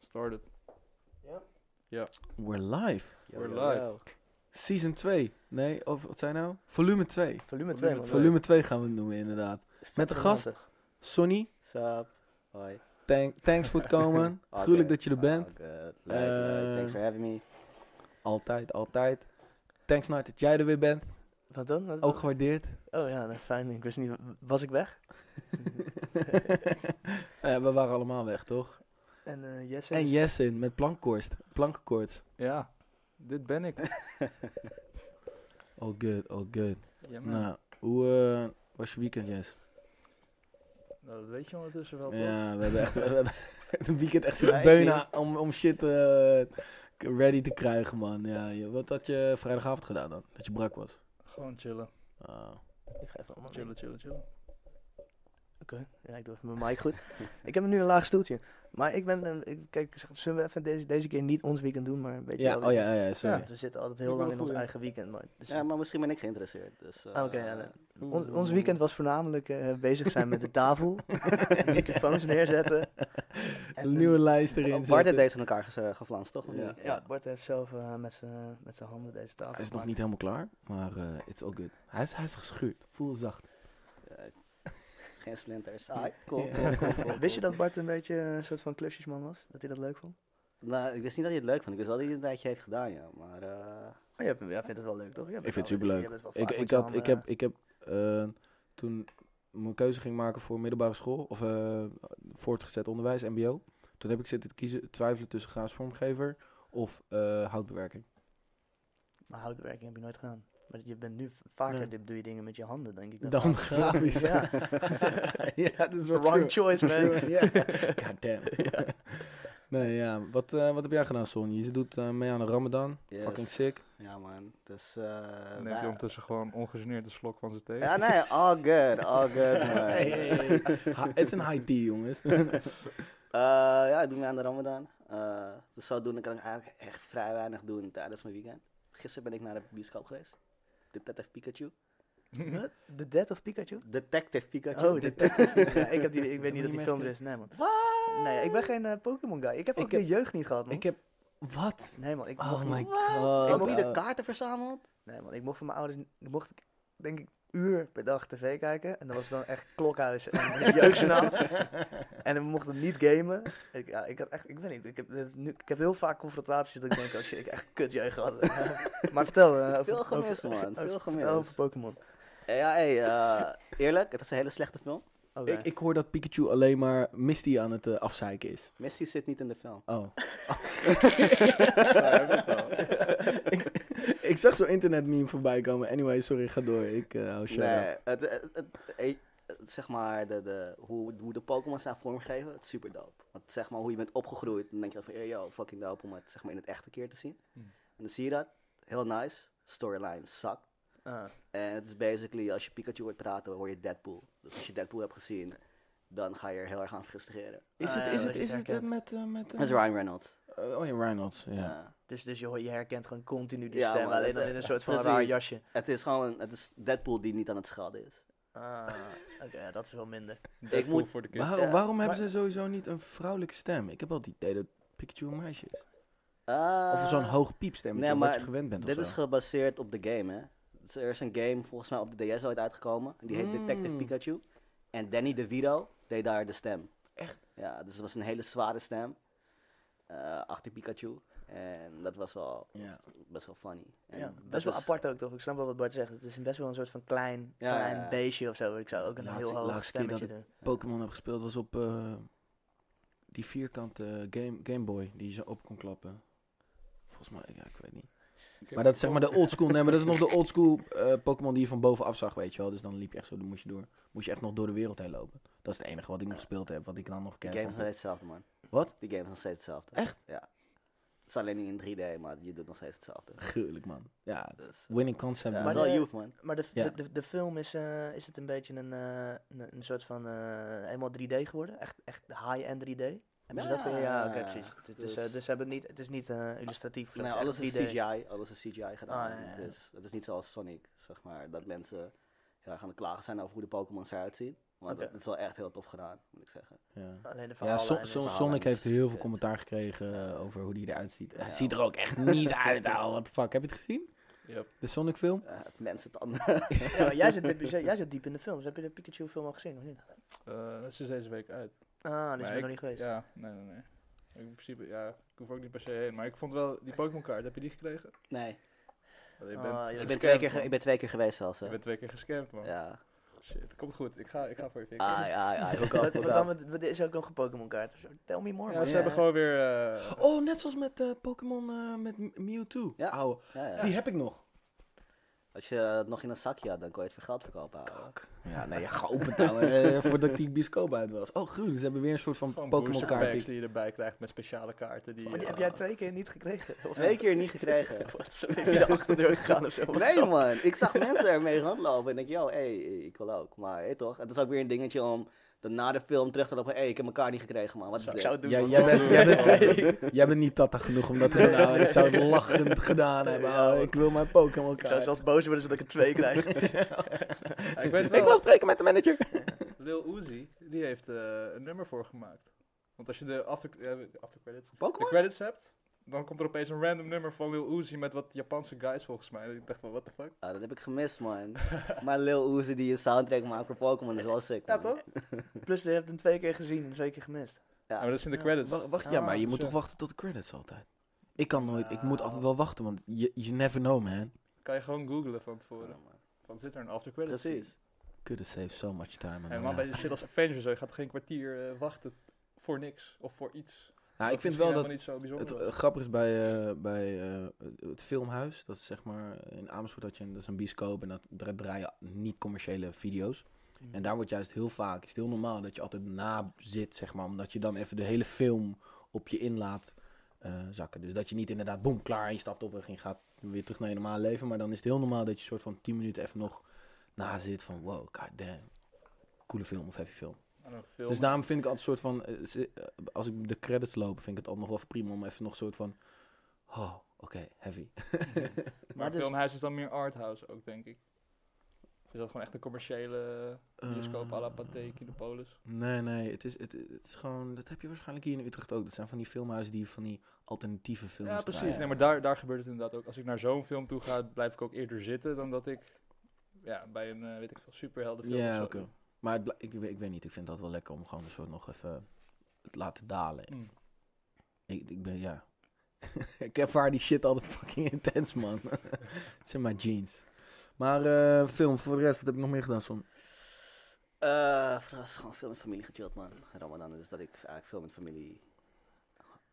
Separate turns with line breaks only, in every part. Started.
Ja.
We're live.
Yo,
We're
yo,
live.
yo.
Season 2. Nee, of wat zijn nou? Volume 2.
Volume 2,
Volume
man.
twee.
Volume 2 gaan we het noemen, inderdaad. Met de gast, Sonny.
Sup. Hoi.
Thank- thanks voor het komen.
Oké.
Gruwelijk dat je er bent.
Oh, good. Leuk, leuk.
Eh,
Thanks for having me.
Altijd, altijd. Thanks, Nart, dat jij er weer bent.
Wat dan? Wat-
Ook gewaardeerd.
Oh ja, nou, fijn. Ik wist niet... Was ik weg?
Eh, we waren allemaal weg, toch?
En eh Jesse?
En Jessin met plankkoorts. Plankenkoorts.
Ja, dit ben ik.
All good, all good.
Ja, man.
Nou, hoe eh, was je weekend, Jess?
Nou, dat weet je ondertussen wel, toch?
Ja, we hebben echt we hebben echt een weekend echt zitten
Ja, ik
beunen om, om shit eh, k- ready te krijgen, man. Ja, je- wat had je vrijdagavond gedaan dan? Dat je brak was?
Gewoon chillen.
Ah.
Ik ga even allemaal
Chillen, chillen, chillen.
Oké, ja, ik doe even mijn mic goed. ik heb nu een laag stoeltje. Maar ik ben, eh, ik, kijk, z- zullen we even deze, deze keer niet ons weekend doen, maar een beetje...
Ja, oh ja, ja, ja, sorry.
We zitten altijd
Ik
heel
wil
lang
een
in ons
goeie.
eigen weekend, maar... dus-
Ja, maar misschien ben ik geïnteresseerd. Dus, eh,
Ah, oké, ja, nee.
Oeh,
on-
oeh,
ons
oeh.
weekend was voornamelijk eh, bezig zijn met de tafel, microfoons neerzetten.
Een nieuwe lijst erin
Bart heeft
zetten.
deze aan elkaar ges- eh, geflanst, toch? Of
Ja.
niet?
Ja, Bart heeft zelf eh, met zijn met zijn handen deze tafel
Hij is nog
gemaakt.
niet helemaal klaar, maar eh, it's all good. Hij is, hij is geschuurd. Voel zacht.
Eh, geen splinters. Ah, cool, cool,
Ja.
cool, cool, cool.
Wist je dat Bart een beetje een soort van klusjesman was? Dat hij dat leuk vond?
Nou, ik wist niet dat hij het leuk vond. Ik wist wel dat hij het een tijdje heeft gedaan, ja. Maar eh,
Oh, jij, vindt- jij vindt het wel leuk, toch? Jij bent
Ik vind het
wel-
superleuk.
jij bent wel
Ik,
vaak
ik,
met je
had, ik
handen-
heb, ik heb eh, toen mijn keuze ging maken voor middelbare school, of eh, voortgezet onderwijs, mbo, toen heb ik zitten kiezen, twijfelen tussen graafs vormgever of eh, houtbewerking.
Maar houtbewerking heb je nooit gedaan. Maar je bent nu v- vaker,
Nee.
dit doe je dingen met je handen, denk ik.
Dan grafisch.
Ja.
ja, dat is wel
Wrong
true.
choice, man.
Ja. God damn. Nee, ja. Wat, eh, wat heb jij gedaan, Son? Je doet eh, mee aan de Ramadan.
Yes.
Fucking sick.
ja, man. Dus, eh,
Neemt hij
wij-
ondertussen gewoon ongegeneerd een slok van zijn thee.
ja, nee, all good, all good, man.
Hey, hey, hey. Ha- Het is een high tea, jongens.
Eh, ja, ik doe me aan de ramadan. Eh dus zodoende kan ik eigenlijk echt vrij weinig doen tijdens mijn weekend. Gisteren ben ik naar de bioscoop geweest. Detective Pikachu.
Wat? The Death of Pikachu?
Detective Pikachu.
Oh, Detective Pikachu. Ja, ik, heb die, ik weet
Heb
niet
je
dat
niet
die film er
meegekregen?
is. Nee, man.
Wat?
Nee, ik ben geen eh, Pokémon guy. Ik heb
Ik
ook
heb-
de jeugd niet gehad, man.
ik heb... Wat?
Nee, man. Ik mocht
Oh
niet-
my
Ook
god.
niet de kaarten verzameld?
Nee, man, ik mocht van mijn ouders, ik mocht ik, denk ik uur per dag tv kijken. En dat was dan echt klokhuis en jeugdjournaal. en we mochten niet gamen. Ik, ja, ik had echt, ik weet niet, ik heb, dit is nu, ik heb heel vaak confrontaties dat ik denk, oh shit, ik heb echt kut jeugd gehad. maar vertel. eh, over-
Veel gemist,
over-
man. Veel
over-
gemist.
vertel over Pokémon.
Ja, hey, eh, eerlijk, het is een hele slechte film.
Oké.
Ik, ik hoor dat Pikachu alleen maar Misty aan het eh, afzeiken is.
Messi zit niet in de film.
Oh. ik, ik zag zo'n internet meme voorbij komen. Anyway, sorry, ga door. Ik eh hou shut up.
Nee, het, het, het- eh, het- zeg maar, de, de, hoe, hoe de Pokémon zijn vormgegeven, het is super dope. Want zeg maar, hoe je bent opgegroeid, dan denk je van, eh, yo, fucking dope om het zeg maar, in het echte keer te zien.
Hm.
Hmm.
En dan zie je dat, heel nice, storyline suck.
Ah,
En het is basically, als je Pikachu hoort praten, hoor je Deadpool. Dus als je Deadpool hebt gezien, dan ga je er heel erg aan frustreren.
Is
Ah,
het,
ja,
is
dat
het,
je
is
het
het eh,
herkent.
met... eh, met eh,
Dat is Ryan Reynolds.
eh, oh ja, Reynolds, ja.
Ja.
dus dus je, hoort- je herkent gewoon continu die
Ja,
stem,
man,
alleen
dat-
dan in een soort van
precies.
raar jasje.
Het is gewoon, het is Deadpool die niet aan het schelden is.
Ah, oké, ja, dat is wel minder.
Deadpool
ik moet-
voor de kids.
Waar-
Ja.
waarom hebben ze sowieso niet een vrouwelijke stem? Ik heb wel het idee dat Pikachu een meisje is. Of zo'n
Eh,
hoog piepstem,
nee,
wat
maar
je gewend bent of
Dit is
zo.
gebaseerd op de game, hè? Dus er is een game volgens mij op de DS ooit uitgekomen. Die heet
Hmm.
Detective
Mm.
Pikachu. En Danny DeVito deed daar de stem.
Echt?
Ja, dus het was een hele zware stem. eh, achter Pikachu. En dat was wel
Ja.
best wel funny. En
Ja,
dat
best wel
is-
apart ook toch? Ik snap wel wat Bart zegt. Het is een best wel een soort van klein,
Ja,
klein
ja, ja.
beestje of zo. Ik zou ook een
Laatste-
heel hoog
laatste keer dat
stemmetje doen.
Pokémon heb gespeeld was op eh, die vierkante game, game Boy die je zo op kon klappen. Volgens mij, ja, ik weet niet. Maar dat is zeg maar de old school. Nee, maar dat is nog de old school eh, Pokémon die je van bovenaf zag, weet je wel. Dus dan liep je echt zo, dan moest je door. Moest je echt nog door de wereld heen lopen. Dat is het enige wat ik nog gespeeld heb, wat ik dan nog
Die
ken.
game is
van-
nog steeds hetzelfde, man.
Wat?
Die game is nog steeds hetzelfde.
Echt?
Ja. Het is alleen niet in 3D, maar je doet nog steeds hetzelfde.
Gruwelijk man. Ja, het-
Dus, eh,
winning concept.
ja,
man.
het is wel
Maar de-
youth, man.
Maar de,
Ja.
de, de, de film is, eh, is het een beetje een, eh, een, een soort van eh, helemaal 3D geworden. Echt, echt high-end 3D. Hebben ze dat gedaan? Ja, oké, precies. Dus, dus, eh,
dus-
dus ze hebben niet, het is niet eh, illustratief.
Nee,
het
Nou, alles is
echt 3D.
CGI, alles is CGI gedaan.
Ah, ja, ja.
Dus het is niet zoals Sonic, zeg maar, dat mensen heel erg aan het klagen zijn over hoe de Pokémon eruit zien. Maar
Oké.
dat, dat is wel echt heel tof gedaan, moet ik zeggen.
Ja.
Alleen de
Ja,
verhalen.
Son-
en de
Son-
verhalen.
Sonic heeft heel veel
shit.
commentaar gekregen eh, over hoe die eruit ziet. Hij
Ja.
ziet er ook echt niet uit, ouwe. What the fuck, heb je het gezien?
Yep.
De Sonic film?
Eh, het mensen tanden.
Ja, maar jij, zit, jij, jij zit diep in de
dus
films. Heb je de Pikachu-film al gezien of niet?
Eh, dat is dus deze week uit.
Ah, die is
Maar
ik,
ik-
nog niet geweest.
Ja, nee, nee, nee. Ik, in principe, ja, ik hoef ook niet per se heen. Maar ik vond wel, die Pokémon kaart, heb je die gekregen?
Nee,
Want je
Ah,
bent
ja.
ik ben,
gescamd,
twee keer ge-
man.
ik ben twee keer geweest zelfs. hè.
Je bent twee keer gescamd, man.
Ja.
Shit, komt goed. Ik ga, ik ga voor je fixen.
Ah, ja, ja. Ik ook al,
Wat,
ik
wat
ook
dan
al.
met, wat is ook nog een Pokémon-kaart? of zo? Tell me more,
Ja,
Oh,
man.
ze
ja.
hebben gewoon weer... eh,
Oh, net zoals met eh, Pokémon eh, met M- Mewtwo.
Ja.
Ouwe.
Ja, ja.
Die heb ik nog.
Als je het nog in een zakje had, dan kon je het voor geld verkopen. ouwe.
Kak. Ja, nee, ja, geopend ouwe, eh, voordat die bioscoop uit was. Oh, goed, ze hebben weer een soort van
Gewoon
Pokémon
booster packs
kaart.
die je erbij krijgt met speciale kaarten. Die,
Oh, die
eh,
heb jij twee keer niet gekregen? Of
Twee keer niet gekregen.
Wat, zo ben je de achterdeur gegaan of zo? Wat
Nee
zo?
man, ik zag mensen ermee rondlopen en ik, yo, hé, ik wil ook. Maar hé toch, het is ook weer een dingetje om dan na de film terug te lopen, hé, ik heb elkaar niet gekregen man, wat is
Zou-
dit?
zou het doen,
Jij-
man.
jij bent- jij
bent-
Nee.
Jij bent niet tata genoeg om dat te doen. ouwe. Ik zou het lachend gedaan hebben. ouwe. Ik wil mijn Pokémon
Ik zou
kaart.
zelfs boos worden zodat ik er twee krijg.
Ja, ik weet
Ik wil
wel,
spreken met de manager.
Lil Uzi, die heeft eh, een nummer voor gemaakt. Want als je de after, ja, de after credits, de
Pokémon?
credits hebt, dan komt er opeens een random nummer van Lil Uzi met wat Japanse guys volgens mij. En ik dacht van, what the fuck?
Ah, dat heb ik gemist man. maar Lil Uzi die een soundtrack maakt voor Pokémon is wel sick man.
Plus, je hebt hem twee keer gezien en twee keer gemist.
Ja, maar dat is in de
Ja,
credits.
Wa- wacht,
Ah,
ja, maar je moet
zo.
toch wachten tot de credits altijd. Ik kan nooit, ik moet
Nou.
altijd wel wachten, want you, you never know, man.
Kan je gewoon googlen van
Ja,
tevoren.
man.
Van zit er een after credits?
Precies.
Could have saved so much time. on
En
my
man, bij
life.
shit als Avengers, zo, je gaat geen kwartier eh, wachten voor niks of voor iets.
nou,
Wat
ik vind
misschien
wel
helemaal
dat
niet zo bijzonder
het
was.
eh, grappig is bij, eh, bij eh, het filmhuis. Dat is zeg maar in Amersfoort had je een, dat is een bioscoop en dat, daar draaien niet commerciële video's. En daar wordt juist heel vaak, is het heel normaal dat je altijd na zit, zeg maar, omdat je dan even de hele film op je in laat eh, zakken. Dus dat je niet inderdaad, boem, klaar, je stapt op en je gaat weer terug naar je normale leven. Maar dan is het heel normaal dat je soort van 10 minuten even nog na zit van, wow, goddamn. Coole film of heavy film.
Aan een film.
Dus daarom vind ik altijd een soort van, eh, ze- eh, als ik de credits lopen, vind ik het altijd nog wel prima om even nog een soort van, oh, oké, heavy.
maar
Maar dus-
filmhuis is dan meer arthouse ook, denk ik. Is dat gewoon echt een commerciële eh,
Eh.
bioscoop à la Pathé, Kinopolis?
Nee, nee, het is, het, het is gewoon, dat heb je waarschijnlijk hier in Utrecht ook. Dat zijn van die filmhuizen die van die alternatieve films
Ja, precies.
draaien.
Nee, maar daar, daar gebeurt het inderdaad ook. Als ik naar zo'n film toe ga, blijf ik ook eerder zitten dan dat ik ja, bij een, eh, weet ik veel, superheldenfilm of
Ja,
zo. Mm.
oké. Maar het bl- ik, weet- ik weet niet, ik vind dat wel lekker om gewoon een soort nog even het laten dalen.
Mm.
Ik, ik ben, ja. ik ervaar die shit altijd fucking intens, man. het zijn mijn jeans. Maar eh, film, voor de rest, wat heb ik nog meer gedaan, Son?
Eh, Vooral is gewoon veel met familie gechilled man. Ramadan dus dat ik eigenlijk veel met familie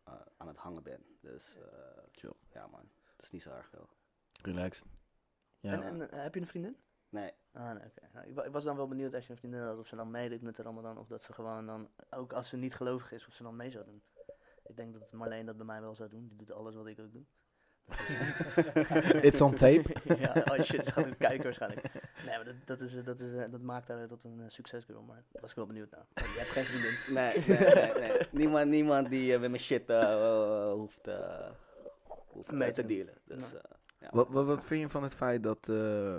eh, aan het hangen ben. Dus eh,
Chill.
ja man, dat is niet zo erg veel.
Relaxed. Ja.
En, en, eh, heb je een vriendin?
Nee,
Ah, nee, oké. Nou, ik, wa- ik was dan wel benieuwd als je een vriendin had, of ze dan meedeed met de Ramadan, of dat ze gewoon dan, ook als ze niet gelovig is, of ze dan mee zou doen. Ik denk dat Marleen dat bij mij wel zou doen. Die doet alles wat ik ook doe.
It's on tape.
ja, oh shit, ze gaat het kijken waarschijnlijk. Nee, maar dat, dat, is, eh, dat, is, eh, dat maakt haar tot een eh, succesbureau, maar daar was ik wel benieuwd naar. Maar je hebt geen vriendin.
Nee, nee, nee. nee. Niemand, niemand die eh, met mijn shit eh, eh, hoeft, eh, hoeft
Mee
mee
te
te dealen. Dus,
Nee.
eh, ja.
Wat, wat, wat vind je van het feit dat eh,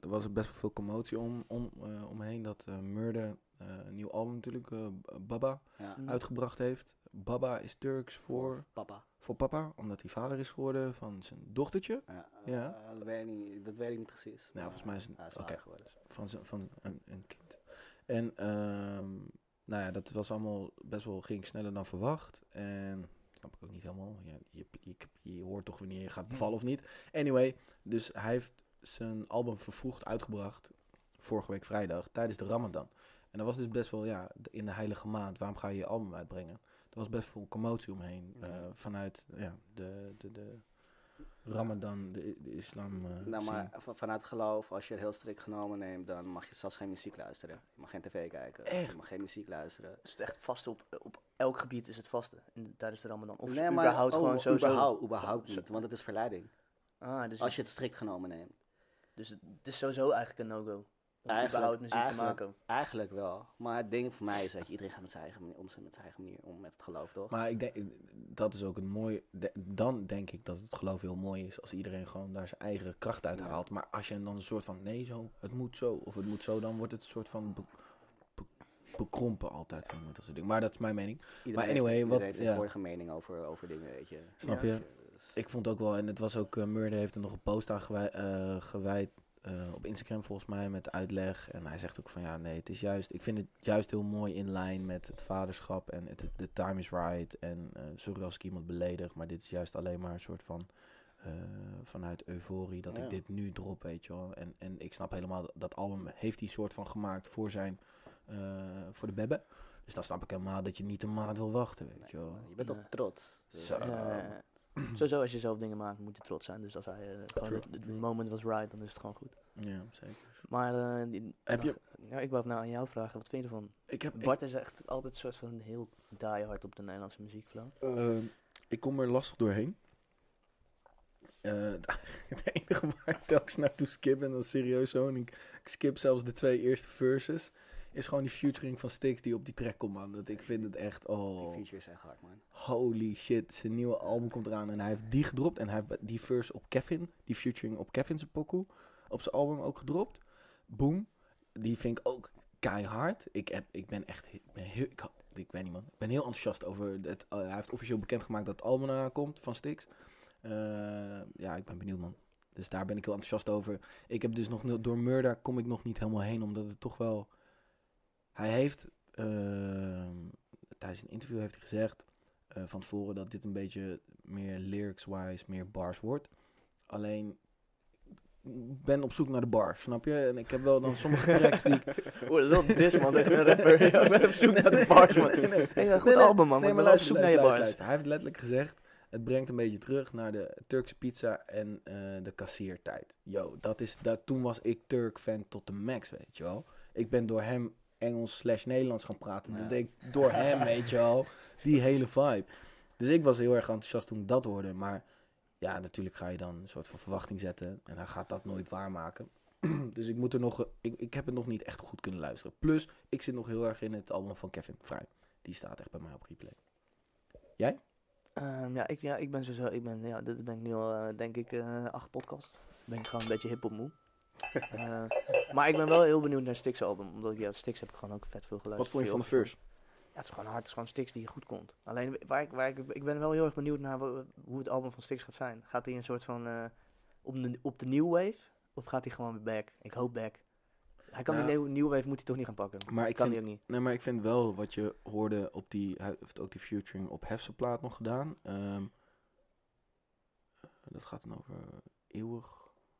er was best wel veel commotie om, om, eh, omheen dat eh Murder eh, een nieuw album natuurlijk, eh, B- Baba,
Ja.
Mm.
uitgebracht heeft. Baba is Turks voor,
Papa.
voor papa, omdat hij vader is geworden van zijn dochtertje.
Ja.
Ja.
eh, dat, weet ik niet, dat weet ik niet precies.
Nou, volgens mij is het-
hij vader
oké.
geworden.
Van, zijn, van een, een kind. En ehm, nou ja, dat was allemaal best wel, ging sneller dan verwacht. En snap ik ook niet helemaal. Ja, je, je, je hoort toch wanneer je gaat bevallen of niet. Anyway, dus hij heeft zijn album vervroegd uitgebracht. Vorige week vrijdag, tijdens de Ramadan. En dat was dus best wel, ja, de- in de heilige maand, waarom ga je je album uitbrengen? Er was best veel commotie omheen eh,
Ja.
vanuit ja, de, de, de Ramadan, de, de islam. eh,
Nou,
scene.
maar van- vanuit geloof, als je het heel strikt genomen neemt, dan mag je zelfs geen muziek luisteren. Je mag geen tv kijken.
Echt?
Je mag geen muziek luisteren.
is het echt vast op, op elk gebied is het vaste in, tijdens de Ramadan. Of
nee, maar
überhaupt
oh,
gewoon sowieso.
Überhaupt, überhaupt
Zo-
niet, want het is verleiding.
Ah, dus,
Als je het strikt genomen neemt.
dus het het is sowieso eigenlijk een no-go. Om
Eigenlijk-
überhaupt muziek te
eigenlijk-
maken.
Eigenlijk wel. Maar het ding voor mij is dat je iedereen gaat met zijn eigen manier om, met zijn eigen manier om met het geloof, toch?
Maar ik denk, dat is ook een mooi. de- Dan denk ik dat het geloof heel mooi is als iedereen gewoon daar zijn eigen kracht uit
Ja.
haalt. Maar als je dan een soort van nee, zo, het moet zo, of het moet zo, dan wordt het een soort van be- be- bekrompen altijd van met dat soort dingen. Maar dat is mijn mening.
Iedereen
Maar
heeft-
anyway,
iedereen
wat-
heeft
ja.
tegenwoordig een mening over, over dingen, weet je.
Snap
Ja. dus-
je? Ik vond ook wel, en het was ook, eh Murder heeft er nog een post aan gewij- eh, gewijd eh, op Instagram volgens mij met uitleg. En hij zegt ook van ja, nee, het is juist, ik vind het juist heel mooi in lijn met het vaderschap en het, de time is right. En eh, sorry als ik iemand beledig, maar dit is juist alleen maar een soort van eh, vanuit euforie dat
Ja.
ik dit nu drop, weet je wel. En, en ik snap helemaal dat, dat album heeft hij soort van gemaakt voor zijn, eh, voor de bebbe. Dus dan snap ik helemaal dat je niet een maand wil wachten, weet je wel.
Nee, je bent toch
Nee.
trots.
Zo.
eh,
Ja. Sowieso, als je zelf dingen maakt, moet je trots zijn. Dus als hij eh, gewoon
True.
het, het moment was right, dan is het gewoon goed.
Ja, zeker.
Maar eh, die-
Heb je-
ja, ik wou nou aan jou vragen, wat vind je ervan?
Ik heb,
Bart is echt altijd een soort van heel diehard op de Nederlandse muziekvloer.
Ehm, ik kom er lastig doorheen. Eh, het enige waar ik telkens naartoe skip, en dat is serieus zo, en ik, ik skip zelfs de twee eerste verses, is gewoon die featuring van Stix die op die track komt, man. Dat ik vind het echt,
Die
oh,
features zijn hard, man.
holy shit. Zijn nieuwe album komt eraan en hij heeft die gedropt en hij heeft die verse op Kevin, die featuring op Kevin zijn pokoe, op zijn album ook gedropt. Boom. Die vind ik ook keihard. Ik, heb, ik ben echt he- ik ben heel... Ik, ha- ik weet niet, man. Ik ben heel enthousiast over... Het, eh, hij heeft officieel bekendgemaakt dat het album eraan komt van Stix. Eh, ja, ik ben benieuwd, man. Dus daar ben ik heel enthousiast over. Ik heb dus nog... nul- Door Murder kom ik nog niet helemaal heen, omdat het toch wel... Hij heeft... eh, tijdens een interview heeft hij gezegd... eh, van tevoren dat dit een beetje meer lyrics-wise, meer bars wordt. Alleen... ik ben op zoek naar de bars, snap je? En ik heb wel dan sommige tracks die ik
Oeh, dat is dis man tegen een rapper. Ja, ik ben op zoek naar de bars man.
Nee, nee.
Hey, eh, goed
Nee, nee.
album man, maar
Nee,
ik ben
maar
wel op
luister,
zoek
luister,
naar je
luister,
bars.
luister. Hij heeft letterlijk gezegd, het brengt een beetje terug naar de Turkse pizza en eh, de kassiertijd. Yo, dat is, dat, toen was ik Turk-fan tot de max, weet je wel. Ik ben door hem Engels slash Nederlands gaan praten.
Ja.
Dat deed ik door hem, weet je wel. Die hele vibe. Dus ik was heel erg enthousiast toen ik dat hoorde. Maar ja, natuurlijk ga je dan een soort van verwachting zetten. En hij gaat dat nooit waarmaken. dus ik moet er nog... eh, Ik, ik heb het nog niet echt goed kunnen luisteren. Plus, ik zit nog heel erg in het album van Kevin Vrij. Die staat echt bij mij op replay.
Ehm, ja, ik, ja, ik ben sowieso, ik ben, ja, dit ben ik nu al, eh, denk ik, eh, acht podcast. Ben ik gewoon een beetje hip op moe. Eh, maar ik ben wel heel benieuwd naar Stix album, omdat ik ja, Stix heb ik gewoon ook vet veel geluisterd. Heel veel. Ja, het is gewoon hard, het is gewoon Stix die goed komt. Alleen waar ik, waar ik, ik ben wel heel erg benieuwd naar wa- hoe het album van Stix gaat zijn. Gaat hij een soort van eh, op, de, op de new wave of gaat hij gewoon back? Ik hoop back. Hij kan
Nou,
de new, new wave moet hij toch niet gaan pakken.
Maar ik
kan
vind-
hij ook niet.
Nee, maar ik vind wel wat je hoorde op die... Hij heeft ook die featuring op Hefse plaat nog gedaan. Ehm, dat gaat dan over eeuwig.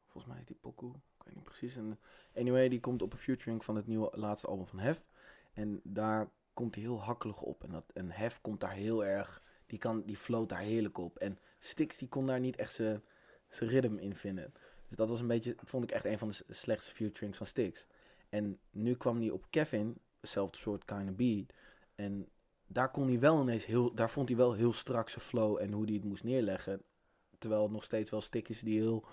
Volgens mij heet die pokoe. Ik weet niet precies. En, eh, anyway, die komt op een featuring van het nieuwe laatste album van Hef. En daar komt hij heel hakkelig op. En, dat, en Hef komt daar heel erg... Die, kan, die float daar heerlijk op. En Stix die kon daar niet echt zijn zijn ritme in vinden. Dus dat was een beetje... Dat vond ik echt een van de s- slechtste featurings van Stix. En nu kwam hij op Kevin hetzelfde soort kind of beat. En daar kon hij wel ineens heel, daar vond hij wel heel strak zijn flow en hoe hij het moest neerleggen. Terwijl het nog steeds wel stik is die heel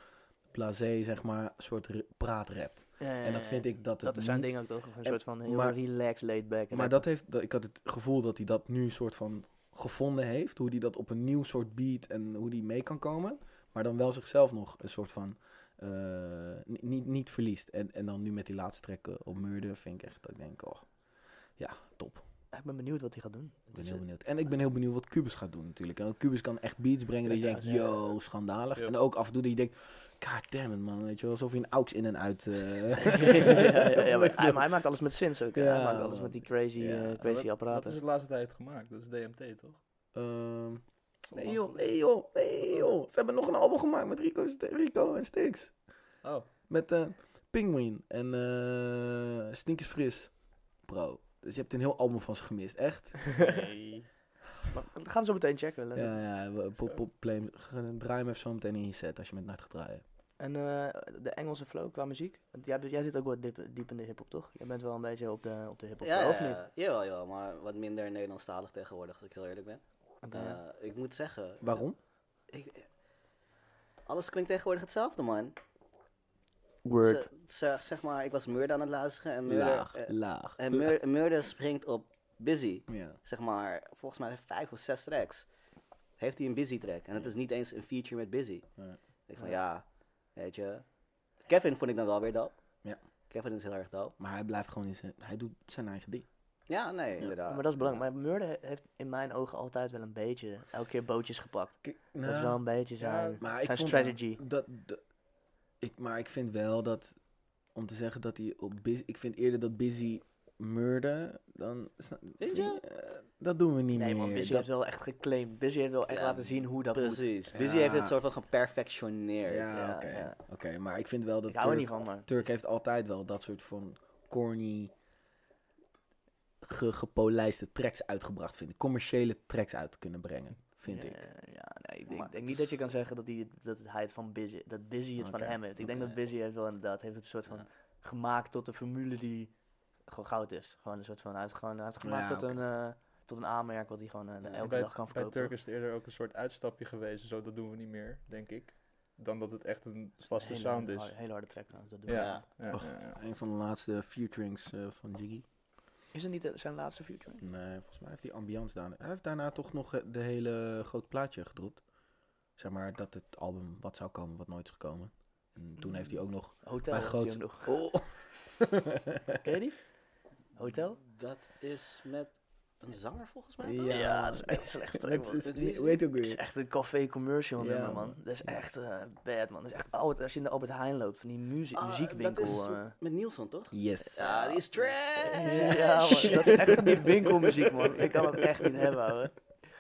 blasé, zeg maar, soort r- praat rapt. En dat vind ik dat het
Eh, Dat is zijn
nu-
ding ook toch, een soort van heel
maar-
relaxed, laid back.
Maar dat heeft, dat, ik had het gevoel dat hij dat nu soort van gevonden heeft. Hoe hij dat op een nieuw soort beat en hoe die mee kan komen. Maar dan wel zichzelf nog een soort van eh, ni- niet, niet verliest. En, en dan nu met die laatste trekken op Murder vind ik echt dat ik denk, oh ja, top.
Ik ben benieuwd wat hij gaat doen.
Ik
Het
ben
is,
heel
eh,
benieuwd. En ik ben heel benieuwd wat Cubus gaat doen natuurlijk. En want Cubus kan echt beats brengen dat je denkt,
Lekker, ja.
yo, schandalig.
Ja.
En ook af en toe dat je denkt, god damn it man, weet je wel. Alsof je een aux in en uit... eh,
ja, ja, ja, maar hij, maar hij maakt alles met synths ook. hè.
Ja,
hij maakt alles
man.
met die crazy,
Ja,
eh,
maar
Maar
crazy
wat- Wat
apparaten.
is het laatste tijd gemaakt? Dat is DMT, toch?
Ehm, nee joh, nee joh, nee joh. Ze hebben nog een album gemaakt met Rico, St- Rico en Stix.
Oh,
Met eh Penguin en eh Stinkers Fris. Bro, dus je hebt een heel album van ze gemist, echt.
nee.
Maar we gaan zo meteen checken. Lennon.
ja, ja, we- pop, pop, play hem. Ga- draai hem even zo meteen in je set als je met Nart gaat draaien.
En eh, de Engelse flow qua muziek. Want Jij, bent- jij zit ook wel diep, diep in de hip-hop, toch? Jij bent wel een beetje op de, op de hip-hop,
Ja,
of
ja,
niet?
ja. Jawel, jawel, maar wat minder Nederlandstalig tegenwoordig, als ik heel eerlijk ben.
Oké.
Eh, ik moet zeggen,
Waarom?
ik, alles klinkt tegenwoordig hetzelfde, man.
Word.
Ze- Zeg, zeg maar, ik was Murder aan het luisteren en Murder,
Laag,
eh,
laag.
en Mur- Murder springt op Busy.
Ja.
Zeg maar, volgens mij vijf of zes tracks. Heeft hij een Busy track en het is niet eens een feature met Busy.
Nee.
Ik van ja, weet je. Kevin vond ik dan wel weer dope.
Ja.
Kevin is heel erg dope.
Maar hij blijft gewoon in zijn... Hij doet zijn eigen ding.
Ja, nee, inderdaad.
Maar dat is belangrijk. Maar Murder he- heeft in mijn ogen altijd wel een beetje, elke keer bootjes gepakt.
Kijk,
dat is
nou,
wel een beetje
ja,
zijn,
maar ik
zijn
vond
strategy.
Dat, dat- ik, maar ik vind wel dat, om te zeggen dat hij op Busy, ik vind eerder dat Busy murder dan... sna-
Vind je?
eh, dat doen we niet
Nee,
meer.
want Busy
Dat-
heeft wel echt geclaimd. Busy heeft wel echt
Ja,
laten zien hoe dat moet.
Precies.
moet.
Busy
Ja.
heeft het soort van geperfectioneerd.
Ja,
Ja,
oké.
ja.
Oké, maar ik vind wel dat
Ik hou er
Turk-
niet van, maar...
Turk heeft altijd wel dat soort van corny, ge gepolijste tracks uitgebracht, vind ik. Commerciële tracks uit kunnen brengen, vind
Ja,
ik.
Ja, nee, ik, ik
Maar-
denk niet dat je kan zeggen dat, die, het- dat hij het van Busy, dat Busy het
Oké,
van hem heeft. Ik denk
oké.
dat Busy heeft wel inderdaad, heeft het een soort van
Ja.
gemaakt tot een formule die gewoon goud is. Gewoon een soort van, hij heeft, gewoon, hij heeft het gemaakt
Ja,
tot,
oké.
een, eh, tot een aanmerk wat hij gewoon eh,
Ja,
elke
bij,
dag kan
bij
verkopen.
Turk is het eerder ook een soort uitstapje geweest. en Zo, dat doen we niet meer, denk ik. Dan dat het echt een vaste
Hele
sound
harde-
is.
hele harde track trouwens, dat doen we.
Ja. ja,
Och.
ja, ja.
Een van de laatste featurings eh van Jiggy.
Is het niet eh, zijn laatste feature?
Nee, volgens mij heeft hij ambiance daarna. Hij heeft daarna toch nog eh, de hele groot plaatje gedropt. Zeg maar dat het album wat zou komen, wat nooit is gekomen. En toen heeft hij ook nog...
Hotel
Bij
heeft hij
groot-
hem nog.
Oh.
Ken je die? Hotel?
Dat is met een zanger volgens mij.
Ja.
toch?
dat is echt slecht.
Met-
man.
Met wie is
weet ook
Dat is
weer.
echt een café commercial
Ja,
nummer,
man.
man. Dat is echt eh, bad, man. Dat is echt oud. Als je in de Albert Heijn loopt, van die muziek,
Ah,
muziekwinkel.
Dat is
eh.
met Nielsen, toch?
Yes.
Ja, die is trash!
Ja, man. Dat is echt van die winkelmuziek, man. Ik kan dat echt niet hebben, ouwe.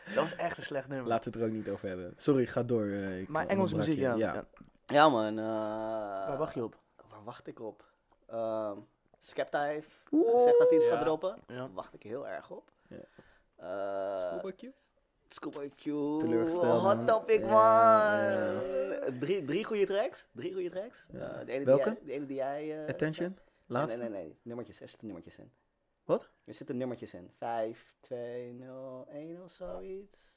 Dat was echt een slecht nummer.
Laten we het er ook niet over hebben. Sorry, ga door. eh, ik
maar
onderbrak
Engelse muziek,
je.
ja.
ja.
ja.
Ja, man. eh,
Waar wacht je op?
Waar wacht ik op? Ehm Skepta heeft gezegd dat hij iets
Ja.
gaat droppen.
Ja.
Daar wacht ik heel erg op.
Ja.
Eh,
Schoolbakje?
Schoolboy Q.
Teleurgesteld, man.
Hot topic,
Ja,
man.
ja.
Drie, drie goede tracks. Drie goede tracks.
Ja.
Eh, de ene
Welke?
Die jij, de ene die jij... eh,
Attention,
Nee,
laatste.
Nee, nee, nee. Nummertjes. Er zitten nummertjes in.
Wat?
Er zitten nummertjes in. 5, 2, 0, 1 of zoiets.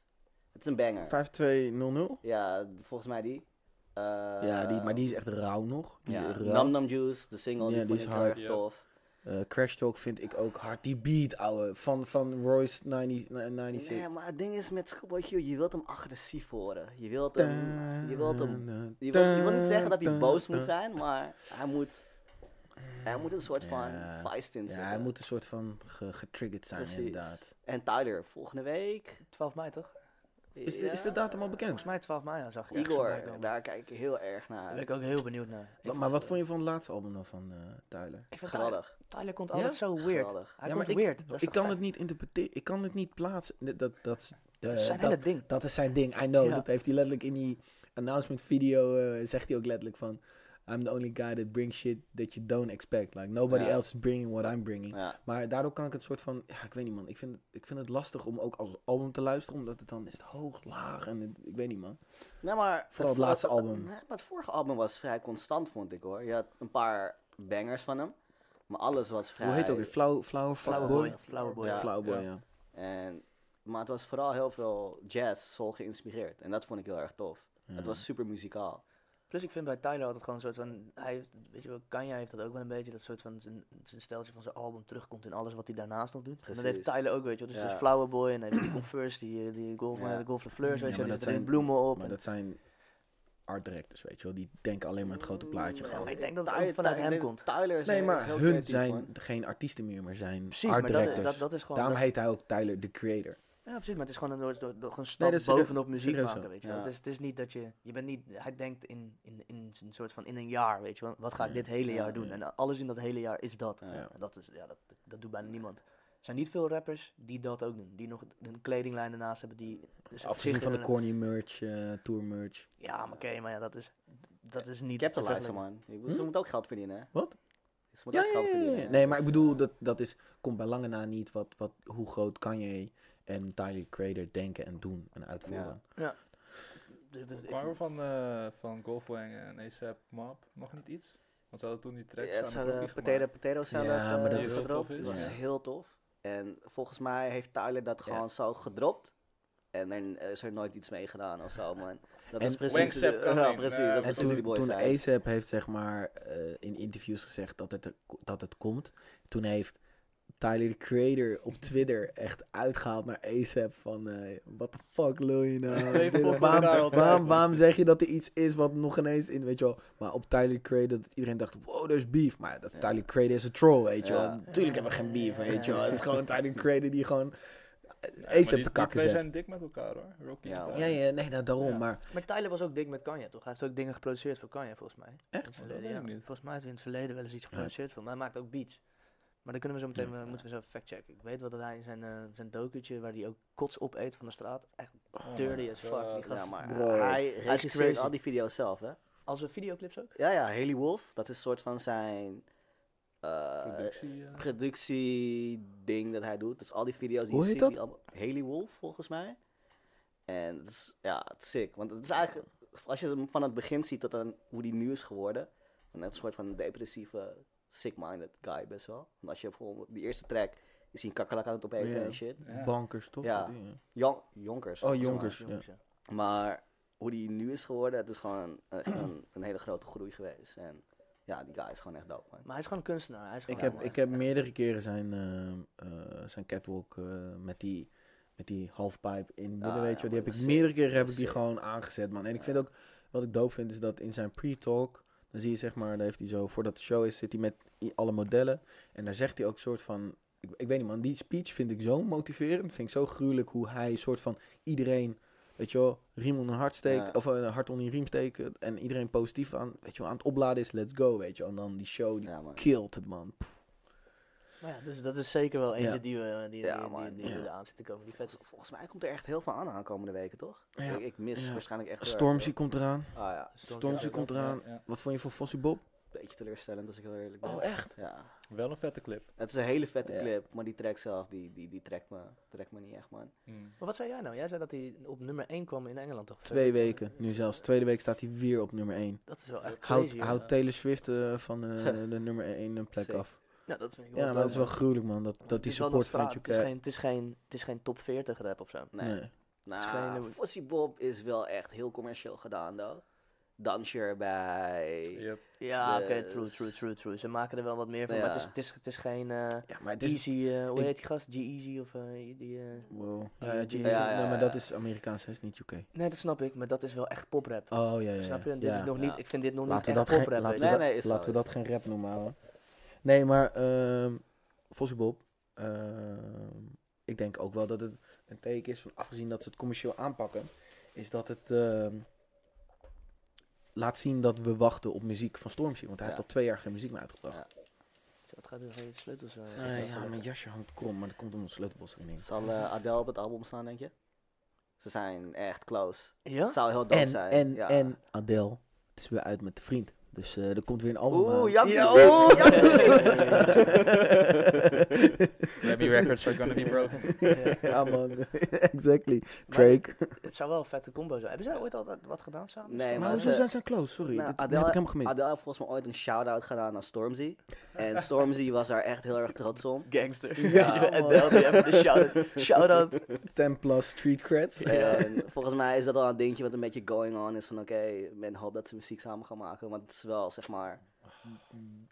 Het is een banger.
5200.
Ja, volgens mij die. Eh,
ja, die, maar die is echt rauw nog. Die
ja.
is echt rauw.
Nam Nam Juice, de single,
Ja,
die,
die
vond
is
ik
hard.
heel erg
Ja.
tof.
Eh, Crash Talk vind ik ook hard. Die beat, ouwe. Van, van Royce 90, 96.
Nee, maar het ding is met Schoolboy Q, je wilt hem agressief horen. Je wilt hem... Je wilt hem... Je wilt, je wilt niet zeggen dat hij boos moet zijn, maar hij moet... Hij moet een soort van
Ja.
feist in
Ja,
zitten.
hij moet een soort van ge- getriggerd zijn,
Precies.
inderdaad.
En Tyler, volgende week...
12 mei, toch?
Is de, is de
Ja.
datum al bekend?
Volgens mij 12 mei, ja, zag ik. ergens voorbij
Igor,
komen.
daar kijk ik heel erg naar.
Daar ben ik ook heel benieuwd naar.
Wa- maar wat vond je van het laatste album dan van eh, Tyler?
Ik vind Tyler,
Geweldig.
Tyler komt
Ja?
altijd zo weird.
Geweldig.
Hij
Ja,
komt
maar ik-
weird. Dat is
Ik
toch
kan
vet?
het niet interpreteren, ik kan het niet plaatsen. Dat, dat, dat, is-
Dat is zijn
Eh, dat-
hele ding.
Dat is zijn ding, I know.
Ja.
Dat heeft hij letterlijk in die announcement video, eh, zegt hij ook letterlijk van... I'm the only guy that brings shit that you don't expect. Like, nobody
Ja.
else is bringing what I'm bringing.
Ja.
Maar daardoor kan ik het soort van... Ja, ik weet niet, man. Ik vind, het- ik vind het lastig om ook als album te luisteren. Omdat het dan is het hoog, laag en het- ik weet niet, man.
Nee, Nou, maar
Vooral het
vo-
laatste album.
Nee, maar het vorige album was vrij constant, vond ik hoor. Je had een paar bangers van hem, maar alles was vrij.
Hoe heet het ook weer? Flower, flower,
Flower
Fuckboy?
Boy. Flower Boy.
Ja.
Flower Boy, ja.
Ja.
En, maar het was vooral heel veel jazz, soul geïnspireerd. En dat vond ik heel erg tof.
Ja.
Het was super muzikaal.
Plus ik vind bij Tyler altijd gewoon een soort van, hij heeft, weet je wel, Kanye heeft dat ook wel een beetje, dat soort van zijn, zijn steltje van zijn album terugkomt in alles wat hij daarnaast nog doet. En dat heeft
Precies.
Tyler ook, weet je wel. Dus dat
Ja.
is Flower Boy en dan heb je die Converse, die, eh, die Golf,
Ja.
de Golf Fleurs,
Ja,
weet je wel,
maar
die
dat
zetten
zijn-
er bloemen op.
Maar
en-
dat zijn art directors, weet je wel. Die denken alleen maar het grote plaatje
Mm, Ja,
gewoon.
maar ik denk dat het ook vanuit
Ty-
hem
Ty-
komt.
Tyler is
Nee,
er-
maar
is heel
hun
creatief,
zijn
man.
geen artiesten meer, maar zijn
Precies,
art
maar dat,
directors.
dat, dat is gewoon...
Daarom
dat-
heet hij ook Tyler, the creator.
ja, precies, maar het is gewoon een, door, door, door een stap
dat is serieus-
bovenop muziek
serieus
maken,
zo.
weet je wel.
Ja.
Het, is, het is niet dat je, je bent niet, hij denkt in, in, in een soort van in een jaar, weet je wel. Wat ga ik
Ja.
dit hele
Ja,
jaar
ja.
doen? En alles in dat hele jaar is dat.
Ja.
Ja.
En Dat, is, ja, dat, dat doet bijna niemand. Er zijn niet veel rappers die dat ook doen. Die nog een kledinglijn ernaast hebben. Die, dus
Afgezien van de
corny.
corny merch, eh, tour merch.
Ja, maar oké, maar ja, dat is, dat is niet... te
Capitalize,
vergelijken.
man. Je- Ze moeten ook geld verdienen. hè.
Hm? Wat?
Ze moeten ook geld verdienen. hè.
Nee, maar ik
Dus,
bedoel,
eh,
dat, dat is, komt bij lange na niet wat, wat, hoe groot Kanye en Tyler, the creator, denken en doen en uitvoeren.
Dus- dus ik-
Maar van, eh van Golfwang en ASAP Mob nog niet iets? Want ze hadden toen die track
Ja, ze hadden potato,
gemaakt.
potato salad
Ja,
eh,
maar dat
is-
gedropt.
Heel tof is.
Dat was
Ja.
heel tof. En volgens mij heeft Tyler dat
Ja.
gewoon zo gedropt. En er is er nooit iets mee gedaan of zo, man. Dat
En
is precies...
Wangsap
eh,
coming.
ja, precies.
Ja,
dat
En
En
was wat
toen,
die boys
toen
zijn.
A$AP heeft zeg maar eh, in interviews gezegd dat het, er- dat het komt, toen heeft Tyler, the Creator, op Twitter echt uitgehaald naar ASAP van... eh what the fuck lul je nou? Dit-
Twee volgende
waarom,
daar al
waarom,
bij.
waarom zeg je dat er iets is wat nog ineens in... Weet je wel, maar op Tyler, the Creator, dat iedereen dacht... Wow, there's beef. Maar dat
Ja.
Tyler, the Creator is een troll, weet je
Ja.
wel. Natuurlijk hebben we geen beef, weet je wel. Het is gewoon Tyler, the Creator die gewoon
maar
ASAP
die-
te
die
kakken
twee
zet.
zijn dik met elkaar hoor. Rocky
Ja,
en Tyler.
Ja, ja, nee, nou, daarom.
Ja.
Maar
Maar Tyler was ook dik met Kanye, toch? Hij heeft ook dingen geproduceerd voor Kanye, volgens mij.
Echt?
In het
Oh, dat
verleden,
weet
ja.
ik niet.
Volgens mij heeft hij in het verleden wel eens iets
Ja.
geproduceerd voor. Maar hij maakt ook beats. Maar dan kunnen we zo meteen,
Ja.
eh, moeten we zo factchecken. Ik weet wel dat hij in zijn, eh zijn docutje, waar hij ook kots op eet van de straat, echt
Oh my
dirty as fuck. Die
God.
gast,
Ja, maar
Bro.
hij regisseert
crazy.
al die video's zelf, hè?
Als we videoclips ook?
Ja, ja, Haley Wolf, dat is een soort van zijn eh
Productie, eh.
productieding dat hij doet. Dus al die video's die
Hoe
je
heet
ziet,
dat?
die allemaal- Haley Wolf volgens mij. En het is, ja, het is sick. Want het is eigenlijk, als je hem van het begin ziet tot aan hoe die nu is geworden, dan net een soort van depressieve, sick-minded guy best wel. Want als je bijvoorbeeld die eerste track, je ziet een kakkerlak aan het opeten
Ja.
en shit.
Ja.
bankers, toch?
Ja.
Dat die,
Jon- Jonkers.
Oh,
volgens mij.
Jonkers, ja.
ja.
Maar hoe die nu is geworden, het is gewoon echt een, een hele grote groei geweest. En ja, die guy is gewoon echt dope, man.
Maar hij is gewoon een kunstenaar. Hij is
Ik
gewoon
heb,
helemaal
ik heb meerdere keren zijn, eh, eh, zijn catwalk eh, met die, met die halfpipe in midden,
Ah,
weet je wel. Die
ja, maar
heb ik
dat is
meerdere keren heb ik die
sick.
gewoon aangezet, man. En ik
Ja.
vind ook, wat ik dope vind, is dat in zijn pre-talk, dan zie je zeg maar, daar heeft hij zo, voordat de show is, zit hij met i- alle modellen. En daar zegt hij ook soort van, ik, ik weet niet man, die speech vind ik zo motiverend. Vind ik zo gruwelijk hoe hij soort van iedereen, weet je wel, riem onder een hart steekt.
Ja.
Of eh, een hart onder een riem steekt. En iedereen positief aan, weet je wel, aan het opladen is, let's go, weet je wel. En dan die show, die
Ja, man.
killt het man.
waar. Maar ja, dus dat is zeker wel eentje
Ja.
die we die,
Ja,
die, die,
man.
die, die
Ja.
we aan zitten komen. Die vet.
Vol- Volgens mij komt er echt heel veel aan aankomende weken, toch?
Ja.
Ik, ik mis
Ja.
waarschijnlijk echt... heel erg
Stormzy
veel.
komt eraan.
Ah ja,
Stormzy
Ja,
komt
Ja,
eraan.
ja.
Wat vond je van Fossie Bob?
Eh,
een beetje teleurstellend als ik heel eerlijk ben.
Oh, echt?
Ja.
Wel een vette clip.
Het is een hele vette
Ja.
clip, maar die track zelf, die, die, die trekt, me, trekt me niet echt, man.
Mm.
Maar wat zei jij nou? Jij zei dat hij op nummer 1 kwam in Engeland toch?
Twee weken, nu zelfs. Tweede week staat hij weer op nummer 1.
Dat is wel echt
Houd,
crazy, ja.
houd Taylor Swift eh, van eh, de nummer 1 plek
Zeker.
af.
Ja, Nou, dat vind ik
Ja, maar
dope,
dat is wel
man.
gruwelijk, man. Dat,
eh, Het
dat die
is wel nog
support van
straat. Het is
UK...
geen, het is geen, het is geen top 40 rap of zo.
Nee.
Nee.
geen
Nou,
nummer-
Fossie Bob is wel echt heel commercieel gedaan, though. Dansje bij...
Yep.
Ja,
Dus-
oké, true, true, true, true. Ze maken er wel wat meer van, maar het is,
Ja.
het is, het is geen eh,
Ja, maar het is...
easy, eh, hoe
ik-
heet die gast? G-Easy of eh, die... eh,
Wow.
Ja,
Ja, ja,
ja,
Jeezy-
ja,
nee,
ja,
maar
ja.
dat is Amerikaans, hè, is niet UK.
Nee, dat snap ik, maar dat is wel echt poprap.
Oh, ja, ja. ja.
snap je? Dit
Ja.
is nog niet,
Ja.
ik vind dit nog
Laten we
niet
dat
echt
geen,
poprap.
laten
weet
we
je.
Nee,
dat,
nee, is zo,
laten we
is
dat geen rap noemen, ouwe. Nee, maar ehm Fossil Bob, ehm, ik denk ook wel dat het een teken is van afgezien dat ze het commercieel aanpakken, is dat het ehm, laat zien dat we wachten op muziek van Stormzy, want hij heeft
Ja.
al twee jaar geen muziek meer uitgebracht.
Ja.
Zo, Wat gaat er van je sleutels? eh,
Eh,
afleggen?
ja, mijn jasje hangt krom, maar dat komt omdat het sleutelbos erin is.
Zal eh, Adele op het album staan, denk je? Ze zijn echt close.
Ja?
Het zou heel dope
En,
zijn.
en,
ja.
en Adele, het is weer uit met de vriend, dus eh, er komt weer een album
Oeh,
aan.
Jankie.
Ja,
oeh,
oeh,
Maybe records are gonna be broken.
ja man, exactly.
Maar
Drake.
Het zou wel een vette combo zijn. Hebben zij ooit al wat- wat gedaan samen?
Nee,
Maar
maar
hoezo
ze,
zijn ze eh, close? Sorry,
Nou,
dit
Adele-
heb ik helemaal gemist.
Adele heeft volgens mij ooit een shout-out gedaan aan Stormzy. En Stormzy was daar echt heel erg trots om.
Gangster.
Ja,
en
man.
Delphi even de shout- shout-out.
10 plus street creds. Eh,
En volgens mij is dat al een dingetje wat een beetje going on is van oké, men hoopt dat ze muziek samen gaan maken. Want het is wel zeg maar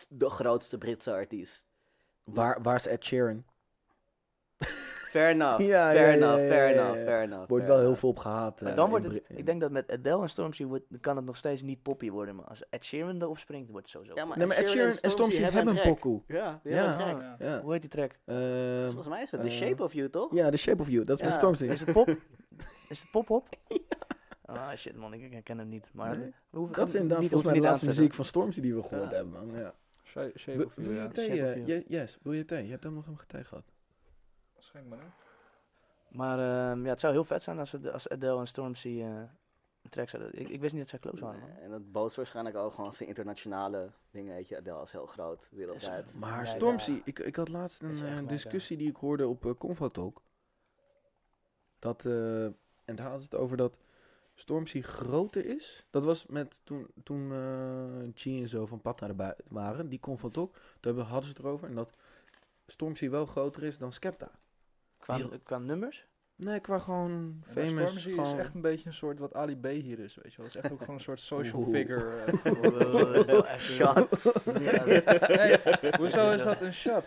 de grootste Britse artiest.
Waar, waar is Ed Sheeran?
Fair enough,
Ja,
fair
ja, ja,
enough,
ja,
fair
ja,
enough,
ja.
fair enough.
Wordt
fair
wel heel
enough.
veel op gehaat.
Maar
eh,
dan
in
wordt het,
Brit-
ik denk dat met Adele en Stormzy wordt, kan het nog steeds niet poppy worden. Maar als Ed Sheeran erop springt, wordt het sowieso.
Ja, maar
Nee, maar Ed Sheeran en Stormzy hebben een
track.
pokoe.
Ja, die hebben een track.
Ja,
gek.
ja.
Hoe heet die track?
Ehm,
Volgens mij is dat The
eh,
Shape of You, toch?
Ja, The Shape of You. Dat is met
Ja.
Stormzy.
Is het pop? is het pop-hop? Ah shit man, ik herken hem niet. Maar
Nee.
we hoeven
Dat is inderdaad
niet
volgens mij
niet
de laatste
aanzetten.
muziek van Stormzy die we gehoord
Ja.
hebben, man. Ja.
Shape, shape
Wil
of
wil
you, ja.
je thee?
Shape of
eh,
You.
je- Yes, wil je thee? Je hebt hem nog helemaal geen thee gehad.
Schenk maar in.
Maar ehm, ja, het zou heel vet zijn als, we- als Adele en Stormzy eh, een track zouden... Ik, ik wist niet dat zij close waren man.
En dat bootst waarschijnlijk ook gewoon zijn internationale dingen, weet je. Adele is heel groot, wereldwijd.
Maar
Ja,
Stormzy,
ja.
ik, ik had laatst een
Is echt
eh,
wel, ja.
discussie die ik hoorde op eh, Convo Talk. Dat, eh, en daar hadden ze het over dat Stormzy groter is. Dat was met toen, toen eh G en zo van Pat naar de bui- waren, die Convo Talk. Daar hebben- hadden ze het erover. En dat Stormzy wel groter is dan Skepta.
Qua,
Heel-
qua nummers?
Nee, qua gewoon
En dan
famous.
Stormzy is
Gewoon...
echt een beetje een soort wat Ali B hier is, weet je wel. Het is echt ook gewoon een soort social
Oeh.
figure. eh.
Wow, Oh, dat is wel echt-
Shots.
Ja, dat-
Nee, hoezo is dat een shot?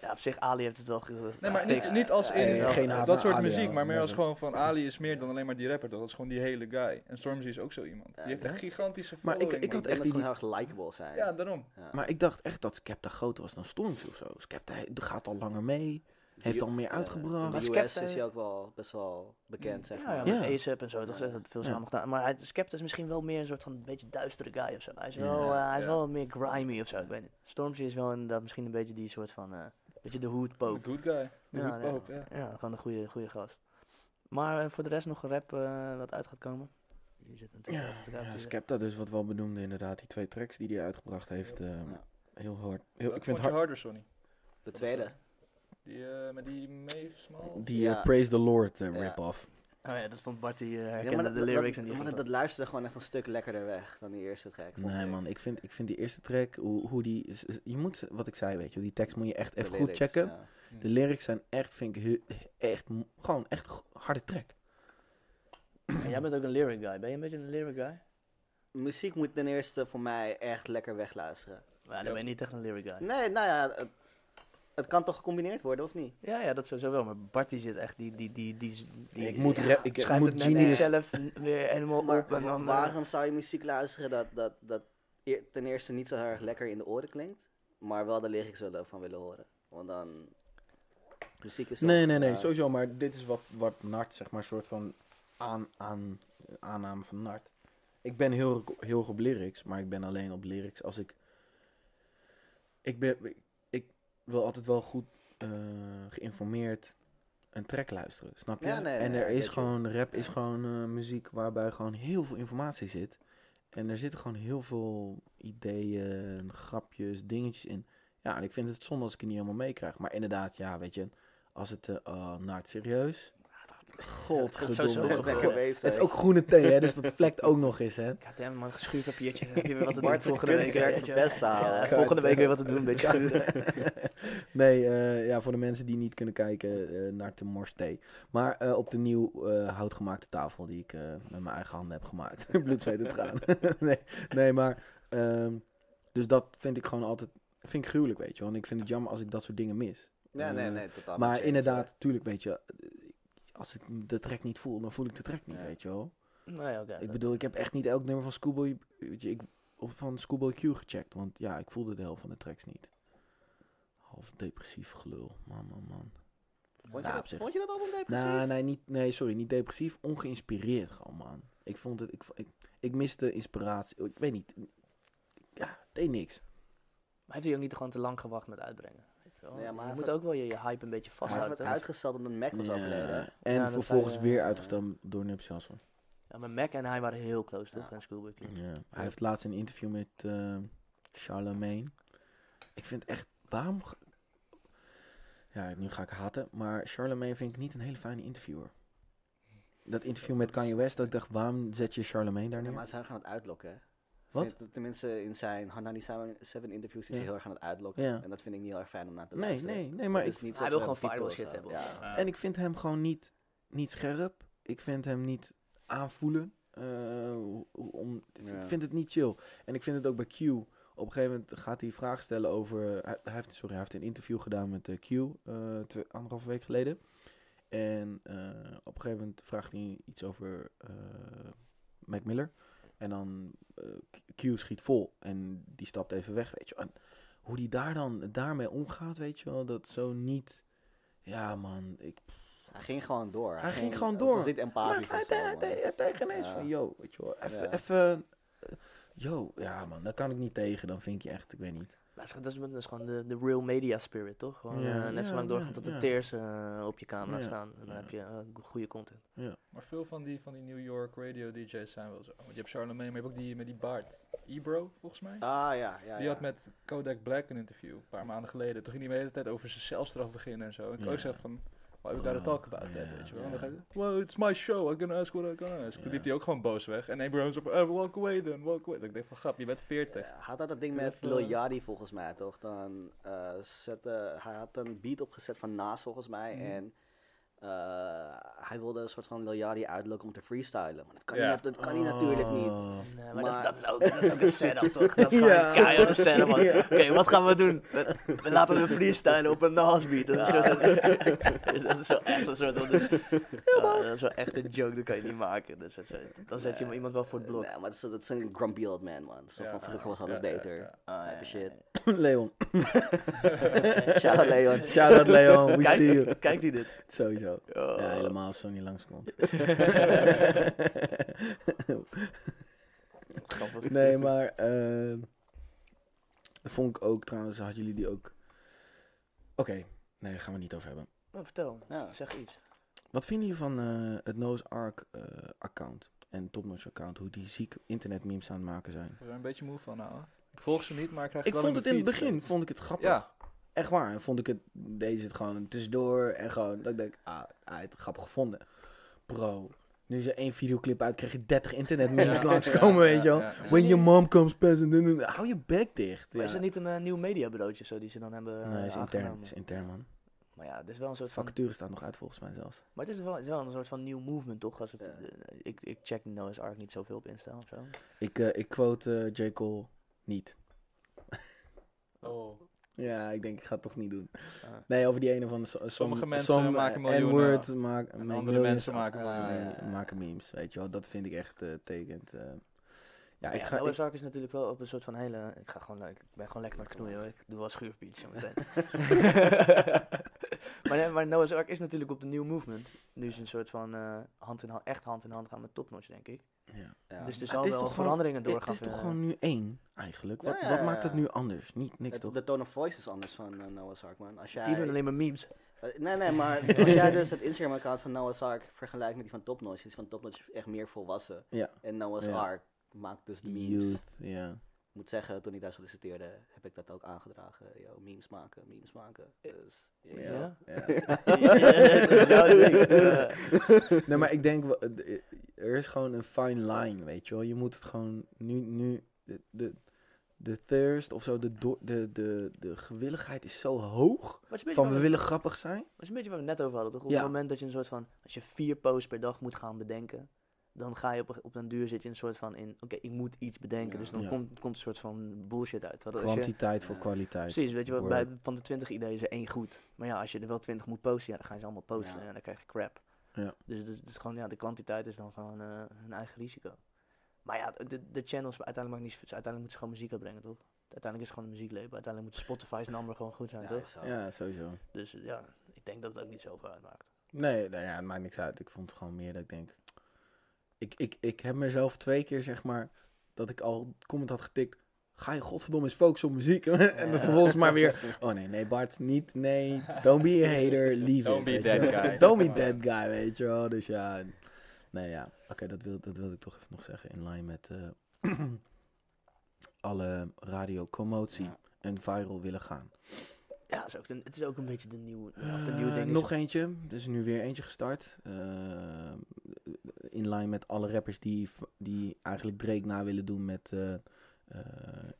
Ja, op zich, Ali heeft het wel ge-
Nee, maar niet,
gefixt.
niet als
Ja,
in
ja, ja.
Geen haat
dat
naar
soort
Ali,
muziek,
hoor.
maar meer als
Never.
gewoon van Ali is meer dan alleen maar die rapper. toch? Dat is gewoon die hele guy. En Stormzy is ook zo iemand. Die
Ja,
heeft
ja.
echt gigantische
Maar ik-
following.
ik had
man.
denk
echt
dat ze
die-
gewoon heel erg likable zijn.
Ja, daarom.
Ja.
Maar ik dacht echt dat Skepta groter was dan Stormzy of zo. Skepta he- gaat al langer mee, heeft al meer
Eh,
uitgebracht.
maar
in de US
Skepta-
is hij ook wel best wel bekend, zeg
Ja, ja,
maar.
Ja.
met ASAP en zo, toch? Dat veel
Ja.
samen gedaan. Maar hij, Skepta is misschien wel meer een soort van een beetje duistere guy of zo. Hij is
Ja.
wel, eh, hij is
Ja.
wel meer grimy of zo, ik weet niet. Stormzy is wel inderdaad misschien een beetje die soort van, eh, beetje de hoed
The
pope.
good guy. The
Ja,
good
nee.
pope, ja.
Ja, gewoon een goede, goede gast. Maar eh, voor de rest nog een rap eh, wat uit gaat komen. Jullie zitten natuurlijk
Ja,
altijd te
ja,
kijken.
Skepta dus wat wel benoemde inderdaad. Die twee tracks die hij uitgebracht heeft, ehm,
Ja.
heel hard. Heel, ik
Welke
vind
vond je
hard,
harder, Sonny?
De tweede.
Die, eh, met die meesmal.
die eh,
Ja.
Praise the Lord eh,
Ja.
rip-off.
Oh ja, dat vond Barty eh
Ja,
herkende
maar dat,
de
dat-
lyrics en
dat,
die
maar
vond
dat, dat luisterde gewoon echt een stuk lekkerder weg dan die eerste track. vond
Nee
ik.
man, ik vind, ik vind die eerste track, hoe, hoe die... is- is- Je moet, wat ik zei weet je, die tekst moet je echt
De
even goed
lyrics,
checken.
ja.
Hm.
De lyrics zijn echt, vind ik, he- echt, m- gewoon echt go- harde track.
dat- En jij bent ook een lyric guy. Ben je een beetje een lyric guy?
Muziek moet ten eerste voor mij echt lekker wegluisteren.
Ja, dan
Ja.
ben je niet echt een lyric guy.
Nee, nou ja, het, het kan toch gecombineerd worden, of niet?
Ja, ja, dat sowieso wel. Maar Barty zit echt die... die, die, die, die
ik moet, rap, ik,
schrijft
moet
het net niet
Genius...
zelf n- weer helemaal
Maar
op en dan... eh,
waarom zou je muziek luisteren dat, dat, dat eer- ten eerste niet zo heel erg lekker in de oren klinkt, maar wel de lyrics wel van willen horen? Want dan. Muziek is. toch,
Nee, nee, nee,
eh,
sowieso. Maar dit is wat, wat Nart, zeg maar, soort van aan, aan, aanname van Nart. Ik ben heel, heel erg op lyrics, maar ik ben alleen op lyrics als ik... Ik, ben, ik wil altijd wel goed eh, geïnformeerd een track luisteren, snap je?
Ja, nee,
en
nee,
er
ik
is
weet je.
gewoon, rap is
Ja.
gewoon eh, muziek waarbij gewoon heel veel informatie zit. En er zitten gewoon heel veel ideeën, grapjes, dingetjes in. Ja, en ik vind het zonde als ik het niet helemaal meekrijg. Maar inderdaad, ja, weet je, als het eh oh, naar het serieus.
sowieso wel
Godverdomme.
lekker
Goh,
bezig.
Het is ook groene thee, hè, dus dat vlekt ook nog eens, hè.
Ja, damn, man, schuurpapiertje. Dan heb je weer wat te doen
Bart is
volgende week.
kunstwerk
weet je
het
wel.
beste halen.
Ja,
Kuiten.
volgende week weer wat te doen, een beetje goed.
nee, eh, ja, voor de mensen die niet kunnen kijken eh, naar de Mors thee. Maar eh, op de nieuw eh, houtgemaakte tafel die ik eh, met mijn eigen handen heb gemaakt. Bloed, zweet en traan. nee, nee, maar... ehm, dus dat vind ik gewoon altijd... Vind ik gruwelijk, weet je wel. En ik vind het jammer als ik dat soort dingen mis.
Ja, nee,
Eh,
nee, totaal. met
Maar
je eens,
inderdaad, tuurlijk, weet je... eh, Als ik de track niet voel, dan voel ik de track niet,
Ja.
weet je wel.
Nee, Nou oké.
Ik bedoel, ik heb echt niet elk nummer van Schoolboy... Weet je, ik, of van Schoolboy Q gecheckt. Want ja, ik voelde de helft van de tracks niet. Half depressief gelul. Man, man, man.
hoor. Vond,
Nou, op
je
zich. Nou,
dat, vond je dat album depressief?
Nee, nee, niet, nee, sorry. Niet depressief. Ongeïnspireerd gewoon, man. Ik vond het... Ik, ik, ik miste inspiratie. Ik weet niet. Ja, het deed niks.
Maar heeft hij ook niet gewoon te lang gewacht met uitbrengen? Weet je wel?
Ja, maar
je
hij
moet
gaat-
ook wel je, je hype een beetje
Hij werd
vasthouden. toch?
uitgesteld omdat Mac was
Ja.
overleden. hè?
En
Ja, dat
vervolgens
zei, eh,
weer uitgestemd door Nip Johnson.
Ja, maar Mac en hij waren heel close, toch?
Ja.
En Schoolboy Q.
Ja, hij heeft laatst een interview met eh Charlemagne. Ik vind echt, waarom... ge- Ja, nu ga ik haten, maar Charlemagne vind ik niet een hele fijne interviewer. Dat interview met Kanye West, dat ik dacht, waarom zet je Charlemagne daar
Ja,
neer?
maar ze gaan het uitlokken. hè.
Wat?
Ze- Tenminste, in zijn Hanani 7 interviews is
Ja.
hij heel erg aan het uitlokken.
Ja.
En dat vind ik niet heel erg fijn om naar te
Nee,
luisteren.
nee, nee, maar
Het
ik,
is niet
Hij
zoals,
wil
eh,
gewoon viral
Beatles,
shit
eh,
hebben.
Ja.
en ik vind hem gewoon niet, niet scherp. Ik vind hem niet aanvoelen. eh, hoe- hoe- om, dus
Ja.
Ik vind het niet chill. En ik vind het ook bij Q. Op een gegeven moment gaat hij vragen stellen over... Hij, hij heeft, sorry, hij heeft een interview gedaan met eh, Q eh, twee- anderhalve week geleden. En eh, op een gegeven moment vraagt hij iets over eh, Mac Miller. En dan eh, Q Q schiet vol en die stapt even weg, weet je wel. En hoe die daar dan daarmee omgaat, weet je wel, dat zo niet... Ja, man, ik...
Hij ging gewoon door.
Hij ging gewoon
Het
door.
was niet
Maar
empathisch
hij
of zo,
deed-
man.
deed- hij deed geen eens
Ja.
van, yo, weet je wel, even...
Ja.
even eh, Yo, ja man, daar kan ik niet tegen. Dan vind ik je echt, ik weet niet.
Maar dat is, dat is gewoon de, de real media spirit, toch? Gewoon,
Ja.
eh, net zo
Ja,
lang doorgaan
ja,
tot de
ja.
tears eh, op je camera
Ja,
staan. En dan
ja.
heb je eh, goede content.
Maar veel van die, van die New York radio DJ's zijn wel zo. Want je hebt Charlemagne, maar je hebt ook die met die baard. Ebro, volgens mij.
Ah ja, ja.
Die had
ja.
met Kodak Black een interview een paar maanden geleden. Toen ging hij de hele tijd over zijn zelfstraf beginnen en zo. En
Ja.
Kodak zegt van, why we gotta
Bro,
talk about that,
ja,
weet je wel. En
ja.
dan ga je, well, it's my show, I'm gonna ask what I gonna ask.
Ja.
Toen liep hij ook gewoon boos weg. En Abraham zei van, eh, walk away then, walk away. Ik denk van, grap, je bent 40.
Hij Eh, had dat dat ding
Doe
met
even- eh,
Lil Yachty volgens mij, toch? Dan eh, zette, hij had een beat opgezet van Nas volgens mij.
Mhm.
En Eh, hij wilde een soort van Liljadi uitlokken om te freestylen. Maar dat kan,
Ja. Oh.
niet, dat kan hij natuurlijk niet.
Oh.
Nee, eh, maar, dat,
maar dat- dat
is ook, dat is ook een setup, toch? Dat is gewoon
Ja.
een keiharde setup, man. Oké, wat gaan we doen? We laten we freestylen op een nasbeat. Dat, is zo- dat is wel echt een soort van... Ja, dat is wel echt een joke, dat kan je niet maken. Dus dat is- dan zet je
Nee.
iemand wel voor het blok.
Nee, maar dat is, dat is een grumpy old man, man. Zo
Ja.
van vroeger was alles
Ja, ja,
beter.
ja.
Ah,
Type shit.
Leon.
Shout out Leon.
Shout out Leon, we
Kijk-
see you.
Kijkt hij dit?
Sowieso.
Oh.
Ja, helemaal als Sony langskomt.
Grappig.
nee, maar eh, dat vond ik ook trouwens, hadden jullie die ook... Oké, nee, daar gaan we het niet over hebben.
Nou, vertel,
Ja.
zeg iets.
Wat vinden jullie van eh, het Noah's Ark eh, account en Topnotch account, hoe die ziek internetmemes aan het maken zijn?
Ik ben er een beetje moe van, nou. Ik volg ze niet, maar ik krijg
Ik
wel
vond het in het
mijn
begin,
feed.
vond ik het grappig.
Ja.
Echt waar. En vond ik het, deze het gewoon tussendoor en gewoon, dat ik denk, ah, hij heeft het grappig gevonden. Bro, nu ze één videoclip uit, kreeg je 30 internetmemes
Ja.
langskomen,
Ja,
weet je
ja,
wel.
ja, ja.
When your mom comes past and then- hou je bek dicht.
Maar
Ja.
is het niet een eh, nieuw mediabroodje zo die ze dan hebben
Nee, is
eh,
intern,
aangenomen?
is intern man.
Maar ja, het is wel een soort van...
Vacature staat nog uit volgens mij zelfs.
Maar het is wel, het is wel een soort van nieuw movement, toch? Als het,
Ja.
eh, ik, ik check Noah's Ark niet zoveel op Insta of zo.
Ik, eh, ik quote eh, J. Cole niet.
Oh.
Ja, ik denk ik ga het toch niet doen.
Ah.
Nee, over die ene van de so- som-
Sommige mensen
som-
maken
eh,
miljoenen.
N-word maak- make
andere
millions.
mensen maken
Ah,
miljoenen.
ja, maken memes, weet je wel. Dat vind ik echt eh tekend. eh. ja,
Maar
ik
ja,
ga...
Noah's
ik-
Ark is natuurlijk wel op een soort van hele... Ik, ga gewoon, leuk- ik ben gewoon lekker aan het knoeien, hoor. Ik doe wel schuurpietje zo meteen. maar, nee, maar Noah's Ark is natuurlijk op de nieuw movement. Nu ze een soort van eh, hand in hand, echt hand in hand gaan met Topnotch, denk ik.
ja.
Ja. Ah,
Dus er
het
zal
is
wel
toch gewoon-
veranderingen
Het
doorgaan.
is toch gewoon nu één, eigenlijk?
Ja,
Wat,
ja,
wat
ja,
maakt het
ja.
nu anders? Niet, niks
Het-
toch?
de tone of voice is anders van eh, Noah's Ark, man. Als jij...
Die doen alleen maar memes.
Eh, Nee, nee, maar als jij dus het Instagram-account van Noah's Ark vergelijkt met die van Top Notch, is van Top Notch echt meer volwassen.
Ja.
En Noah's
Ja.
Ark maakt dus de memes.
Youth, ja.
Ik moet zeggen, toen ik daar solliciteerde, heb ik dat ook aangedragen. Yo, memes maken, memes maken. Dus,
Ja.
ja.
ja.
Ja, dat denk ik. Eh,
Nee, maar ik denk, wel- eh, er is gewoon een fine line, weet je wel. Je moet het gewoon nu, nu de, de, de thirst of zo, de, do- de, de, de gewilligheid is zo hoog.
Maar het is een beetje
Van
waar
we
we-
willen grappig zijn.
maar het is een beetje waar we het net over hadden, toch? Op
Ja.
het moment dat je een soort van... Als je vier posts per dag moet gaan bedenken... Dan ga je op, een- op een duur zit je een soort van in... Oké, ik moet iets bedenken.
Ja.
Dus dan
Ja.
komt, komt een soort van bullshit uit. Terwijl als je-
Kwantiteit voor
Ja.
kwaliteit.
Precies, weet je wel, bij,
Word.
van de 20 ideeën is er één goed. Maar ja, als je er wel 20 moet posten, ja, dan gaan ze allemaal posten
Ja.
en dan krijg je crap.
Ja.
Dus het is, het is gewoon, ja, de kwantiteit is dan gewoon eh, hun eigen risico. Maar ja, de, de channels, uiteindelijk, maakt niet, zoveel- uiteindelijk moeten ze gewoon muziek uitbrengen, toch? Uiteindelijk is het gewoon een muzieklabel. Uiteindelijk moet Spotify's number gewoon goed zijn,
Ja,
toch?
is zo.
Ja, sowieso.
Dus eh, ja, ik denk dat het ook niet zoveel uitmaakt.
Nee, nou ja, het maakt niks uit. Ik vond het gewoon meer dat ik denk... Ik, ik, ik heb mezelf twee keer, zeg maar, dat ik al comment had getikt... Ga je godverdomme eens focussen op muziek. en dan vervolgens maar weer... Oh nee, nee Bart, niet, nee. Don't be a hater, leave
Don't
it,
be
weet
that
je wel.
guy.
Don't be that guy, weet je wel. Dus ja, nee ja. Oké, dat, wil, dat wilde ik toch even nog zeggen. In lijn met eh, alle radiocommotie
Ja.
en viral willen gaan.
Ja, het is ook, de- het is ook een beetje de nieuwe, of de
Eh,
nieuwe ding. is-
nog eentje. Er is nu weer eentje gestart. Eh, in lijn met alle rappers die, v- die eigenlijk Drake na willen doen met eh, eh,
Oh.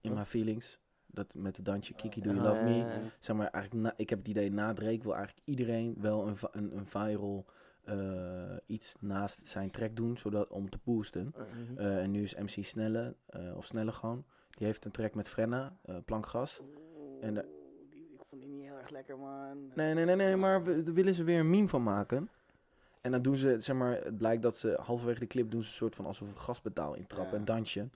In My Feelings. Dat met de dansje Kiki Do You
Ah,
Love
ja,
Me.
ja, ja.
Zeg maar, eigenlijk na- ik heb het idee, na Drake wil eigenlijk iedereen wel een, va- een, een viral eh, iets naast zijn track doen. Zodat, om te boosten.
Mhm.
Eh, en nu is MC Snelle, eh, of Snelle gewoon. Die heeft een track met Frenna, eh, Plankgas. En de-
Oeh, die- ik vond die niet heel erg lekker, man.
Nee, nee, nee, nee, maar we- daar willen ze weer een meme van maken. En dan doen ze, zeg maar, het blijkt dat ze halverwege de clip doen ze een soort van alsof een gaspedaal intrappen,
Ja.
een dansje.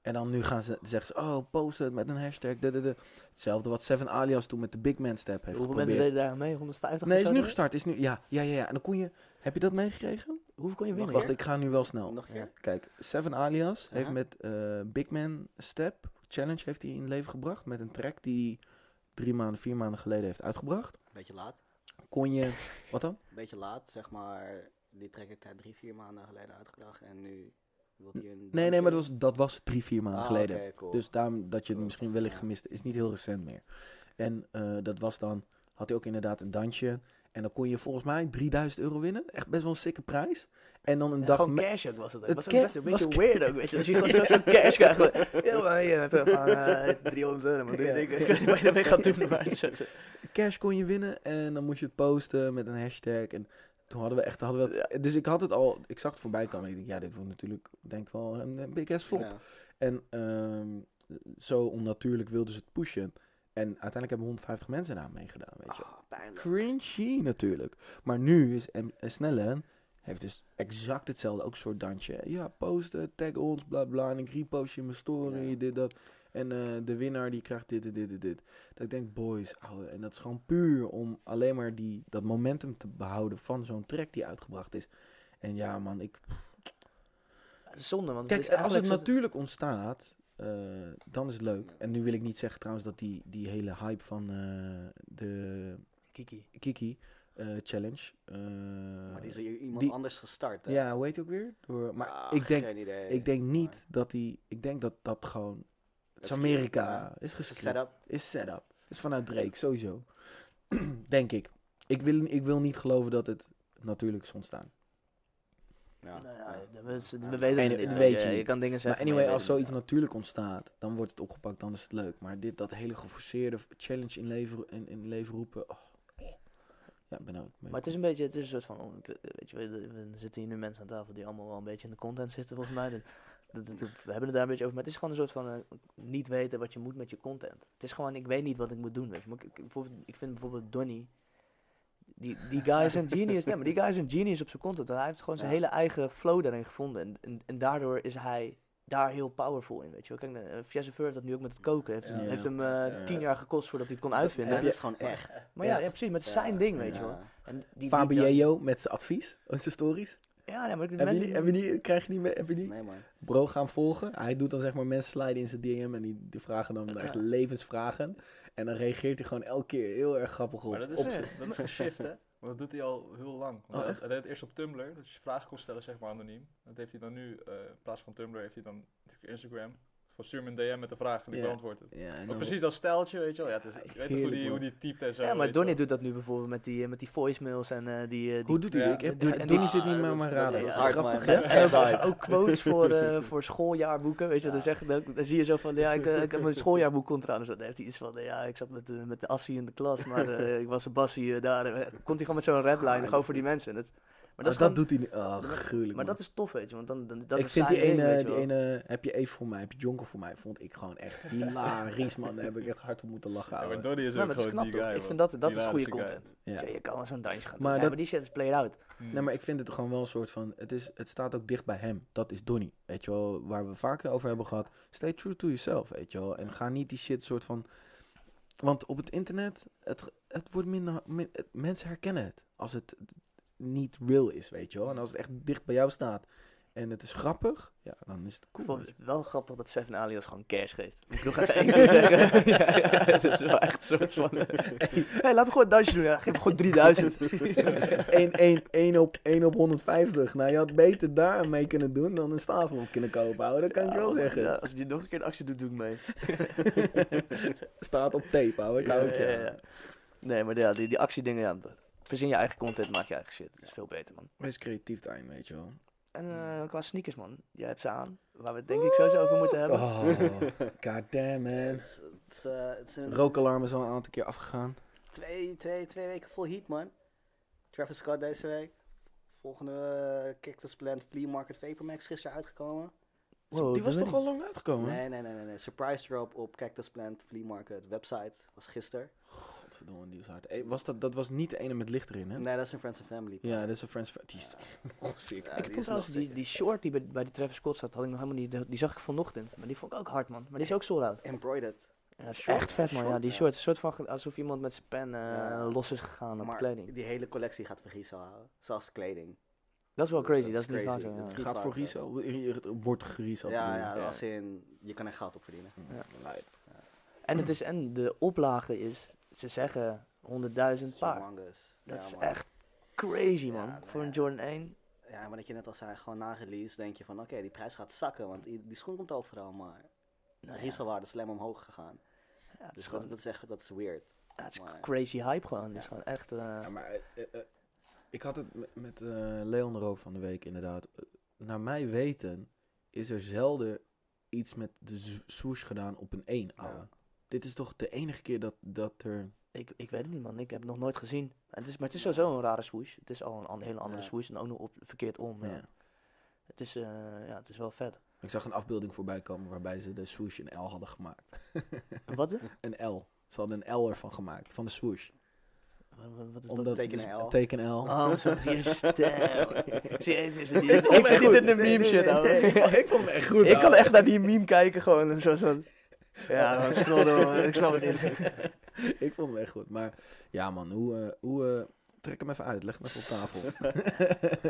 En dan nu gaan ze, zeggen ze, oh, post het met een hashtag, de, de, de. Hetzelfde wat Seven Alias toen met de Big Man Step heeft
Hoeveel mensen
geprobeerd.
deden daar mee? 150
Nee,
of
is
zo,
nu
denk ik?
gestart, is nu, ja, ja, ja, ja. En dan kon je, heb je dat meegekregen?
Hoeveel kon je
Wacht,
winnen?
Wacht, ik ga nu wel snel.
Nog een keer?
Kijk, Seven Alias heeft
Aha.
met eh, Big Man Step Challenge heeft hij in leven gebracht. Met een track die hij drie maanden, vier maanden geleden heeft uitgebracht.
Beetje laat.
Kon je, wat dan?
Beetje laat, zeg maar. Die trek ik daar drie, vier maanden geleden uitgebracht. En nu wil hij een...
Nee, nee, maar dat
dansje?
was, dat was drie, vier maanden
Ah,
geleden.
oké, cool.
Dus daarom dat je het
Cool.
misschien wellicht
Ja.
gemist is niet heel recent meer. En eh, dat was dan, had hij ook inderdaad een dansje. En dan kon je volgens mij 3000 euro winnen. Echt best wel een sikke prijs. En dan een
Ja,
dag...
gewoon
me-
cash out was het. ook.
Het
was ook
ca-
best een
was
beetje
ca-
weird ook, weet je. Als je gewoon zo'n cash krijgt. van, Ja, maar hier heb je gewoon eh, 300 euro, maar doe je
Ja.
ding. Ik weet niet wat je ermee gaat doen. Maar, zo.
cash kon je winnen en dan moest je het posten met een hashtag. En toen hadden we echt, hadden we het- dus ik had het al, ik zag het voorbij komen en ik dacht, ja, dit wordt natuurlijk, denk ik wel, een, een big ass flop.
Ja.
En ehm, zo onnatuurlijk wilden ze het pushen. En uiteindelijk hebben 150 mensen daar meegedaan, weet je.
Oh,
Ah, pijnlijk.
Cringy natuurlijk. Maar nu is M eh, Snelle heeft dus exact hetzelfde, ook een soort dansje. Ja, posten, tag ons, bla bla. En ik repost je in mijn story,
Ja.
dit, dat. En eh, de winnaar die krijgt dit, dit, dit, dit, dit. Dat ik denk, boys, ouwe. En dat is gewoon puur om alleen maar die, dat momentum te behouden van zo'n track die uitgebracht is. En ja, man, ik
Zonde, want
Kijk,
het is
als het
eigenlijk zo-
natuurlijk ontstaat, eh, dan is het leuk. En nu wil ik niet zeggen trouwens dat die, die hele hype van eh, de
Kiki.
Kiki eh, Challenge. eh,
Maar die is hier iemand
die-
anders gestart. hè?
ja, hoe heet die ook weer? Door, maar
Ah,
ik, denk,
geen idee.
ik denk niet dat die. Ik denk dat dat gewoon. Het is
is
Amerika.
script,
Is
Maar
gescript.
Setup.
Is setup. Is vanuit Drake, sowieso. denk ik. Ik wil, ik wil niet geloven dat het natuurlijk is ontstaan.
Ja.
Nou
ja.
ja, we, we- we weten
En-
het niet. hè.
dat weet je
je
niet.
kan dingen
Maar
zeggen.
anyway,
je
als
weet het
zoiets natuurlijk ontstaat, dan wordt het opgepakt, dan is het leuk. Maar dit, dat hele geforceerde challenge in leven, in, in leven roepen. oh. Ja, ik ben ook.
niet. Maar het is een beetje, het is een soort van, oh, ik- weet je, we, we zitten hier nu mensen aan tafel die allemaal wel een beetje in de content zitten volgens mij. Dat- dat- dat- we hebben het daar een beetje over, maar het is gewoon een soort van eh, niet weten wat je moet met je content. Het is gewoon, ik weet niet wat ik moet doen, weet je. Maar ik, ik- bijvoorbeeld, ik vind bijvoorbeeld Donny, die, die guy is een genius, nee, maar die guy is een genius op zijn content. En hij heeft gewoon zijn
Ja.
hele eigen flow daarin gevonden en, en, en daardoor is hij daar heel powerful in, weet je wel. Kijk, eh, Jesse Fur heeft dat nu ook met het koken, heeft,
Ja.
heeft hem eh,
Ja.
tien jaar gekost voordat hij het kon uitvinden. Dus,
En dat is gewoon echt.
Maar ja,
Ja.
ja, precies, met zijn ding, weet je
Ja.
wel. En die- die, die-
Fabio met zijn advies, met zijn stories.
Ja, nee, maar de
Heb je,
mensen...
die, heb je die, krijg je die, mee- heb je die?
Nee, man.
Bro, gaan volgen. Hij doet dan zeg maar mensen sliden in zijn DM en die, die vragen dan echt
Ja.
levensvragen. En dan reageert hij gewoon elke keer heel erg grappig op.
Maar dat is,
op
eh,
zijn-
dat is een shift, hè? Want dat doet hij al heel lang. Want
Oh,
hij, had- hij deed het eerst op Tumblr, dat je vragen kon stellen, zeg maar anoniem. Dat heeft hij dan nu, eh, in plaats van Tumblr, heeft hij dan natuurlijk Instagram. Van stuur me een DM met de vraag en ik
Ja.
beantwoord het.
ja, en
Maar
dan-
precies dat stijltje, weet je wel. Ja, het is,
Ja,
je weet toch hoe die,
heerlijk,
hoe die typt en zo.
ja,
weet
maar
je
Donnie
wel.
doet dat nu bijvoorbeeld met die, eh, met die voicemails en eh, die... eh, die
Hoe doet hij
Ja.
dit? Ik heb,
Doe-
Donnie
Ah,
zit niet meer
dat
aan
is-
mijn
dat
radar.
is
Dat is
hard,
grappig,
man.
hè?
Dat is
en ook,
hard.
ook quotes voor, eh, voor schooljaarboeken, weet je wat hij zegt. Dan, dan zie je zo van, ja, ik, eh, ik heb mijn schooljaarboek kon trouwens. Dan heeft hij iets van, eh, ja, ik zat met, de met de Assie in de klas, maar eh, ik was een Bassie eh, daar. En, eh, komt hij gewoon met zo'n
Ah,
redline, gewoon voor die mensen. Dat, maar dat, is
Dat,
gewoon-
doet hij niet. Oh, gruwelijk.
maar
man.
dat is tof, weet je, want dan, dan, dat
ik
is
vind die
zijn ding,
ene,
weet je
die
wel.
ene, heb je even voor mij, heb je Jonker voor mij, vond ik gewoon echt hilarisch, man. Daar heb ik echt hard op moeten lachen,
Ja, maar
ouwe.
Donnie is
Ja,
ook
maar dat is
gewoon
knap,
die
toch?
guy.
Ik
man.
vind dat, dat is
Hilarische
goede
guy.
content.
Ja.
Zo, je kan wel zo'n dansje gaan doen.
Maar
Maar, ja,
dat-
maar die shit is played out.
Hmm.
Nee, maar ik vind het gewoon wel een soort van, het, is, het staat ook dicht bij hem. Dat is Donnie, weet je wel, waar we vaker over hebben gehad. Stay true to yourself, weet je wel. En ga niet die shit soort van... Want op het internet, het, het wordt minder... min- het- mensen herkennen het als het niet real is, weet je wel. En als het echt dicht bij jou staat en het is grappig, ja, dan is het
Ik
cool.
vond
weet je
het wel grappig dat Seven Alias gewoon cash geeft. Moet ik nog even één keer zeggen. ja, ja, dat is wel echt een soort van... Hé, hey, laten we gewoon een dansje doen. Ja, geef hem gewoon 3000.
1, 1, 1, op, 1 op 150. Nou, je had beter daar mee kunnen doen dan een staatsland kunnen kopen, ouwe. Dat kan ik je wel
Ja,
zeggen.
ja, als je nog een keer een actie doet, doe ik mee.
Staat op tape, ouwe. kan ik
Ja, ja,
zeggen.
ja. Nee, maar ja, die, die actiedingen, ja. Verzin je eigen content, maak je eigen shit. Dat is veel beter, man.
Wees creatief daarin, weet je wel.
En eh, qua sneakers, man. Jij hebt ze aan. Waar we het denk ik sowieso over moeten hebben.
Oh, god damn, man.
Het is- het is, eh, Het is een
Rookalarm is al een aantal keer afgegaan.
twee, twee, twee weken vol heat, man. Travis Scott deze week. Volgende eh, Cactus Plant Flea Market Vapormax gisteren uitgekomen.
Wow, dat
Die was
weet
toch
ik.
al lang uitgekomen?
Nee, nee, nee, nee, nee. Surprise drop op Cactus Plant Flea Market website. Was gisteren.
Godverdomme, die was hard. Eh, was dat, dat was niet de ene met licht erin, hè?
Nee, dat is een Friends and Family.
Ja, dat is een Friends... Die is oh, sick.
Ja,
Ik
die
vond
is nog
trouwens die,
sick.
die short die bij, bij die Travis Scott zat, had ik nog helemaal niet. Die zag ik vanochtend. Maar die vond ik ook hard, man. Maar die is ook sold out.
Embroidered.
Ja, dat is
Short,
echt vet, man.
short,
Ja, die
ja.
short. Een soort van ge- alsof iemand met zijn pen eh,
Ja.
los is gegaan op
Maar
kleding.
die hele collectie gaat voor Giesel houden. Zelfs kleding.
Dat is wel
dat is-
crazy. Dat
dat
is
is
niet waar
crazy.
zo.
Dat
ja.
is-
Gaat voor Riesel. Wordt Riesel.
Ja, ja,
Ja.
als in, je kan er geld op verdienen.
En, het is, en de oplage is, ze zeggen 100.000
is
paar.
humongous.
Dat
Ja,
is
man.
echt crazy,
Ja,
man.
nou
Voor een
ja.
Jordan 1.
Ja, maar dat je net al zei, gewoon na release denk je van, oké, die prijs gaat zakken, want die, die schoen komt overal, maar de
Nou ja,
rieselwaarde is alleen maar omhoog gegaan.
ja, het is
Dus
gewoon
dat, dat is echt, dat is weird.
ja, het is
maar-
crazy hype gewoon. Het is
Ja.
gewoon echt. eh,
Ja, maar eh, eh, eh, ik had het met, met eh, Leon erover van de week inderdaad. Eh, naar mij weten is er zelden iets met de z- swoosh gedaan op een 1, ouwe.
Ja.
Dit is toch de enige keer dat, dat er
Ik, ik weet het niet, man. Ik heb het nog nooit gezien. Het is, maar het is sowieso een rare swoosh. Het is al een, an- hele andere
Ja.
swoosh en ook nog op, verkeerd om. ja.
Ja.
Het, is, eh, ja, het is wel vet.
Ik zag een afbeelding voorbij komen waarbij ze de swoosh een L hadden gemaakt.
Wat? eh?
Een L. Ze hadden een L ervan gemaakt, van de swoosh.
Wa- wa- wat is dat?
Omdat
teken
dus-
L?
teken L.
Oh, zo'n eerste Zie je, het is een-
Ik vond hem
Ik
echt
zit
goed.
in de
Nee,
meme
nee,
shit,
nee,
ouwe.
nee, ik- Ik vond hem echt goed.
Ik kan
ouwe.
echt naar die meme kijken gewoon. Een soort van... Ja, man, scroll door, man. Ik snap het niet.
Ik vond hem echt goed. Maar ja, man, hoe. eh, hoe eh, trek hem even uit, leg hem even op tafel.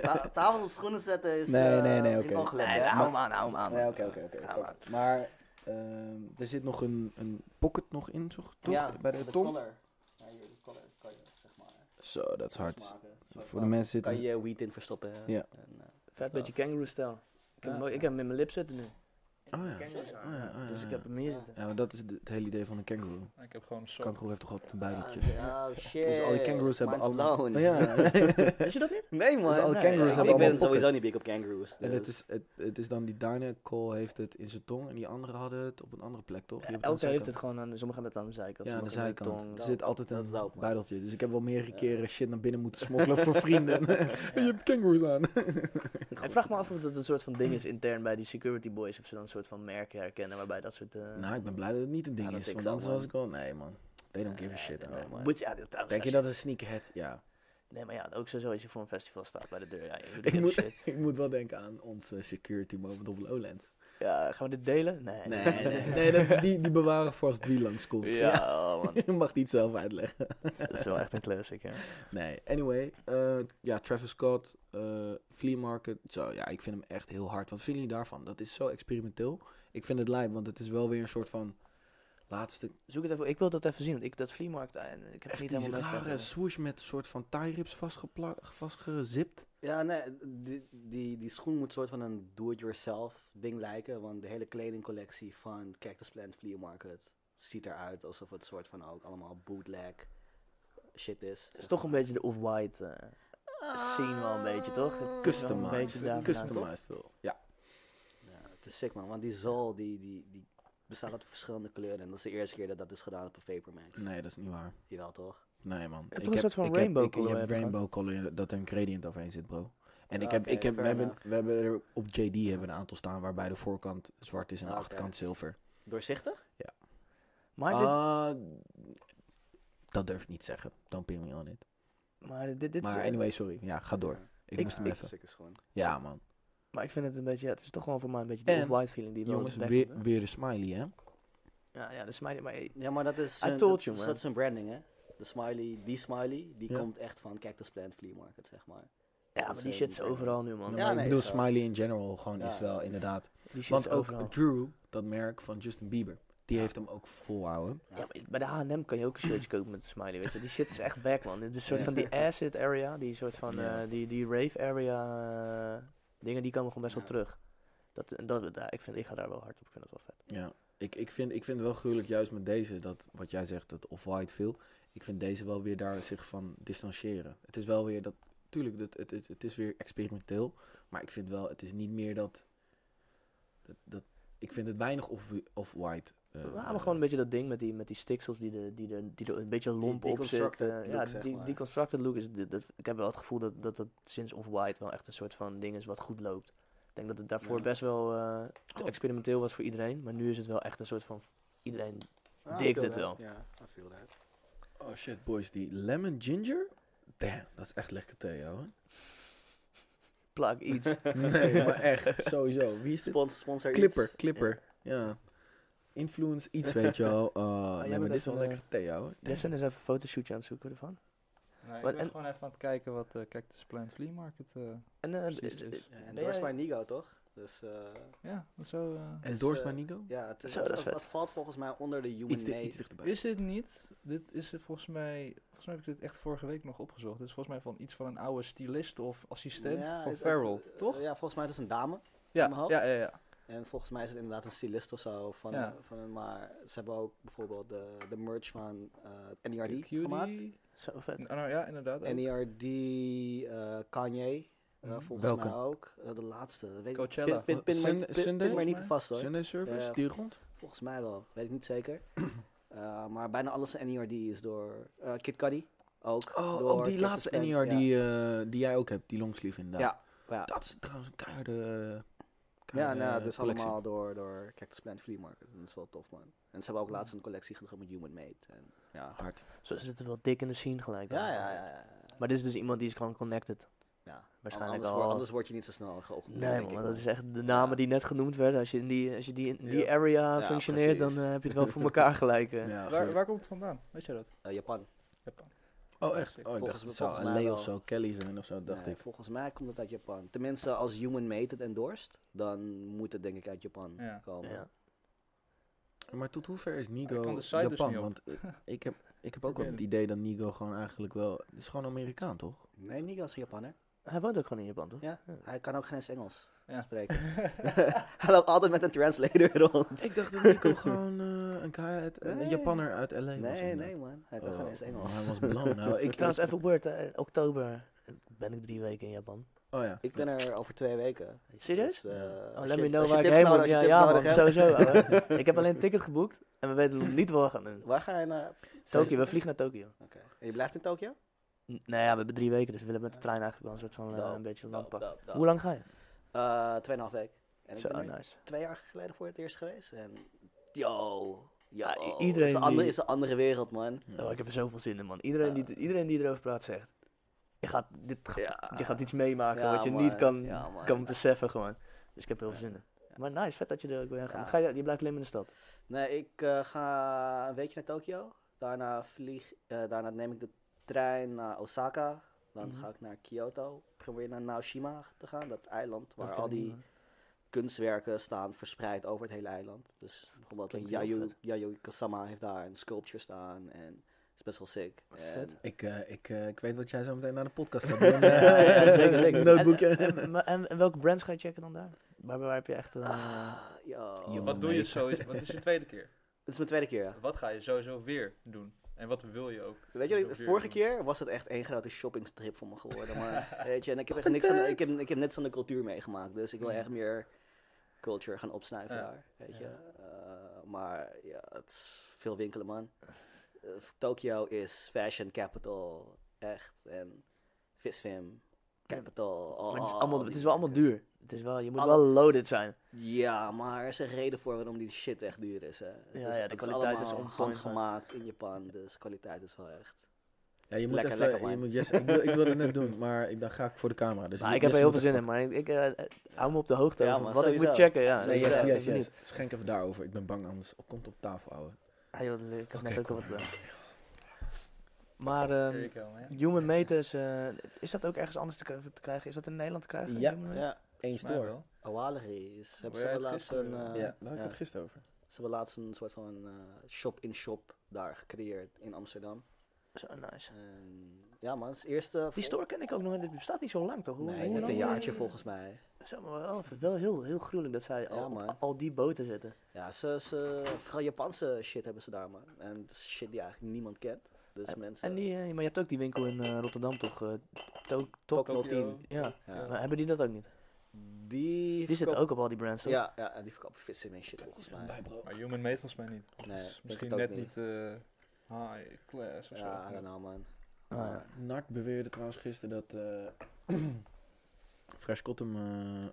Ta- tafel op schoenen zetten is.
Nee,
eh,
nee, nee,
is
oké.
ongelukt,
Nee,
hè?
hou hem aan, hou hem aan.
Nee,
man.
eh,
oké, oké, oké.
Hou hem aan.
fuck it. Maar ehm, er zit nog een, een pocket nog in, toch? toch?
Ja,
Bij de
de
tong.
collar. Ja, hier, de collar kan je, zeg maar.
Zo, dat is hard.
smaken. Een soort
Voor de
van-
mensen zitten.
Kan je weed in verstoppen. hè?
Ja.
En, eh,
Vet
Zo.
beetje kangaroo style. Ik heb,
Ja.
hem, ook- ik heb hem in mijn lip zitten nu.
Oh ja.
Kangaroo style.
Oh ja, oh ja,
Dus ik
ja.
heb hem hier
Ja.
zitten.
Ja, maar dat is het, het hele idee van een kangaroo.
Mm. Ik heb gewoon zo.
Kangaroo heeft toch altijd een buideltje.
Ah, Oh shit.
Dus al die kangaroos hebben
Mine's
allemaal. Oh
blown.
Ja.
Weet je dat niet?
Nee man.
Dus alle
nee,
kangaroos
ik-
hebben
Ik ben
allemaal
sowieso
pocket.
niet big op kangaroos.
en het
dus-
is, het, het is dan die Dynacol heeft het in zijn tong en die andere hadden het op een andere plek, toch? Die hebben aan de
Elke heeft het
zijkant.
gewoon aan, sommigen hebben het aan de zijkant.
Ja, aan de
sommigen hebben het
zijkant. Er
tong.
zit altijd
Dat
een
is dope, man.
buideltje. Dus ik heb wel meerdere
Ja.
keren shit naar binnen moeten smokkelen voor vrienden. je hebt kangaroos aan.
Ik vraag me af of dat een soort van ding is intern bij die security boys. Of ze dan een soort van merken herkennen waarbij dat soort... eh,
Nou, ik ben blij dat het niet een ding
dat
is.
ik
Want
zal,
anders
man.
was ik wel... Nee, man. They don't give a
Nee,
shit,
Eh,
nee,
ouwe.
man.
Moet je, ja, trouwens,
Denk je
als
dat een sneakerhead... Ja.
Nee, maar ja, ook sowieso als je voor een festival staat bij de deur. Ja, je
Ik moet,
shit.
ik moet wel denken aan onze security moment op Lowlands.
Ja, gaan we dit delen? Nee.
Nee, nee, nee. dat- die, die bewaren voor als het wie langskomt. Ja.
Eh. Ja, oh, man.
Je mag niet zelf uitleggen.
Dat is wel echt een classic, ja.
Nee, anyway. eh, ja, Travis Scott, eh, Flea Market. Zo, ja, ik vind hem echt heel hard. Wat vinden jullie daarvan? Dat is zo experimenteel. Ik vind het lijp, want het is wel weer een soort van laatste...
Zoek het even, ik wil dat even zien, want ik dat vleemarkt en ik heb
Echt
niet
die
helemaal
rare
meegekregen.
swoosh met een soort van tie rips vastgeplakt, vastgezipt.
Ja, nee, die, die, die schoen moet soort van een do-it-yourself ding lijken. Want de hele kledingcollectie van Cactus Plant Flea Market ziet eruit alsof het soort van ook allemaal bootleg shit is.
Het is toch een beetje de off-white eh, scene wel een beetje, toch? Het is wel een beetje
Customized.
daarvan,
Customized wel. Ja.
Ja, het is sick man, want die zool die, die, die bestaat uit verschillende kleuren. En dat is de eerste keer dat dat is gedaan op een Vapormax.
Nee, dat is niet waar.
Jawel toch?
Nee, man.
toch een soort van rainbow
heb,
color
Je hebt
hebben
rainbow color dat er een gradient overheen zit, bro. En ik
Ah,
heb,
oké,
ik heb, we,
fair
hebben,
enough.
we hebben er op JD hebben een aantal staan waarbij de voorkant zwart is en de
Ah, oké.
achterkant zilver.
Doorzichtig?
Maar,
Ah, dat durf ik niet te zeggen. Don't pin me on it.
dit, maar dit, dit is-
Ah.
eh,
maar anyway, sorry. Ja, ga door. Ik,
Ik-
moest hem
ik,
even.
sick is gewoon.
Ja, man.
maar ik vind het een beetje, ja, het is toch gewoon voor mij een beetje de
En,
off-white feeling die wel
Jongens,
dekt,
weer,
hè?
weer de smiley, hè?
Ja, ja, dat is mij, maar eh,
Ja, maar dat is, zijn-
told
dat,
you,
is-
man.
dat is zijn branding hè. De smiley, die smiley, die
Ja.
komt echt van Cactus Plant Flea Market zeg maar.
ja, maar die shit is overal nu, man.
Nou, Maar
Ja,
ik
nee,
bedoel,
is wel.
smiley in general gewoon
Ja.
is wel inderdaad.
Die shit
Want
is
ook
overal.
Drew, dat merk van Justin Bieber, die heeft hem ook volhouden.
Ja, maar bij de H&M kan je ook een shirtje kopen met een smiley, weet je. Die shit is echt back, man. Dit is een soort van die acid area, die soort van,
Ja.
eh, die, die rave area, eh, dingen die komen gewoon best wel
Ja.
terug. Dat, en dat, ja, ik vind, ik ga daar wel hard op kunnen, dat is wel vet.
Ja, ik, ik, vind, ik vind het wel gruwelijk juist met deze, dat wat jij zegt, dat off-white veel. Ik vind deze wel weer daar zich van distancieren. Het is wel weer dat, tuurlijk, dat, het, het, het is weer experimenteel. Maar ik vind wel, het is niet meer dat, dat, dat ik vind het weinig off- off-white. eh,
Ja, maar gewoon een beetje dat ding met die, met die stiksels die, de, die, de, die er een beetje lomp op
deconstructed
zitten.
look,
ja,
zeg
die,
maar.
die constructed look is, dit- dat, ik heb wel het gevoel dat dat, dat sinds Off-White wel echt een soort van ding is wat goed loopt. Ik denk dat het daarvoor
Ja.
best wel eh, te
Oh.
experimenteel was voor iedereen, maar nu is het wel echt een soort van, iedereen Dikt het wel.
Ja, I feel that.
Oh shit, boys, die lemon ginger? Damn, dat is echt lekker thee, hoor.
plak iets.
Nee, maar echt, sowieso. Wie is dit?
Sponsor, sponsor
Clipper, Clipper. Ja. Influence, iets weet je wel. Eh, nee, maar
Oh, bent eh,
dit is wel
echt een,
lekker thee, hoor.
Jesse is even een fotoshootje aan het zoeken ervan.
Nee, ik
Wat-
ben
en-
gewoon even aan het kijken wat eh Cactus Plant Flea Market eh,
En eh,
precies
eh,
is.
iets. dus, Ja,
Ben
en Doors
jij-
by Nigo toch? Dus eh,
Ja, zo. eh,
En
Dus,
Doors
eh,
by Nico?
ja, het is,
Zo, dat is
dat,
vet.
dat valt volgens mij onder de human
Iets,
nature.
di- iets dichterbij.
Is dit niet? Dit is eh, volgens mij. Volgens mij heb ik dit echt vorige week nog opgezocht. Dit is volgens mij van iets van een oude stylist of assistent
Ja,
van
is-
Farrell,
eh,
toch?
Ja, volgens mij is het een dame.
Ja,
mijn hoofd.
ja, ja, ja.
En volgens mij is het inderdaad een stylist of zo. Van,
Ja.
van een, maar ze hebben ook bijvoorbeeld de, de merch van eh NERD
Cutie.
gemaakt.
Zo vet.
Ah, nou ja, inderdaad. ook.
NERD, eh, Kanye, eh,
Mhm.
volgens
Welke?
mij ook. Eh, de laatste. dat Weet ik-
Coachella.
Pin, pin, pin,
Sun-
maar- pin- pin
Sunday?
maar niet vast hoor.
Sunday service,
Ja.
die rond?
Volgens mij wel, weet ik niet zeker. Eh, Eh, maar bijna alles in NERD is door eh, Kid Cudi. Ook.
Oh,
door
ook die
Captain
laatste
Stan,
NER
ja.
die, eh, die jij ook hebt, die longsleeve inderdaad.
Ja, ja.
Dat is trouwens een keiharde... eh,
Ja,
keiharde,
nou,
eh,
dus
collectie.
allemaal door, door Cactus Plant Flea Market. En dat is wel tof, man. En ze hebben ook laatst een collectie gedaan met Human Made. En, ja.
Hard.
Zo zit het wel dik in de scene gelijk.
Ja,
dan.
ja, ja, ja.
Maar dit is dus iemand die is gewoon connected.
Ja,
Waarschijnlijk
anders,
al-
word- anders word je niet zo snel geopend.
Nee, man, dat is echt de namen die net genoemd werden. Als je in die, als je die, in die
Ja.
area
Ja,
functioneert, dan
precies.
eh, heb je het wel voor elkaar gelijk. eh.
Ja,
waar,
goed.
waar komt het vandaan? Weet je dat?
Eh, Japan.
Japan.
Oh, echt? Oh, ik
Volgens-
dacht het zou
volgens
een
mij
Leo
wel.
of zo, Kelly zijn of zo, dacht
Nee,
ik.
Volgens mij komt het uit Japan. Tenminste, als Human Made het endorst, dan moet het denk ik uit Japan
Ja.
komen.
Ja.
Maar tot hoever is
Ik
Nigo
kan de site dus
Japan?
niet op.
Want ik, ik heb, ik heb ook wel
Probeer het.
het idee dat Nigo gewoon eigenlijk wel... Het is gewoon Amerikaan, toch?
Nee, Nico is een Japaner.
Hij woont ook gewoon in Japan, toch?
Ja. Hij kan ook geen eens Engels
Ja.
spreken. hij loopt altijd met een translator rond.
Ik dacht dat Nico gewoon eh, een, guy uit, een
Nee.
Japanner uit L.A. was.
Nee,
inderdaad.
nee man, hij kan
Oh,
geen eens Engels.
Hij was blown. Nou, ik,
Ik trouwens even word, eh, oktober ben ik drie weken in Japan.
oh ja.
Ik ben er over twee weken.
Serieus?
Dus, eh,
Oh,
als
let
je-
me know
als je
waar ik
tips
heen
nodig-
moet.
als je
Ja,
tips
ja
nodig
man,
hebt.
sowieso. ouwe. ik heb alleen een ticket geboekt en we weten nog niet waar we gaan. doen.
Waar ga je naar?
Tokio, we vliegen naar Tokio.
Oké. En je blijft in Tokio?
N- Nou ja, we hebben drie weken, dus we willen met de trein eigenlijk wel een soort van eh,
Dope,
een beetje lang
Dope,
pakken.
dope, dope.
Hoe lang ga je?
Oh, Eh, Tweeënhalf week. En ik
Zo,
ben er
nice.
twee jaar geleden voor het eerst geweest. En yo, yo.
Ja, i-
iedereen
iedereen
is een, andere,
die-
is een andere wereld man.
Oh, ik heb er zoveel zin in, man. Iedereen, die, iedereen die erover praat zegt... Je gaat, dit, ga-
Ja.
je gaat iets meemaken
Ja,
wat je
man.
niet kan,
Ja, man.
kan beseffen gewoon. Dus ik heb er heel veel zin in. Maar nice, vet dat je er ook weer heen gaat.
Ja.
Maar Ga je, je blijft alleen maar in de stad.
Nee, ik eh, ga een weekje naar Tokio. Daarna, vlieg, eh, daarna neem ik de trein naar Osaka. Dan
Mhm.
ga ik naar Kyoto. Ik probeer naar Naoshima te gaan, dat eiland waar
Dat ken
al
ik niet,
die
man.
kunstwerken staan verspreid over het hele eiland. Dus bijvoorbeeld een
Klinkt heel
Yayoi,
vet.
Yayoi Kusama heeft daar een sculpture staan en het is best wel sick.
Vet.
En-
Ik, eh, ik, eh, ik weet wat jij zo meteen naar de podcast gaat doen. Eh,
Ja, ja, zeker, zeker.
Notebookje.
En, en, maar- en- en welke brands ga je checken dan daar? Waar, waar heb je echt een... eh,
Ah, yo.
Je
Wat doe je sowieso? Wat is je tweede keer?
Dit is mijn tweede keer. ja.
Wat ga je sowieso weer doen? En wat wil je ook?
Weet je,
Weer
de vorige
doen.
eh,
keer was het echt één grote shoppingstrip voor me geworden. Maar weet je, en ik heb echt niks van de, ik heb, ik heb niks van de cultuur meegemaakt. Dus ik wil echt meer culture gaan opsnuiven
Ja.
daar. Weet je.
Mm. Ja.
Eh, maar ja, het is veel winkelen, man. Eh, Tokyo is fashion capital. Echt. En visfilm capital.
maar het, is
Oh,
allemaal,
die
het is wel allemaal
merken.
duur. Het is wel, je moet
alle-
wel loaded zijn.
Ja, maar er is een reden voor waarom die shit echt duur is. Hè. Het
Ja, ja, de
het
kwaliteit is
allemaal
on point, man.
handgemaakt in Japan. Dus kwaliteit is wel echt.
Ja, je moet
Lekker,
even...
lekker,
je
man.
moet Jesse- ik, wil, ik wilde het net doen, maar ik, dan ga ik voor de camera. Dus
Maar
je-
ik heb er
Jesse
heel veel
moet
zin
even-
in, maar ik, ik eh, eh, hou me op de hoogte
Ja,
over
man,
wat ik moet
sowieso.
checken. Ja,
Nee,
Ja,
yes,
ik
yes,
ben
yes. Schenk even daarover. Ik ben bang anders. Komt op tafel, ouwe.
Ah, joh, ik had
Oké,
net ook al
kom.
wat gedaan. Maar ehm,
Here you go, man.
Human Meters, eh, is dat ook ergens anders te, k- te krijgen? Is dat in Nederland te krijgen?
Ja.
Human Mate?
Ja.
Eén
Volgens mij
store.
wel.
Awalery is. Hebben
jij
ze
het
laatst een,
gisteren,
eh,
Ja, daar had ik
ja.
het gisteren over.
ze hebben laatst een soort van eh, shop-in-shop daar gecreëerd in Amsterdam.
Zo Oh, nice.
En, ja man, het is eerste...
Die store ken ik ook nog, dit bestaat niet zo lang toch? Hoe,
Nee,
hoe
net
lang?
een jaartje volgens mij.
Zo, maar wel, wel heel, heel gruwelijk dat zij al, op
man.
al die boten zitten.
Ja, ze, ze, vooral Japanse shit hebben ze daar man. En het is shit die eigenlijk niemand kent. Dus mensen...
En die, eh, maar je hebt ook die winkel in eh, Rotterdam toch? eh to
Tokyo.
Top 10. Ja.
Ja.
Maar hebben die dat ook niet?
Die,
Die zitten
verkopen-
ook op al die brands toch?
Ja, ja, en die verkopen vissen en shit volgens mij.
Bij, bro.
Maar Human Made volgens mij niet. Dat
Nee,
is
denk ik
misschien
het ook
net
niet.
niet eh, high class of zo.
Ja, I don't know man.
Ah, ja.
Nart beweerde trouwens gisteren dat eh Fresh Cotton eh,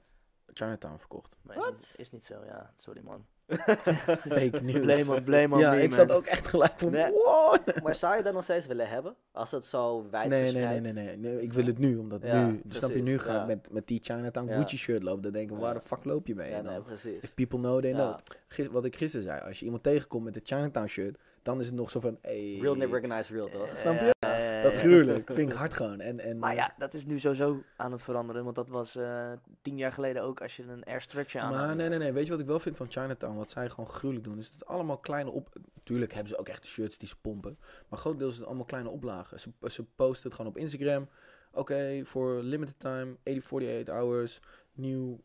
Chinatown verkocht.
Nee, dat is- Is niet zo, ja. Sorry man.
Fake news.
Blame on, blame on
ja,
me,
ik
man.
zat ook echt gelijk van,
Nee.
what?
Maar zou je dat nog steeds willen hebben? Als het zo wijd
Nee, nee,
verspreid-
nee, nee, nee, nee. Ik wil het nu, omdat
Ja,
nu, snap je,
precies,
nu ga
ja.
ik met, met die Chinatown
Ja.
Gucci shirt lopen. Dan denken we, waar de
Ja.
fuck loop je mee?
Ja,
En dan,
nee, precies.
If people know, they
Ja.
know. Gis- wat ik gisteren zei, als je iemand tegenkomt met een Chinatown shirt, dan is het nog zo van, hey.
Real never recognize real, toch?
Snap je?
Eh,
Dat is gruwelijk. Vind ik hard gewoon. En, en,
Maar ja, dat is nu sowieso aan het veranderen. Want dat was eh, tien jaar geleden ook als je een airstretch aan
Maar nee, nee, nee. Weet je wat ik wel vind van Chinatown? Wat zij gewoon gruwelijk doen, is dat het allemaal kleine op... Tuurlijk hebben ze ook echt shirts die ze pompen. Maar grotendeels is het allemaal kleine oplagen. Ze, ze posten het gewoon op Instagram. Oké, voor limited time, 80, 48 hours, nieuw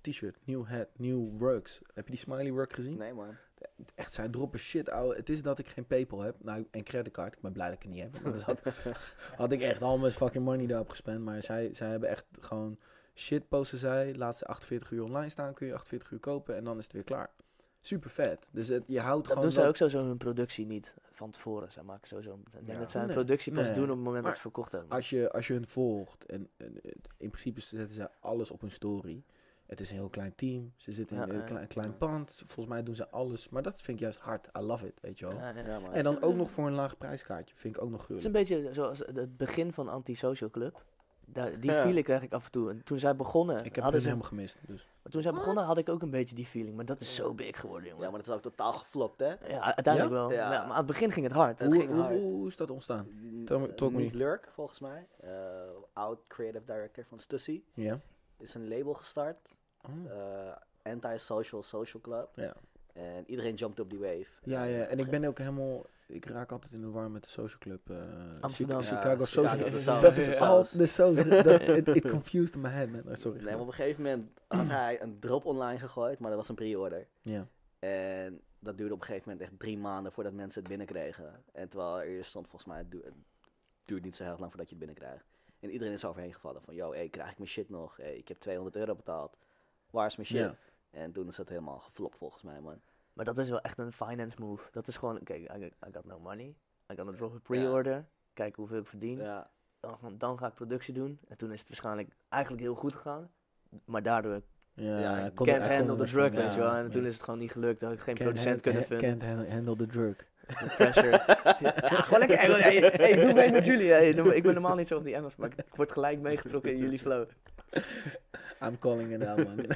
t-shirt, nieuw hat, nieuw works. Heb je die smiley work gezien?
Nee, man.
Echt, zij droppen shit, ouwe. Het is dat ik geen Paypal heb. Nou, en creditcard. Ik ben blij dat ik het niet heb. want Anders had, had ik echt al mijn fucking money daarop gespend. Maar zij, zij hebben echt gewoon... Shit posten zij. Laat ze 48 uur online staan. Kun je 48 uur kopen. En dan is het weer klaar. super vet. Dus het, je houdt
Dat
gewoon.
doen zij
dat-
ook sowieso hun productie niet van tevoren. Zij maken sowieso... Ik denk
Ja.
dat zij hun
Nee.
productie pas
Nee.
doen op het moment
Maar
dat ze verkocht hebben.
Als je, als je hun volgt, en, en het- in principe zetten ze alles op hun story. Het is een heel klein team. Ze zitten in
Ja,
een
ja.
klein, klein pand. Volgens mij doen ze alles. Maar dat vind ik juist hard. I love it, weet je wel.
Ja, ja.
Ja, maar
En dan ook nog voor een laag prijskaartje. Vind ik ook nog
Het is een
gruwelijk.
beetje zoals het begin van Antisocial Club. Daar, die
Ja.
feeling krijg ik af en toe. En toen zij begonnen,
Ik heb hun
hadden ze,
helemaal gemist. Dus.
maar toen zij begonnen had ik ook een beetje die feeling. Maar dat is zo big geworden, jongen.
Ja,
Ja,
maar dat is ook totaal geflopt, hè?
uiteindelijk
Ja?
wel.
Ja.
Ja. maar aan het begin ging het hard.
Het
Hoe,
ging
hoe,
hard.
hoe is dat ontstaan? Tell me- talk me.
Nick Lurk, volgens mij. eh, oud creative director van Stussy.
Ja.
Is een label gestart.
Oh.
eh, Anti-social social club.
Ja.
En iedereen jumped op die wave. Eh,
Ja, ja, en ik
Ge-
ben ook helemaal. Ik raak altijd in de war met de social club. eh,
Amsterdam.
Chi- Chicago
Ja,
Social
Chicago,
Club.
de saus.
Dat is
De
al
saus.
de social. dat- It it confused my head, man. Oh, Sorry.
Nee, maar op een gegeven moment had hij een drop online gegooid, maar dat was een pre-order.
Ja.
En dat duurde op een gegeven moment echt drie maanden voordat mensen het binnenkkregen. En terwijl er eerst stond volgens mij, het, du- het duurt niet zo heel lang voordat je het binnenkrijgt. En iedereen is overheen gevallen van, yo, hey, krijg ik mijn shit nog? Hey, ik heb 200 euro betaald. Waar is mijn shit?
Ja.
En toen is dat helemaal geflopt volgens mij, man.
Maar dat is wel echt een finance move. Dat is gewoon, kijk, I, I got no money. I got a drop a pre-order. Kijk hoeveel ik verdien.
Ja,
Dan, dan ga ik productie doen. En toen is het waarschijnlijk eigenlijk heel goed gegaan. Maar daardoor
Ja,
Ja,
hij
ik
kon-
can't
hij kon
handle the
er
drug,
niet-
weet je wel. En toen
ja.
is het gewoon niet gelukt. Had ik geen
Can't
producent
hand-
kunnen
ha-
vinden.
Can't han- handle the drug.
De pressure. ja, gewoon lekker Engels. Hey, hey, doe mee met jullie. Hey, doe- ik ben normaal niet zo op die Engels, maar ik word gelijk meegetrokken in jullie flow.
I'm calling it out, man.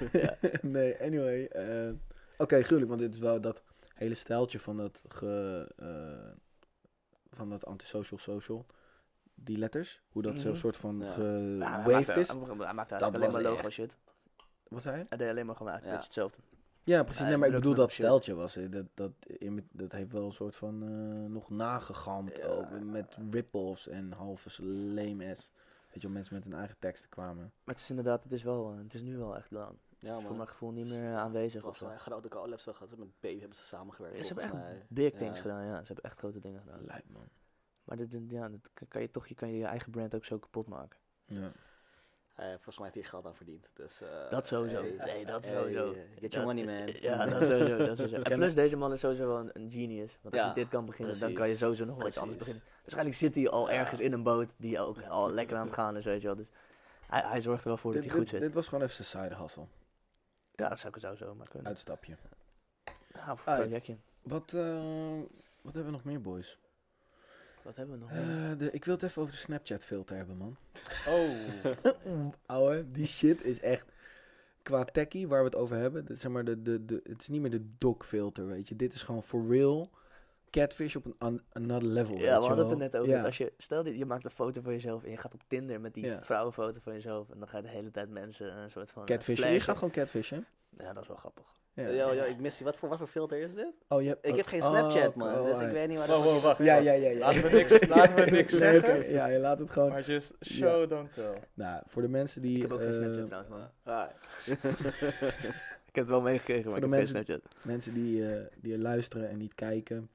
nee, anyway. eh, Oké, gruwelijk, want dit is wel dat hele stijltje van dat, ge, eh, van dat antisocial social. Die letters, hoe dat zo'n
Mhm.
soort van
Ja.
gewaved is.
Nou, Hij maakt eigenlijk
Dat
alleen maar
was
logo
echt-
shit.
Wat zei je?
Hij deed alleen maar gewoon eigenlijk
Ja.
een beetje hetzelfde.
Ja, precies.
Ja,
nee,
ik
maar ik
bedoel,
bedoel
ik snap
dat
wat je
steltje was. eh, Dat, dat, in- dat heeft wel een soort van eh, nog nagegamd.
Ja.
ook, met rip-offs en halve lame ass. Weet je wel, mensen met hun eigen teksten kwamen.
Maar het is inderdaad, het is, wel, eh, het is nu wel echt lang.
ja
voor
man.
mijn gevoel niet meer eh, aanwezig.
Het
Of
was
zo.
wel een grote collab, zo gehad. Met Baby hebben ze samengewerkt,
Ja, ze hebben
volgens
echt
mij.
big
Ja.
things gedaan, ja. Ze hebben echt grote dingen gedaan.
Lijp, man.
Maar dit, dit- ja, dat kan- kan je toch, je kan je eigen brand ook zo kapot maken.
Ja.
Hij- volgens mij heeft hij geld aan verdiend. Dus, eh,
Dat sowieso.
hey,
Nee, dat
hey,
sowieso.
Get your
Dat-
money, man.
Ja, dat sowieso. Dat sowieso. En
Ken-
plus, deze man is sowieso wel een, een genius. Want als
Ja,
je dit kan beginnen, dan kan je
precies.
sowieso nog wel iets anders
Precies.
beginnen. Waarschijnlijk zit hij al
Ja.
ergens in een boot die ook al lekker aan het gaan is, weet je wel. Dus hij, hij zorgt er wel voor dat
Dit,
hij goed
dit-
zit.
dit was gewoon even zijn side hustle.
ja, dat zou ik sowieso maar kunnen.
Uitstapje.
Nou, voor
uit.
een projectje.
Wat, eh, wat hebben we nog meer, boys?
Wat hebben we nog? meer?
Eh, de, ik wil het even over de Snapchat filter hebben, man.
Oh,
Oeh, Ouwe, die shit is echt... Qua techie, waar we het over hebben, dat, zeg maar de, de, de, het is niet meer de doc filter, weet je. Dit is gewoon for real catfish op een an- another level, weet je
ja, we hadden het er
wel.
net over.
Ja.
dat als je, stel dat je maakt een foto van jezelf en je gaat op Tinder met die
Ja.
vrouwenfoto van jezelf. En dan ga je de hele tijd mensen een soort van... eh,
Catfish. Je gaat
flashen.
gewoon catfishen.
Ja, dat is wel grappig.
Ja.
Yo, yo, ik mis die. Wat voor, wat voor filter is dit?
Oh, je hebt,
Ik
oh,
heb geen
oh,
Snapchat,
oh,
man.
oh,
dus
oh,
ik weet niet waar
wow, wow, wacht.
Ja, ja, ja. ja.
Laten we niks- laten we niks
Nee, oké,
zeggen.
Ja, je laat het gewoon.
maar just show, don't tell.
Nou, voor de mensen die...
Ik heb ook geen
eh,
Snapchat trouwens, maar...
Ah,
Ik heb het wel meegekregen, maar ik
Voor
heb
de
geen
mensen-
Snapchat.
mensen die, eh, die luisteren en niet kijken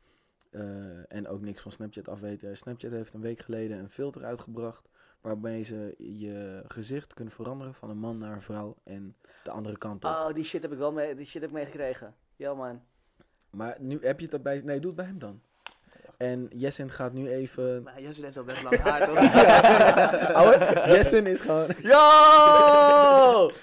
eh, en ook niks van Snapchat afweten. Snapchat heeft een week geleden een filter uitgebracht waarmee ze je gezicht kunnen veranderen van een man naar een vrouw en de andere kant op.
Oh, die shit heb ik wel mee, die shit heb ik meegekregen. Ja, man.
Maar nu heb je het dat bij... Nee, doe het bij hem dan. En Jessen gaat nu even...
Maar Jesse heeft al best lang haar, toch?
Oh, Ouwe, Jessen is gewoon...
Oh!
Yo!
Oh!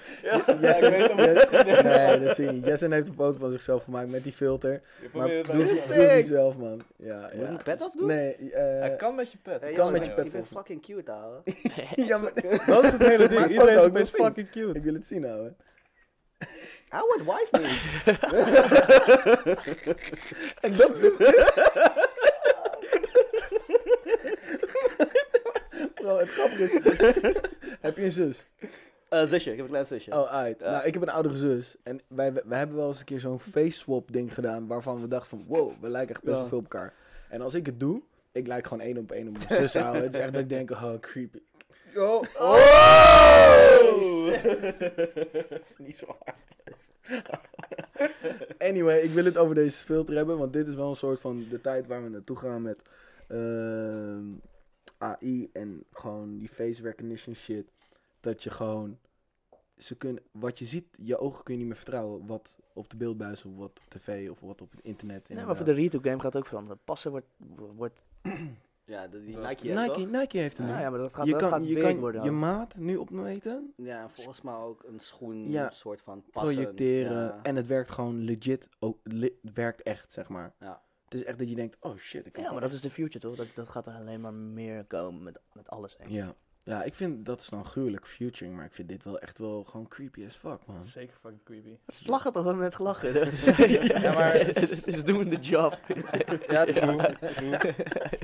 Jessen,
ik weet hem, maar
Jess- nee, dat zie je niet. Jessen heeft een foto van zichzelf gemaakt met die filter.
Je
Maar
probeert
doe,
het bij
doe
jezelf.
jezelf.
het zelf, man. Ja,
Moet ik
ja.
mijn pet afdoen?
Nee, eh,
Hij kan met je pet.
Hey,
Hij
jongen,
met je
ik-
pet
Ik ben
volgens mij.
fucking cute, ouwe.
eh, ja, maar-
Dat is het hele
Maar
ding. Iedereen is
ook
opeens
wel zien.
fucking cute.
ik wil het zien, ouwe.
I would wife me.
En dat is dus... Bro, het grappige is... heb je een zus?
Eh, zusje, ik heb een klein zusje.
Oh, uit.
Ja.
Nou, ik heb een oudere zus. En wij, wij hebben wel eens een keer zo'n face swap ding gedaan... waarvan we dachten van... wow, we lijken echt best
Ja.
wel veel op elkaar. En als ik het doe... ik lijk gewoon één op één op mijn zus, ouwe. Het is echt dat ik denk... oh, creepy.
Oh,
Anyway, ik wil het over deze filter hebben, want dit is wel een soort van de tijd waar we naartoe gaan met ehm, AI en gewoon die face recognition shit. Dat je gewoon ze kunnen, wat je ziet, je ogen kun je niet meer vertrouwen. Wat op de beeldbuis, of wat op tv, of wat op het internet.
Nee, maar
inderdaad.
voor de retail game gaat het ook veranderen. Passen wordt... wordt
Ja, de, die
Dat-
Nike, hebt
Nike,
toch?
Nike heeft hem
nou
nu.
ja, maar dat gaat,
je
dat
kan,
gaat
je,
big
kan
worden.
je maat nu opmeten,
Ja, volgens mij ook een schoen
Ja,
soort van passen.
projecteren.
Ja.
En het werkt gewoon legit. Ook, le- het werkt echt, zeg maar.
Ja.
Het is echt dat je denkt, oh shit. Ik kan
ja, maar
gewoon
dat is de future toch? Dat, dat gaat er alleen maar meer komen met, met alles. denk ik.
Ja. ja, ik vind dat is dan gruwelijk futuring, maar ik vind dit wel echt wel gewoon creepy as fuck, man.
Dat is zeker fucking creepy.
Het lachen toch, we hebben net gelachen.
Ja, maar-
Het is doing the job.
Ja, true, true.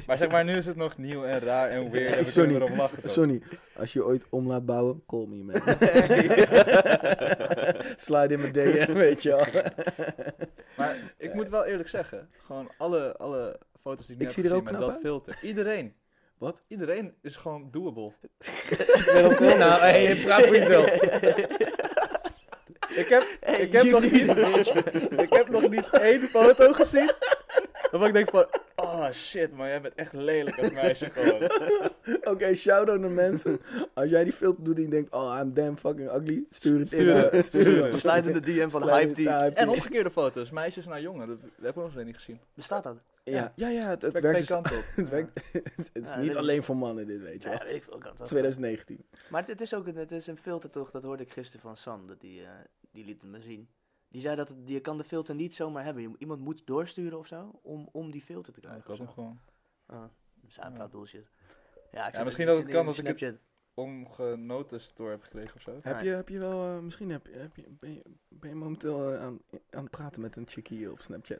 Maar zeg maar, nu is het nog nieuw en raar en weird en we
Sorry.
kunnen erop lachen toch?
Sonny, als je ooit om laat bouwen, call me man. Slide in mijn DM, weet je wel.
Maar ik moet wel eerlijk zeggen, gewoon alle, alle foto's die ik nu
Ik
heb
zie er
gezien
ook
met
knap
dat
uit.
filter. Iedereen.
Wat?
Iedereen is gewoon doable.
nou, hé, hey, praat voor jezelf.
Ik heb, ik heb, nog, niet, ik heb nog niet één foto gezien waarvan ik denk van... Oh shit man, jij bent echt lelijk als meisje gewoon.
Oké, shout-out naar mensen. Als jij die filter doet en je denkt, oh, I'm damn fucking ugly, stuur het in.
Stuur het,
eh,
stuur het.
Sluit in de DM van
Slide
Hype
in
Team.
de hype
En
team.
omgekeerde foto's, meisjes naar jongen. Dat heb ik ook nog eens niet gezien.
Bestaat dat?
Ja, ja, ja het, het
Het werkt twee
werkt dus
kanten op.
Het werkt, het is
Ja,
niet
dit-
alleen voor mannen dit, weet je wel.
Ja, weet ik veel, kan dat
2019.
Maar het, het is ook een, het is een filter toch, dat hoorde ik gisteren van Sam, dat die, eh, die liet het me zien. Die zei dat het- je kan de filter niet zomaar hebben. Je- Iemand moet doorsturen of zo, om, om die filter te
Ja,
krijgen.
ik ook nog gewoon.
Ah, zij
Ja.
praat bullshit. Ja, ik
Ja,
zit-
misschien
ik
dat
zit
het kan
in
dat ik het-
Snapchat.
Omgenoten door heb gekregen of zo.
Heb je, heb je wel, eh, misschien heb je, heb je, ben, je, ben je momenteel eh, aan, aan het praten met een chickie hier op Snapchat?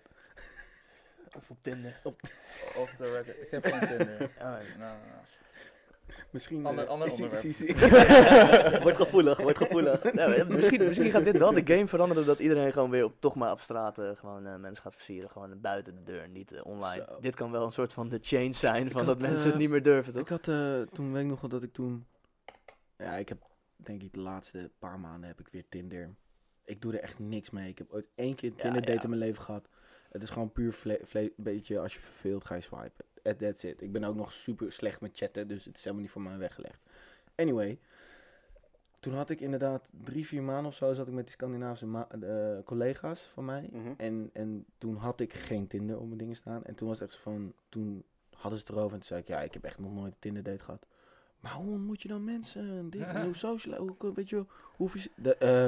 Of op Tinder.
Off the record. Ik heb geen Tinder.
Ah,
Nou, nou, nou.
Misschien...
Ander-
eh,
ander
is die-
onderwerp.
is die-
Wordt gevoelig, wordt gevoelig.
nou, eh, misschien, misschien gaat dit wel de game veranderen dat iedereen gewoon weer op, toch maar op straat eh, gewoon eh, mensen gaat versieren. Gewoon buiten de deur, niet eh, online.
Zo.
Dit kan wel een soort van de change zijn van
had,
dat mensen het
eh,
niet meer durven, toch?
Ik had eh, toen, weet ik nog wel dat ik toen... Ja, ik heb denk ik de laatste paar maanden heb ik weer Tinder. Ik doe er echt niks mee. Ik heb ooit één keer
Ja,
Tinder date
ja.
in mijn leven gehad. Het is gewoon puur vle- vle- beetje als je verveelt ga je swipen. Eh, That's it. Ik ben ook nog super slecht met chatten, dus het is helemaal niet voor mij weggelegd. Anyway, toen had ik inderdaad drie, vier maanden of zo zat ik met die Scandinavische ma- eh, collega's van mij.
Mhm.
En, en toen had ik geen Tinder op mijn dingen staan. En toen was het echt zo van, toen hadden ze het erover en toen zei ik, ja, ik heb echt nog nooit een Tinder date gehad. Maar hoe ontmoet je dan mensen? en Dit, en hoe social, hoe, kun- weet je, wel, hoe vers- de, eh,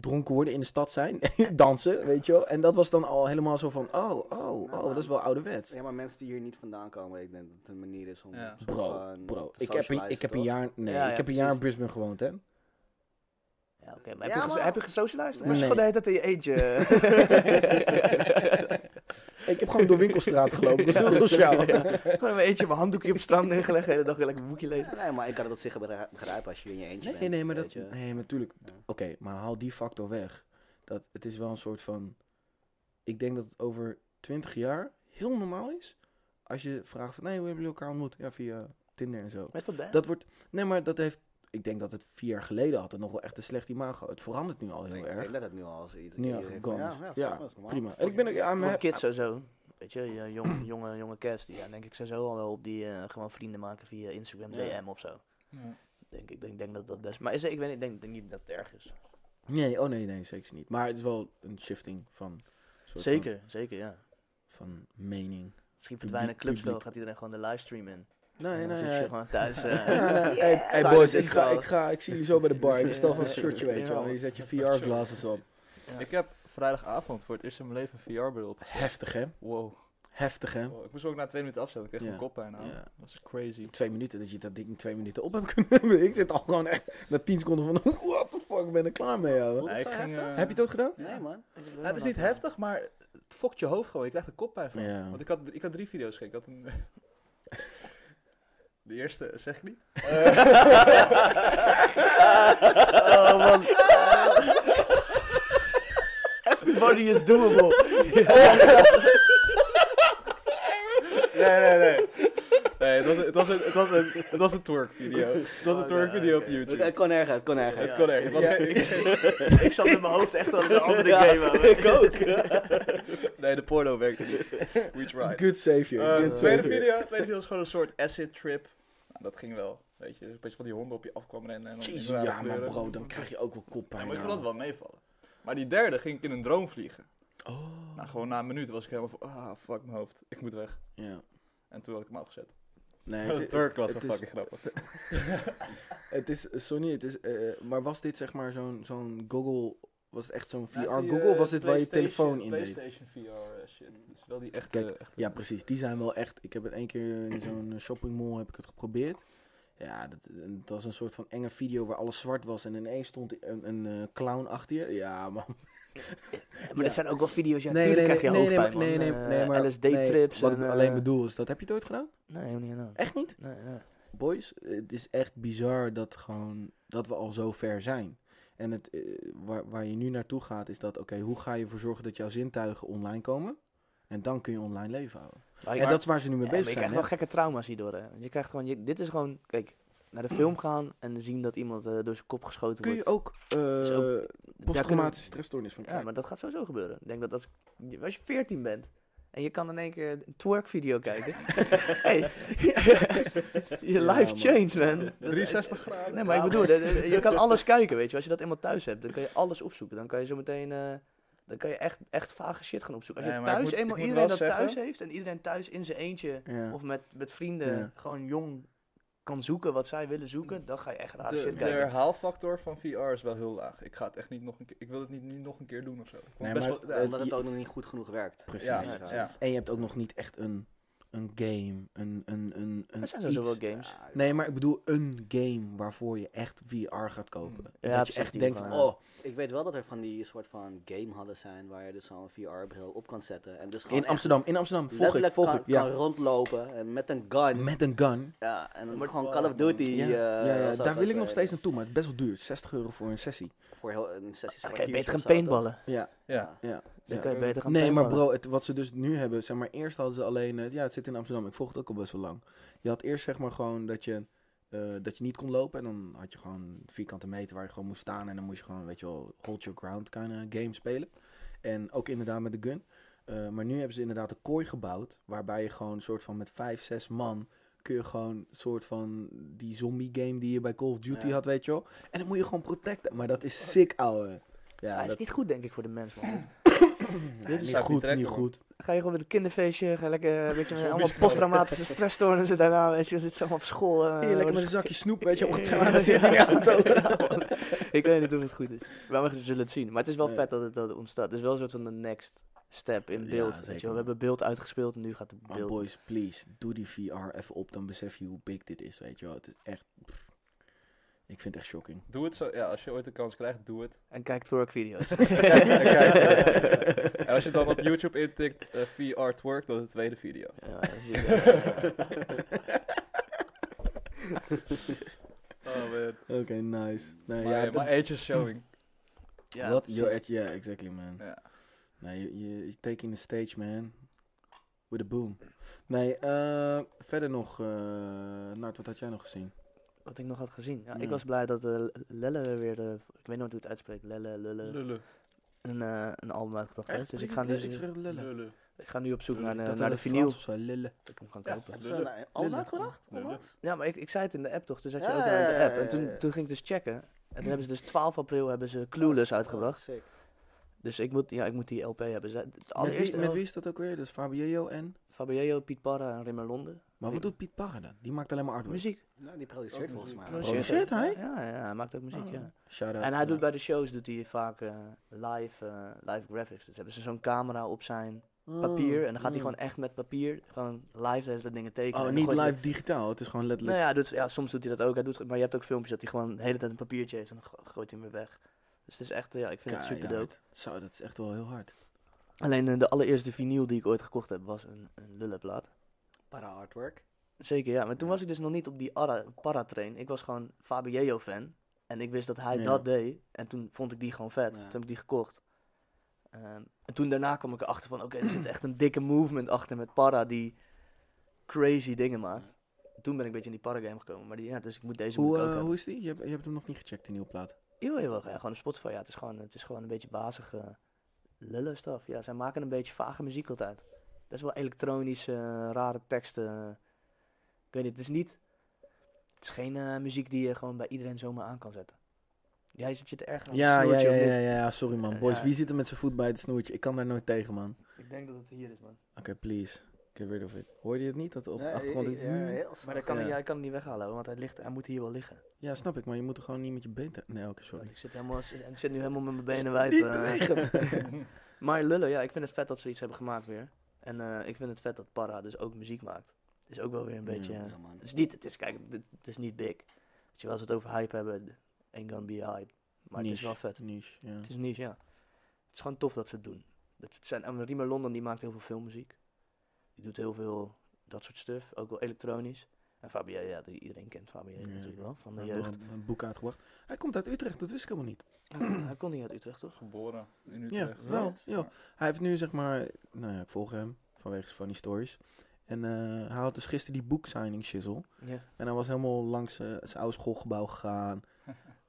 dronken worden in de stad zijn, dansen, weet je wel. En dat was dan al helemaal zo van, oh, oh, oh, dat is wel ouderwets.
Ja, maar mensen die hier niet vandaan komen, ik denk dat het een manier is om...
Ja.
soort
Bro,
van
bro,
te
ik heb, een,
socializen,
ik heb een
toch?
jaar, nee,
Ja, ja,
ik heb een jaar in Brisbane gewoond, hè.
Ja, oké, maar
Ja,
heb, je
maar-
ge- heb je gesocialized? Of was je
Nee.
gewoon de hele tijd in je eentje?
Ik heb gewoon door winkelstraat gelopen, dat is heel sociaal.
gewoon in mijn eentje mijn handdoekje op het strand neergelegd, de hele dag weer lekker een boekje lezen.
Ja, nee, maar ik kan het op zich begrijp- begrijpen als je in je eentje
Nee,
bent.
nee, maar
weet
dat,
je.
nee, maar natuurlijk.
Ja.
Oké, maar haal die factor weg. Dat, het is wel een soort van... Ik denk dat het over 20 jaar heel normaal is... als je vraagt van, nee, hoe hebben jullie elkaar ontmoet? Ja, via Tinder en zo.
Maar is dat bad?
Dat wordt... Nee, maar dat heeft... Ik denk dat het vier jaar geleden had het nog wel echt een slecht imago. Het verandert nu al heel
Ik
erg.
denk dat het nu al is. Iets,
Nu al
iedereen
gone
van,
is.
ja,
Ja,
ja, dat is normaal.
Prima. En ik ben ook... Ja,
Voor
maar,
kids sowieso. Weet je, je jonge, jonge, jonge kids, die zijn denk ik sowieso al wel op die eh, gewoon vrienden maken via Instagram
Ja.
DM of zo.
Ja.
Denk, ik denk, denk dat dat best... Maar is, ik, weet, ik denk, denk niet dat het erg is.
nee, oh nee, nee, zeker niet. Maar het is wel een shifting van... een soort
Zeker, zeker, ja.
Van, van mening.
Misschien verdwijnen
Publiek-
clubs wel,
publiek.
gaat iedereen gewoon de livestream in.
Nee,
En dan
nee,
zit je
nee.
gewoon thuis. eh,
Ja, Hey, hey
Silent
boys, ik
disco.
ga, ik ga, ik zie jullie zo bij de bar. Ik bestel gewoon een
Ja.
shirtje, weet je wel.
Ja.
Je zet je VR-glasses op.
Ja.
Ik heb vrijdagavond voor het eerst in mijn leven een VR-bril op.
Heftig, hè?
Wow.
Heftig, hè?
Wow, Ik moest ook na twee minuten afzetten. Ik kreeg
Ja.
mijn kop bijna.
Ja.
Dat is crazy.
Twee minuten, dat je dat ding in twee minuten op hebt kunnen hebben. Ik zit al gewoon echt na tien seconden van, what the fuck, ik ben er klaar mee, ouwe.
Voelt het
Ja, ik
zo
ging,
heftig?
eh,
Heb je het ook gedaan?
Nee, man.
Ja, het is niet heftig, maar het fokt je hoofd gewoon. Je krijgt er koppijn van.
Ja.
Want ik had, ik had drie video's gekeken. Ik had een... De eerste zeg ik niet.
Oh man. Everybody is doable.
Nee, nee, nee. Nee, het was een, het was een, het was een, het was een twerk video. Het was een twerk video op
Het,
YouTube.
het kon erger, het kon erger.
Het kon echt. Het was
Ja.
geen- ik-
ik zat in mijn hoofd echt al in een andere
Ja,
game. man.
ik ook.
nee, de porno werkte niet. We tried.
Good savior.
Eh,
good
tweede
savior.
video. Tweede video was gewoon een soort acid trip. Nou, dat ging wel. Weet je, een beetje van die honden op je afkwamen rennen. En dan in
Jezus,
rare
ja, maar
kleuren.
bro, dan krijg je ook wel koppijn.
Ja, maar ik vond
ouwe.
dat wel meevallen. Maar die derde ging ik in een droom vliegen.
Oh.
Nou, gewoon na een minuut was ik helemaal van, ah, fuck mijn hoofd, ik moet weg.
Ja.
En toen had ik hem afgezet.
Nee,
De
het-
Turk was
het
wel
is-
fucking grappig.
Het is, eh, Sony, het is, eh, maar was dit zeg maar zo'n zo'n goggle, was het echt zo'n VR
Ja, die,
goggle
eh,
of was dit waar je
PlayStation-
telefoon in deed?
PlayStation VR eh, shit. Dus wel die echte...
Kijk,
echte-
Ja, precies. Die zijn wel echt. Ik heb het één keer in zo'n eh, shoppingmall heb ik het geprobeerd. Ja, dat, dat was een soort van enge video waar alles zwart was en ineens stond een, een eh, clown achter je. Ja, man.
Maar
Ja.
dat zijn ook wel video's, ja,
Nee,
nee,
nee,
krijg je
nee, nee,
hoofdpijn,
nee, nee,
man.
nee,
Eh,
maar-
LSD-trips.
Wat
en,
ik
eh,
alleen bedoel is, dat heb je het ooit gedaan?
Nee, helemaal niet gedaan.
Echt niet?
Nee, nee.
Boys, het is echt bizar dat, gewoon, dat we al zo ver zijn. En het, eh, waar, waar je nu naartoe gaat is dat, oké, hoe ga je ervoor zorgen dat jouw zintuigen online komen? En dan kun je online leven houden.
Maar-
en dat is waar ze nu mee
Ja, maar
bezig
je
zijn.
krijgt
hè?
wel gekke trauma's hierdoor. Hè. Je krijgt gewoon, je- dit is gewoon, kijk, naar de film gaan en zien dat iemand eh, door zijn kop geschoten
Mm. Kun je
wordt.
ook
is
eh
Daar kunnen we-
posttraumatische stressstoornis van
Ja,
krijgen.
maar dat gaat sowieso gebeuren. Ik denk dat als, als je 14 bent en je kan in één keer een twerk-video kijken. hey, je
Ja,
life
man.
changes, man. Dat is-
360 graden.
Nee, maar ik bedoel, dat- dat- je kan alles kijken, weet je. Als je dat eenmaal thuis hebt, dan kan je alles opzoeken. Dan kan je zo meteen, eh, dan kan je echt, echt vage shit gaan opzoeken. Als je
Nee, maar ik
thuis
moet- ik
eenmaal
moet
iedereen
wel
dat thuis
zeggen-
heeft en iedereen thuis in zijn eentje
Ja.
of met, met vrienden
Ja.
gewoon jong kan zoeken wat zij willen zoeken, dan ga je echt raar
De,
shit
de
kijken.
herhaalfactor van VR is wel heel laag. Ik ga het echt niet nog een keer... Ik wil het niet, niet nog een keer doen of zo. Ik vond
Nee,
best
maar-
wel- ja,
eh,
Omdat het
die-
ook nog niet goed genoeg werkt.
Precies.
ja,
Ja,
ja.
ja.
En je hebt ook nog niet echt een, een game, een, een, een, een
Dat zijn sowieso
iets.
wel games.
Ja,
Nee, maar ik bedoel een game waarvoor je echt VR gaat kopen.
Hmm.
Ja,
dat je
precies,
echt
die
denkt
van,
van,
ja.
oh,
Ik weet wel dat er van die soort van game hadden zijn waar je dus zo'n VR-bril op kan zetten. En dus gewoon
in
echt
Amsterdam, in Amsterdam, volg ik,
letterlijk
volg
kan,
ik. Ja.
kan rondlopen en met een gun.
Met een gun.
Ja, en dan
wordt
gewoon
wel-
Call of Duty.
Ja,
eh,
ja, ja,
of zo,
daar
dat,
wil ik nog
eh,
steeds naartoe, maar het is best wel duur. 60 euro voor een sessie.
Voor heel een sessie
Dan kan je
kwartiertje
beter gaan
of zo, toch?
paintballen.
Ja,
ja.
ja.
Dan
ja.
kan je beter gaan
Nee, maar
paintballen.
bro, het, wat ze dus nu hebben, zeg maar, eerst hadden ze alleen, eh, ja, het zit in Amsterdam, ik volg het ook al best wel lang. Je had eerst, zeg maar, gewoon dat je, eh, dat je niet kon lopen en dan had je gewoon vierkante meter waar je gewoon moest staan en dan moest je gewoon, weet je wel, hold your ground kind of game spelen. En ook inderdaad met de gun. Eh, maar nu hebben ze inderdaad een kooi gebouwd, waarbij je gewoon een soort van met vijf, zes man kun je gewoon een soort van die zombie game die je bij Call of Duty
Ja.
had, weet je wel. En dan moet je gewoon protecten. Maar dat is sick, ouwe. Ja,
Maar
dat
Ah, is niet goed, denk ik, voor de mens, man.
nee,
is
niet
uit die
goed,
trekken,
niet
man.
goed.
Ga je gewoon met een kinderfeestje, ga je lekker een beetje met
Zombies
allemaal
knallen.
posttraumatische stressstoornissen daarna, weet je, we zitten zo allemaal op school. eh,
Hier, lekker
worden
met een
ze
zakje snoep, weet je, op het
Ja,
terrein zit in de auto.
Ja, man. ik weet niet of het goed is. Maar we zullen het zien. Maar het is wel
Ja.
vet dat het, dat het ontstaat. Het is wel een soort van de next step in
Ja,
beeld. weet je
zeker,
wel.
man. Oh,
we hebben beeld uitgespeeld en nu gaat het
Maar
beeld.
boys, please, doe die VR even op, dan besef je hoe big dit is, weet je wel. Het is echt... pff. Ik vind het echt shocking.
Doe het zo... Ja, als je ooit de kans krijgt, doe het.
En kijk twerkvideo's.
Kijk, kijk, kijk. en als je dan op YouTube intikt eh, VR twerk, dan is de tweede video.
Ja, dat is- ja.
Oh man.
Oké, nice. Nee,
Maar,
ja,
ja,
dat-
eh, maar age is showing.
Ja,
What?
precies.
Your edge, yeah, exactly, man.
Ja.
Nee, you- you- you're taking the stage, man. With a boom. Nee, eh, verder nog, eh Nart, wat had jij nog gezien?
Wat ik nog had gezien. Ja,
Ja.
Ik was blij dat eh, Lelle weer, de, ik weet nooit hoe het uitspreekt, Lelle, Lelle,
Lullen.
een, eh, een album uitgebracht heeft. Dus ik ga, nu,
Ik
ik,
terug lullen.
Lullen.
ga nu op zoek
Dus
naar,
ik
de-
Ik dacht
naar de
dat het
vinyl.
Frans of zo, lullen.
Ik hem gaan
Ja,
kopen.
heb
Hebben
ze
ze
Lullen.
nou al
Lullen.
uitgebracht?
Lullen.
Onlangs?
Ja, maar ik, ik zei het in de app toch? Toen zat je
Ja,
ook al in
ja,
de
ja,
app. En
ja,
toen,
ja.
toen ging ik dus checken. En toen hebben ze dus 12 april hebben ze Clueless uitgebracht.
Sick.
Dus ik moet, ja, ik moet die LP hebben. Zij- Het
Met wie,
allereerste
met
wel-
wie is dat ook weer? Dus Fabio en...
Fabio, Piet Parra en Rimmer Londen. Nee.
Maar wat doet Piet Parra dan? Die maakt alleen maar artwork.
Muziek.
Nou, die produceert
Ook
volgens mij.
Produceert.
ook.
Produceert Oh, hij?
Ja, ja, hij maakt ook muziek,
Oh.
ja.
Shout-out,
En hij doet
eh,
bij de shows doet hij vaak eh, live, eh, live graphics. Dus hebben ze zo'n camera op zijn
Oh.
Oh.
papier. En dan gaat hij gewoon echt met papier, gewoon live deze dingen tekenen.
Mm. Oh,
En dan
niet
gooit hij-
live digitaal, het is gewoon
Nou
letterlijk.
ja, hij doet, ja, soms doet hij dat ook. Hij doet, maar je hebt ook filmpjes dat hij gewoon de hele tijd een papiertje heeft en dan go- gooit hij hem weer weg. Dus het is echt, eh, ja, ik vind het super dope.
Keihard. Zo, dat is echt wel heel hard.
Alleen eh, de allereerste vinyl die ik ooit gekocht heb was een, een lullenplaat.
Para artwork.
Zeker, ja. Maar toen was ik dus nog niet op die ara- paratrain. Ik was gewoon Fabiello-fan. En ik wist dat hij
Ja.
dat deed. En toen vond ik die gewoon vet.
Ja.
Toen heb ik die gekocht. Ehm, en toen daarna kwam ik erachter van... Oké, er zit echt een dikke movement achter met Para die crazy dingen maakt. Toen ben ik een beetje in die Para-game gekomen. Maar die, ja, dus ik moet deze
Hoe,
moet ik ook
eh,
hebben.
hoe is die? Je hebt, je hebt hem nog niet gecheckt, die nieuwe plaat.
Heel, heel erg. Ja, gewoon op Spotify. Ja, het, is gewoon, het is gewoon een beetje bazige eh, lullen stuff. Ja, zij maken een beetje vage muziek altijd. Best wel elektronische, eh, rare teksten. Ik weet niet, het is niet... Het is geen eh, muziek die je gewoon bij iedereen zomaar aan kan zetten. Jij zit je te erg aan het
Ja, ja,
snoertje
ja,
om dit.
ja, ja, sorry man.
Ja,
Boys,
ja.
wie zit er met zijn voet bij het snoertje? Ik kan daar nooit tegen, man. Oké,
Ik denk dat het hier is, man.
please. Get rid of it. Hoorde je het niet? Dat er op de achtergrond...
Ja, heel
Maar
snel.
dat kan,
Ja.
ja. ik kan het niet weghalen, hoor, want hij, ligt, hij moet hier wel liggen.
Ja, snap ik, maar je moet er gewoon niet met je been... te- Nee, oké, sorry.
Ik zit, helemaal, ik zit nu helemaal met mijn benen wijd. eh. maar Lullo, ja, ik vind het vet dat ze iets hebben gemaakt weer. En eh, ik vind het vet dat Para dus ook muziek maakt. Het is ook wel weer een
Ja.
beetje... eh,
Ja, man.
Het is niet, het is, kijk, het, het is niet big. Weet je wel, als we het over hype hebben, ain't gonna be hype. Maar het is
Niche.
wel vet.
Niche, ja.
Het is niche, ja. Het is gewoon tof dat ze het doen. Dat het zijn, en Riemer London die maakt heel veel filmmuziek. Die doet heel veel dat soort stuff, ook wel elektronisch. En Fabien, ja, die, iedereen kent Fabien
Ja.
natuurlijk wel, van de
Hij heeft
jeugd.
nog Een, een boek uitgebracht. Hij komt uit Utrecht, dat wist ik helemaal niet.
Hij kon niet uit Utrecht, toch?
Geboren in
Ja,
Utrecht.
wel, ja. Hij heeft nu zeg maar, nou ja, ik volg hem vanwege zijn funny stories. En eh, hij had dus gisteren die boeksigning shizzle.
Ja.
En hij was helemaal langs eh, zijn oude schoolgebouw gegaan.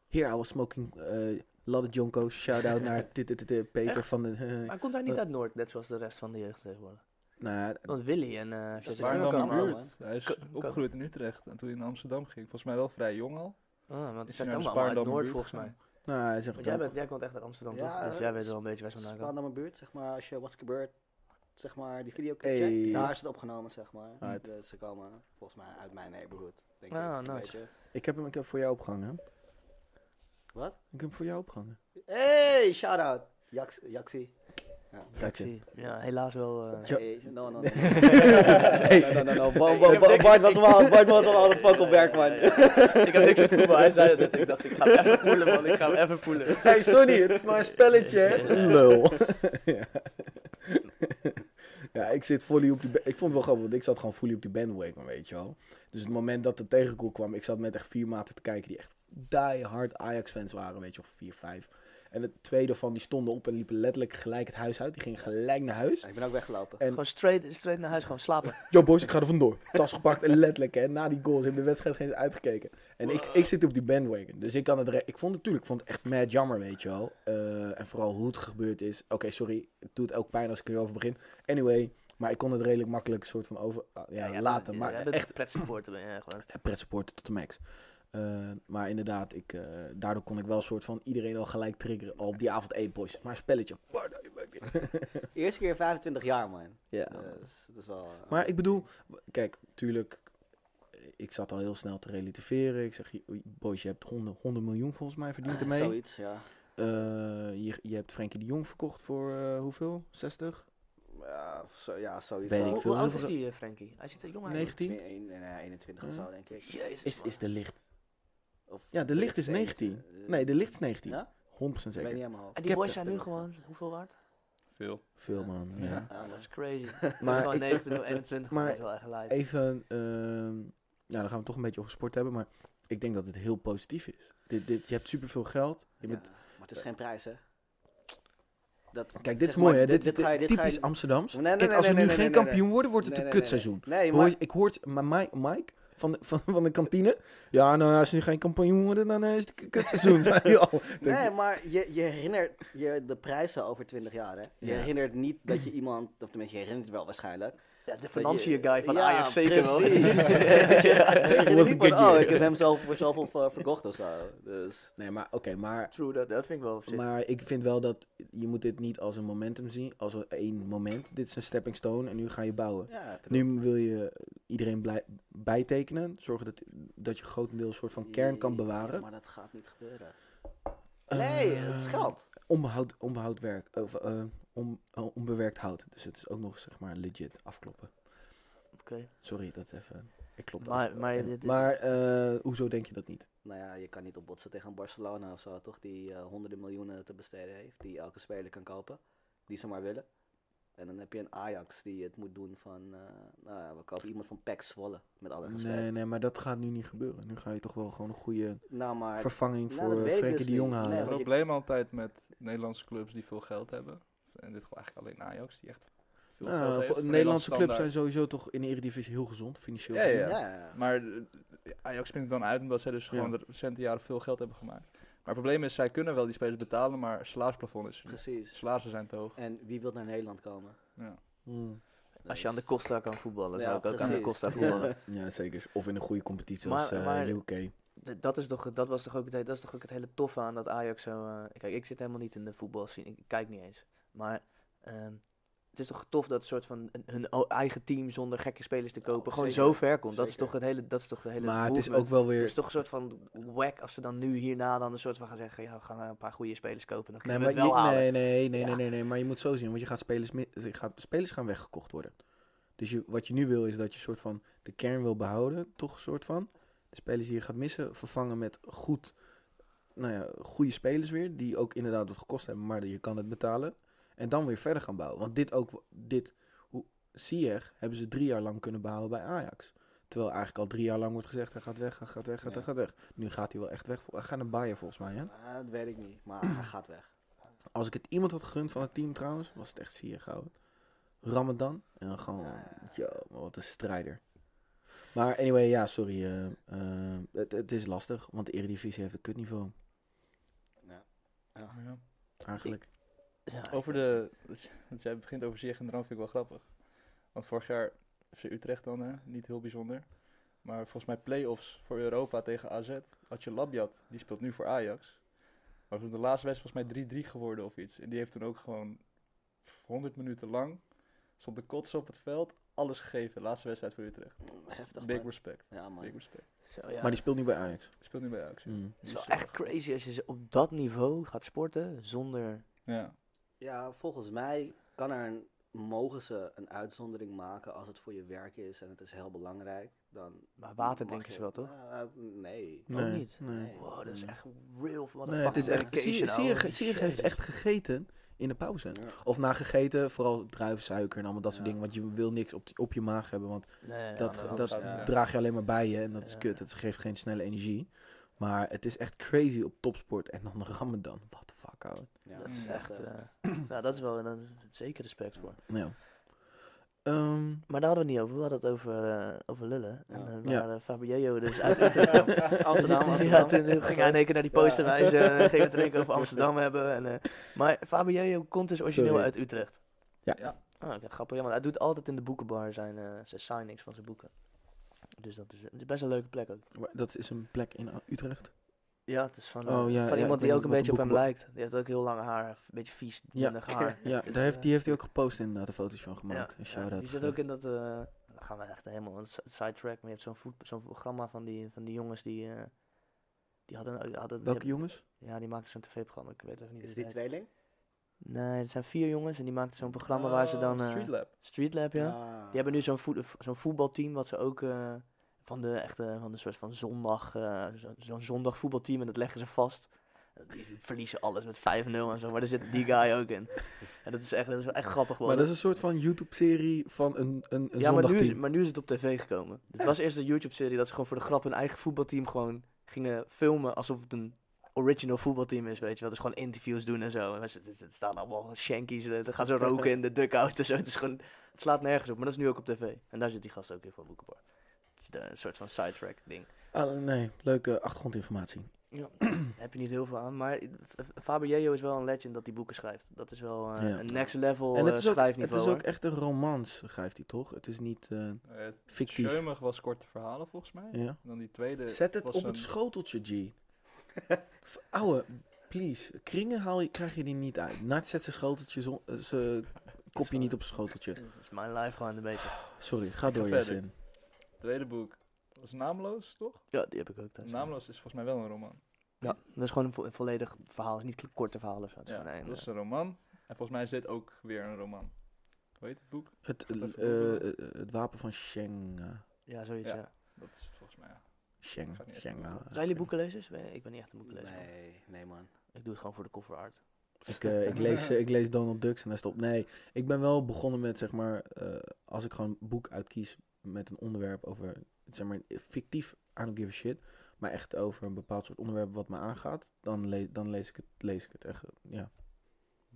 Here I was smoking eh Ladde Jonko. Shout out naar dit, dit, dit, dit, Peter van de. eh,
Maar komt hij niet
Dat-
uit Noord, net zoals de rest van de jeugd tegenwoordig?
nou,
Want Willy en... eh
Dat
Peter
waren
Waar dan
Veen
kan
de
komen
wel,
buurt?
allemaal-
Hij is
Kan- kan-
opgegroeid in Utrecht en toen hij naar Amsterdam ging. Volgens mij wel vrij jong al.
Ah, want
Is
ze
hij naar
zijn
de
allemaal uit
Spaarndammerbuurt
Noord, volgens mij.
gegaan?
nou, hij zegt
Want jij,
ook-
bent, jij komt echt uit Amsterdam,
Ja,
toch? Dus jij weet wel een beetje waar ze vandaan
Spaan
komen.
naar mijn buurt, zeg maar. Als je What's Gebeurd, zeg maar, die
Hey.
videoclip checkt, daar is het opgenomen, zeg maar.
Right.
Dus ze komen volgens mij uit mijn neighborhood, denk
Ah,
ik.
nice.
een beetje.
ik, heb hem, ik heb voor jou opgehangen. hè.
Wat?
Ik heb hem voor jou opgehangen.
Hey, shout-out. Jax- Jaxi.
Kijk je.
Zie je. Ja, helaas wel... eh,
Hey, no, no, no. No, no, no, no. Bo- bo- bo- Bart was allemaal- Bart was allemaal aan het fuck op werk, man.
ik heb niks met voetbal, hij zei dat net. Ik dacht, ik ga hem even poelen, man. Ik ga hem even poelen.
Hey, Sonny, het is maar een spelletje, hè.
Lul. ja. ja, ik zit fully op die... ba- Ik vond het wel grappig, want ik zat gewoon fully op die bandwagon, weet je wel. Dus het moment dat de tegenkoel kwam, ik zat met echt vier maten te kijken die echt die hard Ajax-fans waren, weet je wel, vier, vijf. En de tweede van die stonden op en liepen letterlijk gelijk het huis uit. Die gingen gelijk naar huis.
Ik ben ook weggelopen.
En-
Gewoon straight, straight naar huis, gewoon slapen.
Yo boys, ik ga er vandoor. Tas gepakt en letterlijk, hè, na die goals hebben de wedstrijd geen eens uitgekeken. En ik, ik zit op die bandwagon, dus ik kan het... re- Ik vond het natuurlijk, ik vond het echt mad jammer, weet je wel. Eh, en vooral hoe het gebeurd is. Oké, sorry, het doet ook pijn als ik erover begin. Anyway, maar ik kon het redelijk makkelijk soort van over... ah, ja, laten, maar echt
echt pretsupporter ben je gewoon.
pretsupporter tot de max. Eh, maar inderdaad, ik, eh, daardoor kon ik wel soort van iedereen al gelijk triggeren. Al op die avond, hey boys, het is maar een spelletje. Pardon, je maakt dit.
Eerste keer in 25 jaar, man.
Ja,
Dus het is wel... eh,
Maar ik bedoel, w- kijk, tuurlijk, ik zat al heel snel te relativeren. Ik zeg, "Oei, boys, je hebt 100, 100 miljoen volgens mij verdiend ermee.
eh, Ah, Zoiets, ja.
Eh, je, je hebt Frenkie de Jong verkocht voor eh, hoeveel? 60?
Ja, of zo, ja zoiets.
Weet
wel.
ik
Hoe,
veel,
hoe oud
heel
is
veel-
die, eh, Frankie? Hij ziet er jong uit.
19?
21 nou of zo, denk ik.
Jezus,
Is, is
man. Ah,
de licht.
Of
Ja, de licht is 19. Nee, de licht is 19.
eh, Ja?
100%
Ik weet niet
zeker.
helemaal.
En
Ik
Ah, die
heb
boys
de-
zijn nu gewoon, hoeveel waard?
Veel.
Veel man, ja.
Ja.
Ah, Ja,
Dat
man.
is crazy. Maar
Maar
gewoon
ik-
19, 21,
maar
maar dat is wel echt lijp.
even, ehm, ja, dan gaan we toch een beetje over sport hebben. Maar ik denk dat het heel positief is. Dit, dit, je hebt superveel geld. Je
Ja,
bent,
maar het is geen prijs, hè? Dat,
Kijk, dit is
zeg
mooi
maar,
hè. Dit, is
ga je- dit ga je-
typisch Amsterdams.
Nee, nee,
Kijk,
nee,
als we
nee,
nu
nee,
geen
nee, nee,
kampioen worden, wordt het
Nee,
een
nee, nee.
kutseizoen.
Nee,
Hoor
maar
je- ik hoort Ma- Ma- Mike van de, van, van de kantine. Ja, nou, als ze geen kampioen worden, dan eh, is het k- kutseizoen. zei hij al. Denk
Nee,
ik,
maar je, je herinnert je de prijzen over 20 jaar, hè? Je
Ja.
herinnert niet dat je iemand, of tenminste, je herinnert het wel waarschijnlijk.
Ja, de
financiën
financiën guy van Ajax zeker wel.
precies. Je herinnert
Was
niet
a good
van, oh,
year.
ik heb hem zelf voor zoveel ver- verkocht of zo. Dus,
Nee, maar oké, maar,
True, dat, dat vind ik wel op zich.
maar ik vind wel dat je moet dit niet als een momentum zien. Als een- één moment. Dit is een stepping stone en nu ga je bouwen.
ja, ik
Nu wil je iedereen blij- bijtekenen. Zorgen dat, dat je grotendeels een soort van kern kan
Ja,
bewaren.
Maar dat gaat niet gebeuren. Nee, het is
Eh,
geld.
Onbehoud, onbehoud werk. Of, eh, on- eh, onbewerkt hout. Dus het is ook nog zeg maar legit afkloppen.
Oké.
Sorry, dat even. Ik klop
Maar-
af.
maar
En-
dit- dit-
maar eh, hoezo denk je dat niet?
Nou ja, je kan niet opbotsen tegen Barcelona of zo, toch? Die eh, honderden miljoenen te besteden heeft, die elke speler kan kopen, die ze maar willen. En dan heb je een Ajax die het moet doen van, eh, nou ja, we kopen iemand van PEC Zwolle, met alle respect.
Nee, nee, maar dat gaat nu niet gebeuren. Nu ga je toch wel gewoon een goede
Nou, maar
vervanging
Nou, dat
voor
weet
eh,
ik
Frenkie
dus
de Jong
niet.
halen.
Nee,
Het
want je-
probleem altijd met Nederlandse clubs die veel geld hebben. En dit geldt eigenlijk alleen Ajax, die echt veel
Nou,
geld heeft.
voor-
Voor
Nederlandse clubs zijn
standaard.
sowieso toch in de Eredivisie heel gezond, financieel.
Ja, ja,
gezien.
ja.
Maar eh, Ajax springt het dan uit omdat zij dus
Ja.
gewoon de recente jaren veel geld hebben gemaakt. Maar het probleem is, zij kunnen wel die spelers betalen, maar het salarisplafond is...
precies.
Salarissen zijn te hoog.
En wie wil naar Nederland komen? Dus,
Ja.
Hmm.
Dat
Als je aan de Costa kan voetballen,
Ja,
zou ik ook aan de
precies.
Costa
Ja.
voetballen.
Ja, zeker. Of in een goede competitie
Maar-
als eh,
maar-
UK.
D- Dat, is toch, dat, was toch ook het, he- dat is toch ook het hele toffe aan dat Ajax zo... eh, kijk, ik zit helemaal niet in de voetbalscene, ik kijk niet eens. Maar ehm, het is toch tof dat soort van een- hun o- eigen team zonder gekke spelers te
Ja,
kopen gewoon
zeker.
zo ver komt. Dat is
Zeker.
toch het hele... Dat is toch de hele
Maar het is
movement.
ook wel
Het
weer...
is toch een soort van wack als ze dan nu hierna dan een soort van gaan zeggen... Ja, we gaan eh, een paar goede spelers kopen, dan
Nee,
kunnen
maar
we het wel
je-
halen.
nee, nee, nee, nee,
Ja.
nee, nee, maar je moet zo zien, want je gaat spelers, mi- je gaat, spelers gaan weggekocht worden. Dus je, wat je nu wil is dat je soort van de kern wil behouden, toch een soort van. De spelers die je gaat missen, vervangen met goed, nou ja, goede spelers weer, die ook inderdaad wat gekost hebben, maar je kan het betalen. En dan weer verder gaan bouwen. Want dit ook, dit, hoe, Ziyech hebben ze drie jaar lang kunnen behouden bij Ajax. Terwijl eigenlijk al drie jaar lang wordt gezegd, hij gaat weg, hij gaat weg, hij
Ja.
gaat weg. Nu gaat hij wel echt weg, hij gaat naar Bayern volgens mij, hè?
Ah, dat weet ik niet, maar hij gaat weg.
Als ik het iemand had gegund van het team trouwens, was het echt Sier gehouden. Ramadan. En dan gewoon,
Ah.
Ja.
yo, maar wat een strijder. Maar anyway, ja, sorry. eh, eh, het, het is lastig, want de Eredivisie heeft een kutniveau.
Ja.
Eigenlijk.
Over de. Want jij begint over zich en Dram vind ik wel grappig. Want vorig jaar FC Utrecht dan, hè? niet heel bijzonder. Maar volgens mij play-offs voor Europa tegen AZ. Had je Labjat, die speelt nu voor Ajax. Maar toen de laatste wedstrijd volgens mij 3-3 geworden of iets. En die heeft toen ook gewoon pff, 100 minuten lang. Stond de kots op het veld, alles gegeven. Laatste wedstrijd voor Utrecht.
Heftig,
Big
man.
respect.
Ja, man.
Big respect.
Zo, ja.
Maar die speelt nu bij Ajax.
Speelt nu bij Ajax. ja.
Mm.
Het is wel echt crazy als je ze op dat niveau gaat sporten zonder...
Ja.
Ja, volgens mij kan er een, mogen ze een uitzondering maken als het voor je werk is en het is heel belangrijk. Dan
Maar water
mag
drinken
je-
ze wel, toch?
Eh, eh, nee.
Ook niet.
Mm. Nee.
Wow, dat is
Nee.
echt real. Wat een
Mm. Nee, het is echt. Sier- Sier- Sier heeft echt gegeten in de pauze. Of na gegeten, vooral druivensuiker en allemaal dat soort
Ja.
dingen. Want je wil niks op, op je maag hebben, want
Nee,
dat,
ja, maar
dat
zou-
eh,
ja.
draag je alleen maar bij je en dat is
Ja.
kut. Het geeft geen snelle energie. Maar het is echt crazy op topsport en dan Ramadan. What the fuck, ouwe.
Ja,
dat is
Mm.
Ja.
echt...
eh,
eh, nou, dat is wel dat is zeker respect voor.
Nou. Ehm,
Maar daar hadden we het niet over. We hadden het over, eh, over lullen. En
Ja.
eh,
Ja.
waar eh, Fabio dus uit Utrecht...
Amsterdam,
Ja,
Amsterdam.
toen eh, ging hij in één keer naar die poster wijzen. En eh, ging het in één keer over Amsterdam hebben. En, eh, maar Fabio komt dus origineel
Sorry.
uit Utrecht.
Ja.
Ja.
Ah, oké, grappig. Ja, want hij doet altijd in de boekenbar zijn, eh, zijn signings van zijn boeken. Dus dat is, het is best een leuke plek ook.
maar dat is een plek in A- Utrecht.
Ja, het is van,
Oh,
eh,
ja, ja,
van iemand
ik
die
weet
ook een
wat
beetje
de
op hem
boekenbar-
lijkt. Die heeft ook heel lang haar. Een beetje vies,
Ja.
dunnig haar. Dus,
Ja, daar heeft, die heeft hij ook gepost inderdaad, de foto's van gemaakt. Een
eh, Ja,
shout-out.
die zit ook in dat. eh, dan gaan we echt helemaal een si- sidetrack. Maar je hebt zo'n voet- zo'n programma van die, van die jongens die. eh, die hadden. die hadden
Welke
die, hebben-
jongens?
Ja, die maakten zo'n tv-programma. Ik weet even niet.
Is
hoe
die
het
tweeling?
heet. Nee, het zijn vier jongens en die maakten zo'n programma waar ze dan. eh,
Street Lab.
Street Lab, ja.
Ah.
Die hebben nu zo'n voet, zo'n voetbalteam wat ze ook. eh, van de echte. van de soort van zondag. eh, zo- zo'n zondag voetbalteam en dat leggen ze vast. Die verliezen alles met 5-0 en zo, maar daar zit die guy ook in. En dat is echt, dat is wel echt grappig.
Maar
geworden.
dat is een soort van YouTube-serie van een, een, een
Ja, maar nu, is,
zondagteam.
maar nu is het op tv gekomen. Het was eerst een YouTube-serie dat ze gewoon voor de grap hun eigen voetbalteam gewoon gingen filmen alsof het een original voetbalteam is, weet je wel. Dus gewoon interviews doen en zo. En mensen er- er staan allemaal shankies, eh, dan gaan ze roken in de dugout en zo. Het, is gewoon, het slaat nergens op, maar dat is nu ook op tv. En daar zit die gast ook in van Boekenbar. Het is de- Een soort van sidetrack ding.
Ah, nee, leuke achtergrondinformatie.
Ja, daar heb je niet heel veel aan, maar Fabio is wel een legend dat hij boeken schrijft. Dat is wel eh,
Ja.
een next level
en het
eh,
is, ook, het is
schrijfniveau.
ook echt een romans, schrijft hij toch? Het is niet... eh,
Eh,
Fictief.
Schömig was korte verhalen volgens mij.
ja.
En dan die tweede.
Zet het
eh, was
op
een-
het schoteltje, G. V- Ouwe, please. Kringen haal je, krijg je die niet uit. Nat zet zijn schoteltje, zon- eh, zijn kopje niet op zijn schoteltje.
hoor. Dat is mijn life gewoon een beetje.
Sorry, ga door,
ga verder.
Jason.
Tweede boek was naamloos, toch?
Ja, die heb ik ook thuis.
Naamloos is volgens mij wel een roman.
Ja, dat is gewoon een, vo- een volledig verhaal. Het is niet een korte verhaal of zo. Het is
Ja,
gewoon een,
dat
eh,
is een roman. En volgens mij is dit ook weer een roman. Hoe heet het boek?
Het,
Even
eh,
googlen.
eh, eh, het wapen van Sheng. eh,
ja, zoiets,
Ja.
ja.
Dat is het volgens mij. ja.
Sheng.
Gaat niet echt
Sheng,
goed,
eh,
Zijn jullie boekenlezers? Ben- Ik ben niet echt een boekenlezer. man.
Nee, nee man.
Ik doe het gewoon voor de cover art.
Ik, eh, ik, lees, eh, ik lees Donald Ducks en daar stopt. Nee, ik ben wel begonnen met, zeg maar, eh, als ik gewoon een boek uitkies met een onderwerp over, zeg maar, fictief, I don't give a shit, maar echt over een bepaald soort onderwerp wat me aangaat, dan, le dan lees, ik het, lees ik het echt, eh, ja.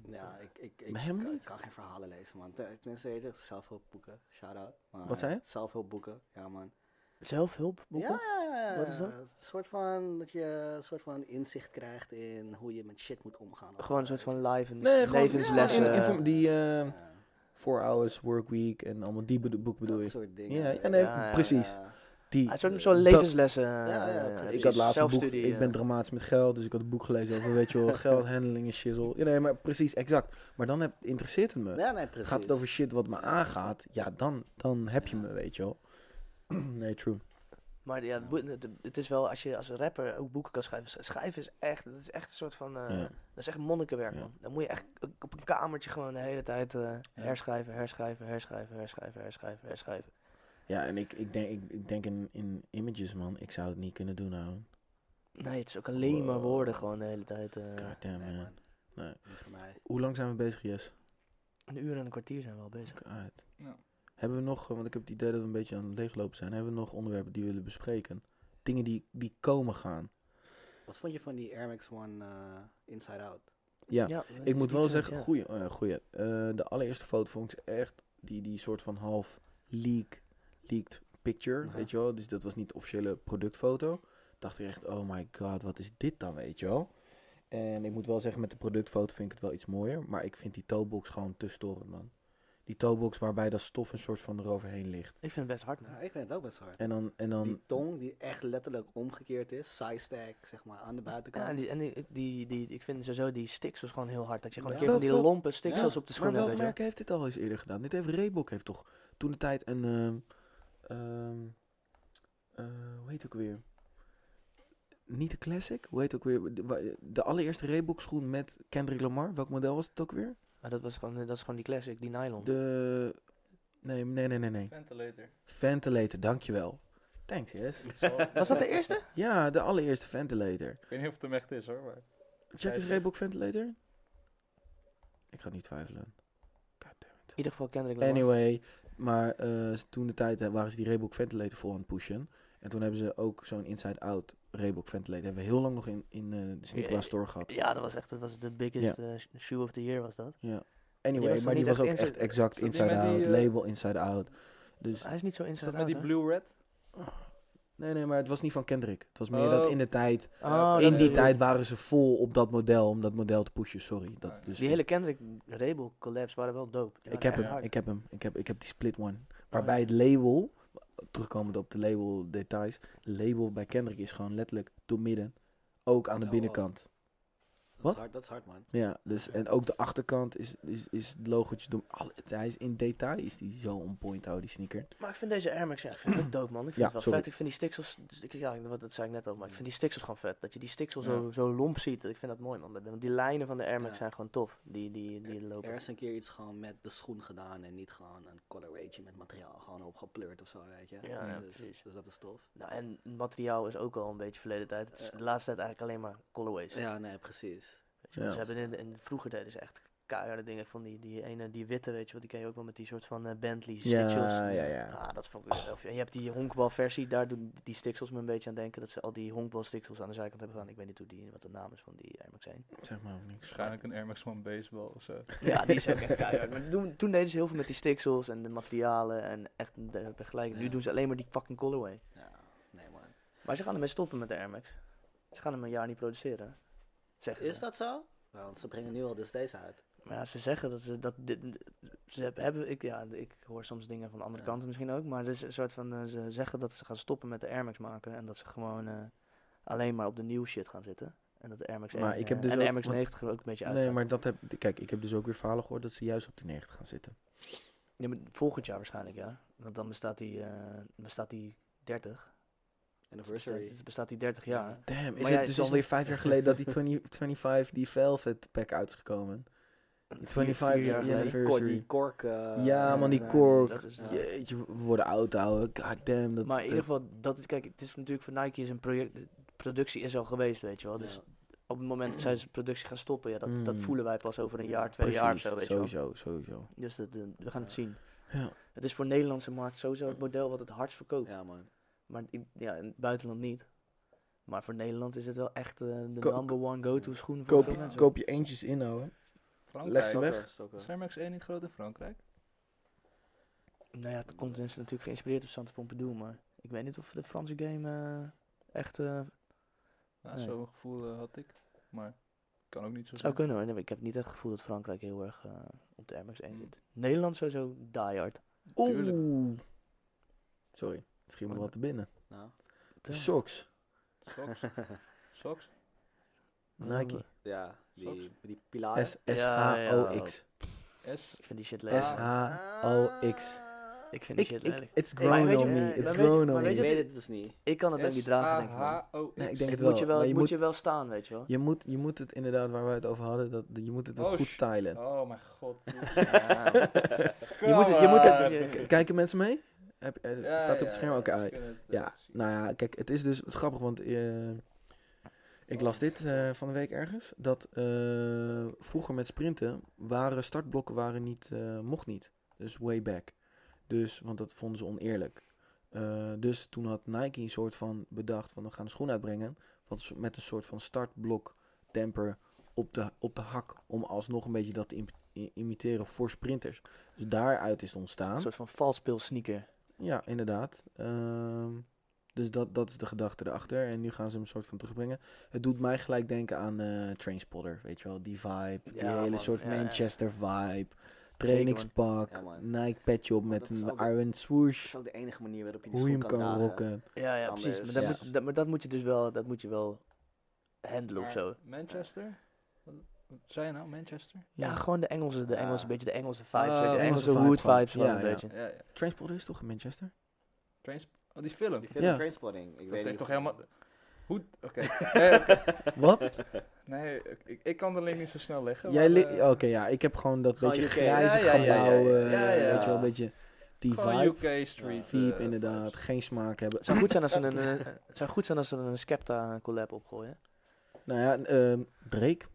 Ja, ik, ik, ik,
Maar helemaal
kan,
niet.
kan geen verhalen lezen man. Te- Tenminste, heet het zelfhulpboeken. Shout out. Maar
Wat zei je?
Zelfhulpboeken, ja man.
Zelfhulpboeken?
Ja, ja, ja, ja.
Wat is dat?
Een soort van, dat je een soort van inzicht krijgt in hoe je met shit moet omgaan.
Gewoon een soort van live en
Nee, gewoon-
levenslessen.
ja, in- inform- die eh,
Ja.
Four hours work week en allemaal die bedo- boek bedoel
Dat
je.
soort dingen.
Ja, ja, nee, precies.
ja.
Die.
Het Ah, soort zo'n
dat-
levenslessen.
ja,
eh,
precies.
precies.
Ik had laatst een boek,
Zelfstudie,
ik ben
eh.
dramatisch met geld, dus ik had een boek gelezen over, weet je wel, geldhandeling en shizzle. Ja, nee, maar precies, exact. Maar dan heb, interesseert het me.
Ja, nee, precies.
Gaat het over shit wat me
Ja.
aangaat, ja, dan, dan heb je
Ja.
me, weet je wel. nee, true.
Maar ja, het boek- het- het is wel, als je als rapper ook boeken kan schrijven. Schrijven is echt, dat is echt een soort van, eh,
Ja.
dat is echt monnikenwerk
Ja.
man. Dan moet je echt op een kamertje gewoon de hele tijd eh, herschrijven, herschrijven, herschrijven, herschrijven, herschrijven, herschrijven.
Ja, en ik, ik denk, ik, ik denk in, in images, man. Ik zou het niet kunnen doen, nou.
Nee, het is ook alleen maar
Wow.
woorden gewoon de hele tijd. eh.
God damn,
Nee,
man.
man.
Nee.
Niet voor mij.
Hoe lang zijn we bezig, Jess?
een uur en een kwartier zijn we al bezig.
Uit.
Ja.
Hebben we nog, eh, want ik heb het idee dat we een beetje aan het leeglopen zijn. Hebben we nog onderwerpen die we willen bespreken? Dingen die, die komen gaan.
Wat vond je van die Air Max One eh, Inside Out?
Ja,
we-
ik
eh,
moet
die
wel
zijn
zeggen,
het, ja.
goeie. eh, goeie. Eh, de allereerste foto vond ik echt die, die soort van half leak, leaked picture,
Ja.
weet je wel. Dus dat was niet de officiële productfoto. Dacht ik echt, oh my god, wat is dit dan, weet je wel. En ik moet wel zeggen, met de productfoto vind ik het wel iets mooier. Maar ik vind die toebox gewoon te storend, man. Die toebox waarbij dat stof een soort van eroverheen ligt.
Ik vind het best hard man.
Nou, ik vind het ook best hard.
En dan, en dan
Die tong die echt letterlijk omgekeerd is, side stack zeg maar, aan de buitenkant.
Ja, en die, en die, die, die- ik vind sowieso die stiksels gewoon heel hard. Dat je gewoon een
Ja.
keer van die
Welk-
lompe stiksels
Ja,
op de schoenen
maar
hebt,
welk
weet je
merk heeft dit al eens eerder gedaan? Dit heeft Reebok heeft toch toen de tijd een ehm, ehm, eh, hoe heet het ook weer? Niet de classic, hoe heet het ook weer? De, wa- de allereerste Reebok schoen met Kendrick Lamar. Welk model was het ook weer?
wel. Maar dat, was gewoon, dat is gewoon die classic, die nylon.
De nee, nee, nee, nee, nee.
Ventilator.
Ventilator, dankjewel. Thanks, yes.
Was dat de eerste?
Ja, de allereerste ventilator.
Ik weet niet of het hem echt is hoor, maar...
Check eens Reebok ventilator. Ik ga niet twijfelen. God damn it.
In ieder geval Kendrick Lamar.
Anyway, maar eh, toen de tijd waren ze die Reebok Ventilator vol aan het pushen. En toen hebben ze ook zo'n inside-out Reebok Ventilator. Hebben we heel lang nog in, in eh, de sneakerbar store gehad.
Ja, dat was echt dat was de biggest eh, sh- shoe of the year was dat.
Anyway,
die was
maar
toch
die
niet
was ook
echt
echt
inside-
exact
Is dat die met
inside-out,
die, eh,
label inside-out. Dus
Hij is niet zo
Is dat
inside
met
out.
die
hè?
Blue Red?
nee, nee, maar het was niet van Kendrick. Het was meer dat
Oh.
in de tijd,
Oh,
in
dat
die
is-
tijd waren ze vol op dat model, om dat model te pushen. Sorry.
Ah,
Dat, dus
Die hele Kendrick Rebel collabs waren wel dope. Die
Ik
waren
heb
echt
hem,
hard.
ik heb hem, ik heb, ik heb die split one. Waarbij het label, terugkomend op de label details, label bij Kendrick is gewoon letterlijk doormidden. Ook aan de
Oh,
binnenkant.
dat,
wat?
is hard, dat is hard man.
Ja, dus en ook de achterkant is, is, is het logootje door. Alle, het- hij is in detail is die zo on point, hou die sneaker.
Maar ik vind deze Air Max, ja, ik vind het ook dope man. Ik vind
Ja,
het wel
sorry.
vet. Ik vind die stiksels, dus ik- ja, wat- dat zei ik net al, maar ik vind die stiksels gewoon vet. Dat je die stiksels
Ja.
zo, zo lomp ziet, ik vind dat mooi man. Want die lijnen van de Air Max
Ja.
zijn gewoon tof. Die, die, die lopen.
Er is een keer iets gewoon met de schoen gedaan en niet gewoon een colorway met materiaal gewoon opgepleurd of zo, weet je.
Ja, ja,
dus,
precies.
dus dat is tof.
Nou, en het materiaal is ook al een beetje verleden tijd. Het is
Ja.
de laatste tijd eigenlijk alleen maar colorways.
Ja, nee, precies.
Weet je wel,
Ja.
Ze hebben in, in, vroeger deden ze echt keiharde dingen. Van die, die ene, die witte, weet je wel, die ken je ook wel met die soort van eh, Bentley
Ja,
stitchels.
ja, ja.
Ah, dat vond ik wel tof. En je hebt die honkbalversie, daar doen die stiksels me een beetje aan denken. Dat ze al die honkbalstiksels aan de zijkant hebben gedaan. Ik weet niet hoe die, wat de naam is van die Air Max 1.
Zeg maar ook niks.
Waarschijnlijk een Air Max One baseball of zo.
Ja, die is ook echt keihard. Maar toen, toen deden ze heel veel met die stiksels en de materialen en echt de vergelijking. Nu
Ja.
doen ze alleen maar die fucking colorway.
Ja, nee man.
Maar ze gaan ermee stoppen met de Air Max. Ze gaan hem een jaar niet produceren. Zeggen
Is
ze.
dat zo? Want ze brengen nu al dus deze uit.
Maar ja, ze zeggen dat ze dat dit, ze heb- hebben. Ik, ja, ik hoor soms dingen van de andere
Ja.
kanten misschien ook, maar het is een soort van eh, ze zeggen dat ze gaan stoppen met de Air Max maken en dat ze gewoon eh, alleen maar op de nieuwe shit gaan zitten. En dat de Air Max
Maar
1,
ik
ik
heb dus
en de
ook-
Air Max
want-
90 er ook een beetje uit.
Nee, maar dat heb, kijk, ik heb dus ook weer verhalen gehoord dat ze juist op die 90 gaan zitten.
Ja, maar volgend jaar waarschijnlijk ja, want dan bestaat die eh, bestaat die 30. Bestaat,
Anniversary.
dus bestaat die 30 jaar.
Damn, is
Maar
het
ja, het
dus
is
alweer
nog-
vijf jaar geleden dat die 20, 25, die Velvet pack uit is gekomen? Die 25
vier jaar
jaar
geleden.
Die,
anniversary.
kor- die kork. eh,
Ja,
eh,
man, die
zijn-
kork.
Dat is,
Ja.
Jeetje, we worden oud, ouwe. God damn. Dat,
maar in ieder
dat-
geval, dat is, kijk, het is natuurlijk voor Nike is een project, de productie is al geweest, weet je wel. Dus
Ja.
op het moment dat zij zijn productie gaan stoppen, ja, dat, dat
Mm.
voelen wij pas over een jaar, twee
Precies,
jaar of zo, weet je wel.
sowieso, sowieso.
Dus dat, eh, we gaan het zien.
Ja.
Het is voor Nederlandse markt sowieso het model wat het hardst verkoopt.
Ja, man.
Maar in, ja, in het buitenland niet. Maar voor Nederland is het wel echt eh, de
Ko-
number one go-to schoen voor veel
Koop,
mensen.
koop je eentjes in, ouwe. Leg ze
Frankrijk.
weg.
Stokken, stokken.
Is Air Max 1 niet groot in Frankrijk?
Nou ja, het komt is natuurlijk geïnspireerd op Santa Pompidou, maar ik weet niet of de Franse
Mhm.
game eh, echt... eh,
Nou,
Nee.
Zo'n gevoel eh, had ik. Maar Kan ook niet zo
Het
zijn.
zou kunnen hoor. Nee, maar Ik heb niet echt het gevoel dat Frankrijk heel erg eh, op de Air Max 1
Mm.
zit. Nederland sowieso diehard.
Tuurlijk.
Oeh. Sorry, het schiet me wat te binnen.
Nou,
De socks.
Socks. Socks.
Nike.
ja, die,
Socks?
die pilaren.
S-S-H-O-X.
S.
Ik vind die shit
Ja.
lelijk.
S-H-O-x.
Ah.
Ik vind Ah. die
Ik,
shit
ik,
lelijk.
it's
maar
grown
weet je-
on me.
eh,
It's
maar weet je-
grown
maar
on
Ik
weet je-
me.
weet het dus niet.
Ik kan het ook niet dragen, denk ik. man.
S-A-H-O-X.
Nee, ik denk
Het
het
moet je wel,
maar
het
je
moet
moet,
je wel staan, weet je wel.
je, moet, je moet het inderdaad, waar wij het over hadden, dat, je moet het wel
Oh,
goed
sh-
stylen.
Oh mijn god.
Je moet het, je moet het, k- kijken mensen mee? Heb, eh,
Ja,
staat op
ja,
het scherm?
ja,
Oké,
ze
ai.
kunnen het, eh,
Ja,
zien.
nou ja, kijk, het is dus het is grappig, want eh, ik las dit eh, van de week ergens. Dat eh, vroeger met sprinten waren startblokken waren niet, eh, mocht niet. Dus way back. Dus, want dat vonden ze oneerlijk. Eh, dus toen had Nike een soort van bedacht van we gaan een schoen uitbrengen. Wat s- met een soort van startblok temper op de, op de hak. Om alsnog een beetje dat te im- i- imiteren voor sprinters. Dus daaruit is het
Een
ontstaan.
soort van valspeel sneaker.
Ja, inderdaad. Ehm, dus dat, dat is de gedachte erachter. En nu gaan ze hem een soort van terugbrengen. Het doet mij gelijk denken aan eh Trainspotter. Weet je wel, die vibe. die
Ja,
hele
man.
soort
Ja, ja.
Manchester vibe. Trainingspak.
Ja, man.
Nike petje op
Maar
met
dat is
een
ook de-
iron
Dat
swoosh.
is ook de enige manier waarop je die
Hoe je hem
schoen
kan
dragen.
rocken.
Ja, ja,
Anders-
precies. Maar dat,
Ja.
moet, dat, maar dat moet je dus wel, dat moet je wel handelen of
Maar
zo.
Manchester? Wat, wat zei je nou, Manchester?
Ja,
Ja, Oh,
gewoon de Engelse, de
Ja.
Engelse, beetje de Engelse
Ah,
vibes. weet je, de
Engelse
Engelse
vibe
hood
gewoon.
vibes gewoon
Ja,
een
ja.
beetje.
Ja, ja.
Trainspotter is toch in Manchester?
Trains... Oh, die film.
Die film
Ja.
Trainspotting. Ik
dat
weet
heeft
niet
toch
of-
helemaal... Hoe... Oké. Nee, oké.
Wat?
Nee, ik- ik, ik kan de link niet zo snel leggen. maar,
Jij li- oh,
eh,
Oké, ja. Ik heb gewoon dat
Gewoon
beetje
UK.
grijze
Ja, ja, ja, ja, ja,
gebouw. eh,
ja, ja.
Weet je wel, een beetje die
gewoon
vibe.
UK Street.
Diep,
eh,
inderdaad.
vibes.
Geen smaak hebben.
Het zou goed zijn als ze een, eh, het zou goed zijn als ze een Skepta collab opgooien.
Nou ja, ehm Drake.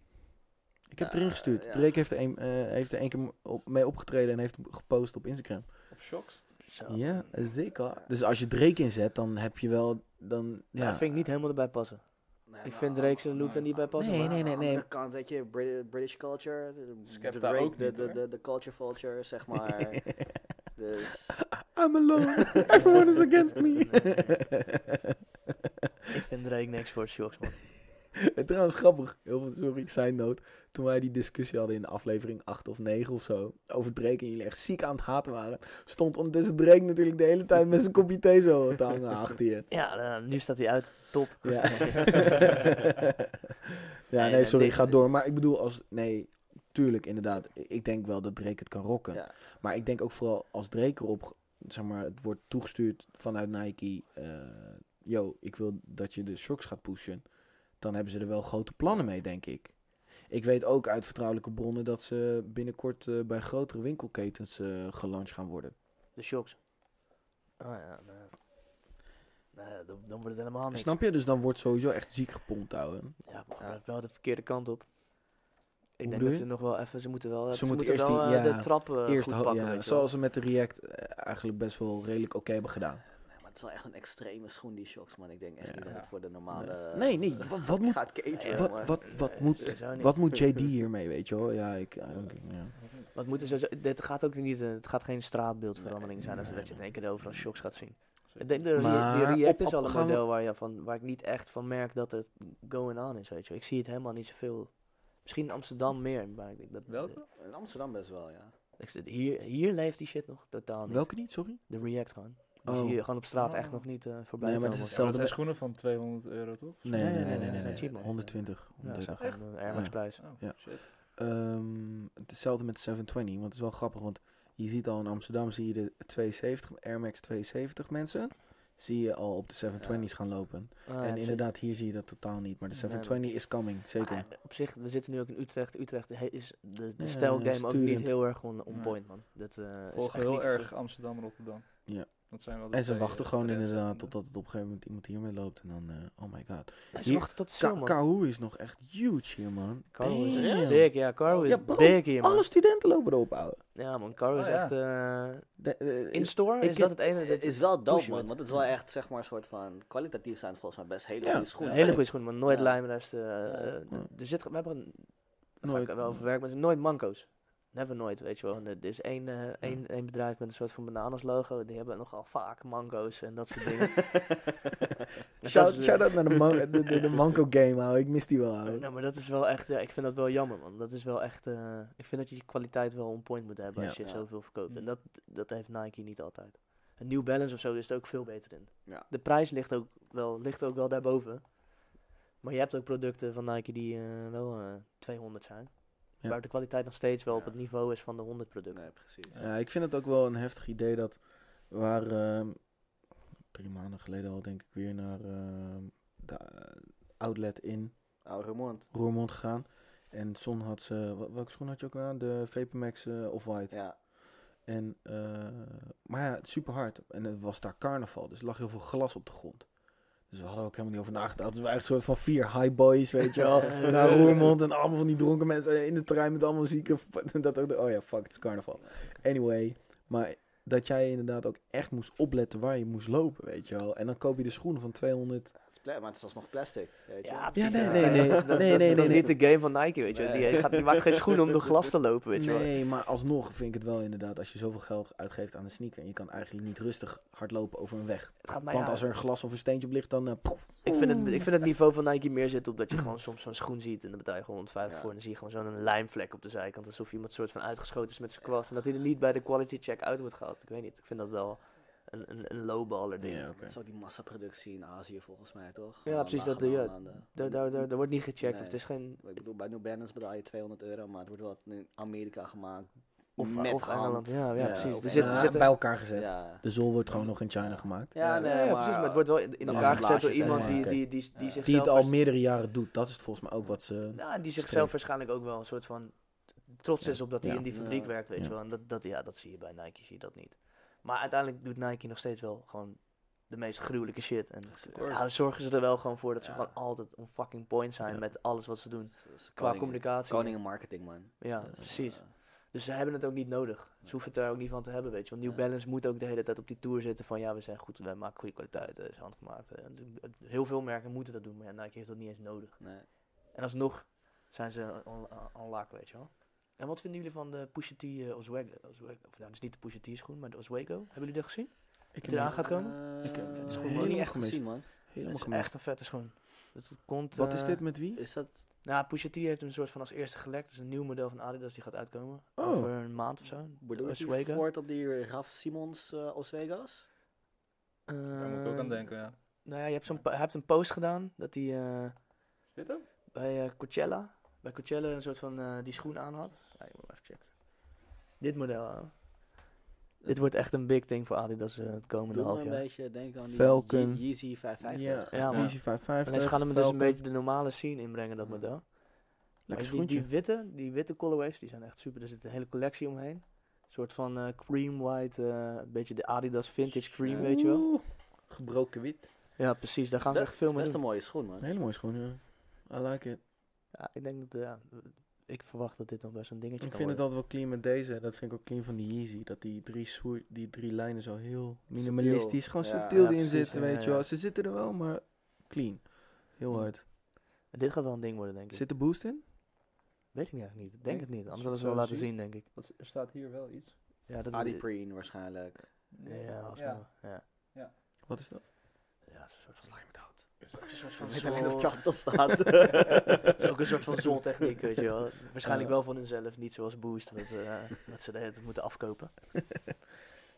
Ik heb
Ja,
erin gestuurd.
ja.
Drake heeft er, een, eh, heeft er een keer op, mee opgetreden en heeft hem gepost op Instagram.
Op shocks.
Zo.
Ja, zeker. Dus als je Drake inzet, dan heb je wel... Dan,
Ja,
ja.
dat vind ik niet helemaal erbij passen.
Nee,
Ik
maar
vind
aan-
Drake zijn
aan-
look er niet bij
aan-
passen,
Nee,
maar
nee, nee,
Aan de andere
nee.
kant, weet je, Brit- British culture, de- de,
Skepta
Drake-
ook
de,
niet,
de,
hoor.
de, de culture vulture, zeg maar. dus,
I'm alone. Everyone is against me.
Ik vind Drake niks voor shocks, man.
En trouwens, grappig. Heel veel, sorry, side note. Toen wij die discussie hadden in aflevering 8 of 9 of zo. Over Drake en jullie echt ziek aan het haten waren. Stond ondertussen Drake natuurlijk de hele tijd met zijn kopje thee zo te hangen achter je.
Ja, nou, nu staat hij uit. Top.
Ja. ja,
Nee,
nee,
nee,
sorry,
dit-
ga door. Maar ik bedoel, als. Nee, tuurlijk, inderdaad. I- Ik denk wel dat Drake het kan rocken.
ja.
Maar ik denk ook vooral als Drake erop. Zeg maar, het wordt toegestuurd vanuit Nike. eh, yo, ik wil dat je de shocks gaat pushen. Dan hebben ze er wel grote plannen mee, denk ik. Ik weet ook uit vertrouwelijke bronnen dat ze binnenkort eh, bij grotere winkelketens eh gelanceerd gaan worden.
De shocks. Oh ja, nee. Nee, dan, dan wordt het helemaal niks.
Snap je? Dus dan wordt sowieso echt ziek gepompt, ouwe.
Ja, maar het gaat wel de verkeerde kant op. Ik denk
bedoel
dat
je?
ze nog wel even, ze moeten wel, ze
Ze
moeten
moeten eerst
wel
die-
eh,
ja,
de trappen eh,
eerst
goed
ho-
pakken.
ja,
weet je wel.
zoals ze met de React eh, eigenlijk best wel redelijk oké hebben gedaan.
Nee, maar het is wel echt een extreme schoen, die shocks, man. Ik denk echt
Ja.
niet dat het voor de normale...
Nee, nee, nee, wat, wat moet,
Gaat cateren,
eh, Ja,
wat,
man.
wat, wat,
Nee,
moet,
sowieso Eh, niet.
wat moet JD hiermee, weet je wel? Ja, ik... I don't care, ja.
Wat moeten ze, dit gaat ook niet, eh, het gaat geen straatbeeldverandering zijn als
nee,
dat je in één keer overal shocks gaat zien.
Zeker.
Ik denk de, re- die
Maar
React
op-
is al een
gaan we-
model waar, je van, waar ik niet echt van merk dat er going on is, weet je wel. Ik zie het helemaal niet zoveel. Misschien in Amsterdam meer, maar ik denk dat...
Welke?
In Amsterdam best wel, ja.
ik zit- hier, hier leeft die shit nog totaal niet.
Welke niet, sorry?
De React gewoon. Dus
Oh.
hier gewoon op straat echt
Oh.
nog niet eh, voorbij
Nee, maar
komen.
dat is
Ja, maar
hetzelfde
dat zijn
bij-
schoenen van 200 euro, toch?
Nee, nee, nee, nee, nee,
nee,
nee,
cheap, man.
120.
Ja, dat
130.
zijn gewoon een Air Max
eh, Ja.
prijs.
Oh,
Ja.
shit.
Ehm, hetzelfde met 720, want het is wel grappig, want je ziet al in Amsterdam zie je de 72, Air Max 72 mensen, zie je al op de 720's gaan lopen.
Ah, ja,
en
precies.
inderdaad, hier zie je dat totaal niet, maar de
Nee, maar-
720 is coming, zeker.
Maar ah, op zich, we zitten nu ook in Utrecht. Utrecht he- is de, de
Ja,
stijlgame ook niet
sturend.
heel erg on, on
Nee.
point, man. Dat, eh is
Volgen
echt
heel
niet
erg
veel.
Amsterdam en Rotterdam.
Ja.
Dat zijn wel de
En ze
twee,
wachten
eh,
gewoon
trends.
inderdaad totdat het op een gegeven moment iemand hiermee loopt. En dan, eh, oh my god.
Nee, Ze
Hier-
wachten tot zo,
Ka-
man.
Kahoe is nog echt huge hier, man.
Caro is
Damn.
echt dik, ja. Caro is
Ja, bro,
dik hier, man.
Alle studenten lopen erop, ouwe.
Ja, man. Caro is
Oh, ja.
echt... eh,
De- eh,
in store
ik
is
heb-
dat het ene...
Het
Dat
is wel dope,
pushen
man.
wat.
Want het is wel echt, zeg maar, een soort van... Kwalitatief zijn het volgens mij best hele
Ja,
goede schoenen.
een hele goede schoen, man. Nooit
Ja.
lijmrest. eh,
Ja.
eh, d-
Ja.
Er zit... We hebben een... Daar ga
Nooit-
ik wel over werken, maar er zijn nooit manco's. hebben we nooit, weet je wel. En Er is één, eh, één, één bedrijf met een soort van bananenslogo. Die hebben nogal vaak mango's en dat soort dingen. En dat
Shout,
is, eh,
shout out naar de, man- de, de, de Manco game, ouwe. Ik mis die wel, ouwe.
Nou, maar dat is wel echt, ja, ik vind dat wel jammer, man. Dat is wel echt, eh, ik vind dat je je kwaliteit wel on point moet hebben als
Ja.
je
Ja.
zoveel verkoopt. En
Hm.
dat, dat heeft Nike niet altijd. Een New Balance of zo is er ook veel beter in.
Ja.
De prijs ligt ook, wel, ligt ook wel daarboven. Maar je hebt ook producten van Nike die eh, wel eh, 200 zijn.
Ja.
Waar de kwaliteit nog steeds wel op
Ja.
het niveau is van de 100 producten.
Nee, precies.
Ja, ik vind het ook wel een heftig idee dat waar ehm, drie maanden geleden al denk ik weer naar ehm, de eh, outlet in
Oude mond.
Roermond gegaan. En Son had ze, wa- welke schoen had je ook aan? De Vapamax eh Off-White.
Ja.
En, eh, maar ja, super hard. En het was daar carnaval, dus er lag heel veel glas op de grond. Dus we hadden ook helemaal niet over nagedacht. Dus we waren echt soort van vier high boys, weet je wel. naar Roermond en allemaal van die dronken mensen in de trein met allemaal zieken. En dat ook, oh ja, fuck, het is carnaval. Anyway, maar dat jij inderdaad ook echt moest opletten waar je moest lopen, weet je wel. En dan koop je de schoenen van 200.
Het is pla- maar het is alsnog plastic. Weet je.
Ja,
wel.
precies.
nee,
dat- dat-
nee, nee.
dat is- dat-
Nee,
dat-
nee,
Dat is
nee,
niet de game van Nike, weet je wel. Die,
Nee.
gaat, die maakt geen schoenen om door glas te lopen, weet je wel.
Nee, maar alsnog vind ik het wel inderdaad, als je zoveel geld uitgeeft aan een sneaker... en je kan eigenlijk niet rustig hardlopen over een weg.
Het gaat mij
Want
aan.
als er een glas of een steentje op ligt, dan... eh, poef.
Ik vind, het, ik vind het niveau van Nike meer zitten op dat je gewoon soms zo'n schoen ziet en dan betaal je gewoon 150
Ja.
voor en dan zie je gewoon zo'n lijmvlek op de zijkant alsof iemand soort van uitgeschoten is met zijn kwast en dat hij er niet bij de quality check uit wordt gehaald. Ik weet niet, ik vind dat wel een, een, een lowballer ding.
Ja, oké.
Het is ook die massaproductie in Azië volgens mij, toch?
Ja, precies, dat-
doe
ja,
je.
Daar, daar, daar, daar wordt niet gecheckt of
Nee.
het is geen...
Ik bedoel, bij New Balance betaal je 200 euro, maar het wordt wel in Amerika gemaakt.
Of,
met
of
hand.
Engeland, ja, ja,
Ja,
precies.
of
Er zit, er
Engeland.
zit
bij elkaar gezet.
Ja,
De zool wordt gewoon nog in China gemaakt.
ja nee,
Dus, eh, ja,
maar,
precies, maar het wordt wel in, in
dat
elkaar
is
gezet door
blaadjes,
iemand
ja,
die,
oké.
die, die, die,
Ja.
zichzelf...
Die het al
waarsch-
meerdere jaren doet. Dat is volgens mij ook wat ze...
Ja, Nou, en die
streeft.
zichzelf waarschijnlijk ook wel een soort van trots is op dat hij
Ja.
in die fabriek
Ja.
werkt, weet
Ja.
je wel. En dat, dat, ja, dat zie je bij Nike, zie je dat niet. Maar uiteindelijk doet Nike nog steeds wel gewoon de meest gruwelijke shit. En
Of course.
ja, zorgen ze er wel gewoon voor dat ze
Ja.
gewoon altijd on fucking point zijn
Ja.
met alles wat ze doen.
het is
Qua
koning-
communicatie.
Koning en marketing, man.
Ja,
Dus,
precies.
eh,
Dus ze hebben het ook niet nodig. Ze hoeven het daar ook niet van te hebben, weet je. Want New
Ja.
Balance moet ook de hele tijd op die tour zitten van... ja, we zijn goed, we maken goede kwaliteit, het is handgemaakt. eh. Heel veel merken moeten dat doen, maar ja, Nike heeft dat niet eens nodig.
nee.
En alsnog zijn ze on, on, on lak, weet je wel. En wat vinden jullie van de Pusha T eh, Oswego? Oswego- Of nou, dus niet de Pusha T schoen, maar de Oswego. Hebben jullie dat gezien?
Ik
Die eraan gaat komen?
Eh,
Ik heb het
dat
helemaal
is gewoon nog niet echt
gemist.
gezien, man.
Dat
helemaal
is
gemist.
echt een vette schoen. Dat komt,
Wat is
eh,
dit met wie?
Is dat...
Nou, Pusha T heeft hem een soort van als eerste gelekt. Dat is een nieuw model van Adidas, die gaat uitkomen.
Oh.
Over een maand of zo. De
Bedoel je
Oswego.
voort op die Raf Simons eh Oswego's?
Daar moet ik ook aan
Ehm,
denken, ja.
Nou ja, je hebt, zo'n, po- hij hebt een post gedaan dat hij eh,
Is dit hem?
bij eh, Coachella, bij Coachella een soort van eh, die schoen aan had. Ja, ik moet hem even checken. Dit model aan. Dit wordt echt een big thing voor Adidas eh, het komende
Doe me
half
een
jaar.
beetje denken aan die
Falcon.
Ye- Yeezy 550.
Ja, man.
Easy 550.
Alleen ze gaan hem dus een
Falcon.
beetje de normale scene inbrengen, dat
Ja.
model. Maar
Lekker
die, die
schoentje.
witte, die witte colorways, die zijn echt super. Er zit een hele collectie omheen. Een soort van eh, cream white, eh, een beetje de Adidas vintage cream,
Ja.
weet je wel.
Oeh, Gebroken wit.
Ja, precies. Daar gaan ze
Dat
echt veel
is
mee
best een
doen.
mooie schoen, man.
Een hele mooie schoen, ja. I like it.
Ja, ik denk dat, eh, ja, ik verwacht dat dit nog best een dingetje
Ik
kan
vind het
worden.
altijd wel clean met deze. Dat vind ik ook clean van die Yeezy. Dat die drie, soer- die drie lijnen zo heel minimalistisch, gewoon
Ja,
subtiel
ja,
erin
precies,
zitten,
ja,
weet
ja,
je wel.
ja.
Ze zitten er wel, maar clean. Heel
Hm.
hard.
Dit gaat wel een ding worden, denk ik.
Zit de boost in?
Weet ik eigenlijk niet. Ik Denk
Ik
het niet. Anders
zou
hadden ze
het
wel laten
zien.
zien, denk ik.
Wat, er staat hier wel iets.
Ja, dat
Adi
is
Preen waarschijnlijk.
Ja, was
Ja.
wel- ja.
Wat is dat?
Ja, het is een soort van met hout.
Ik weet alleen dat plant op staat.
Het is ook een soort van zoltechniek, weet je wel. Waarschijnlijk
Ja.
wel van hunzelf, niet zoals Boost, dat, eh, dat ze de hele tijd moeten afkopen.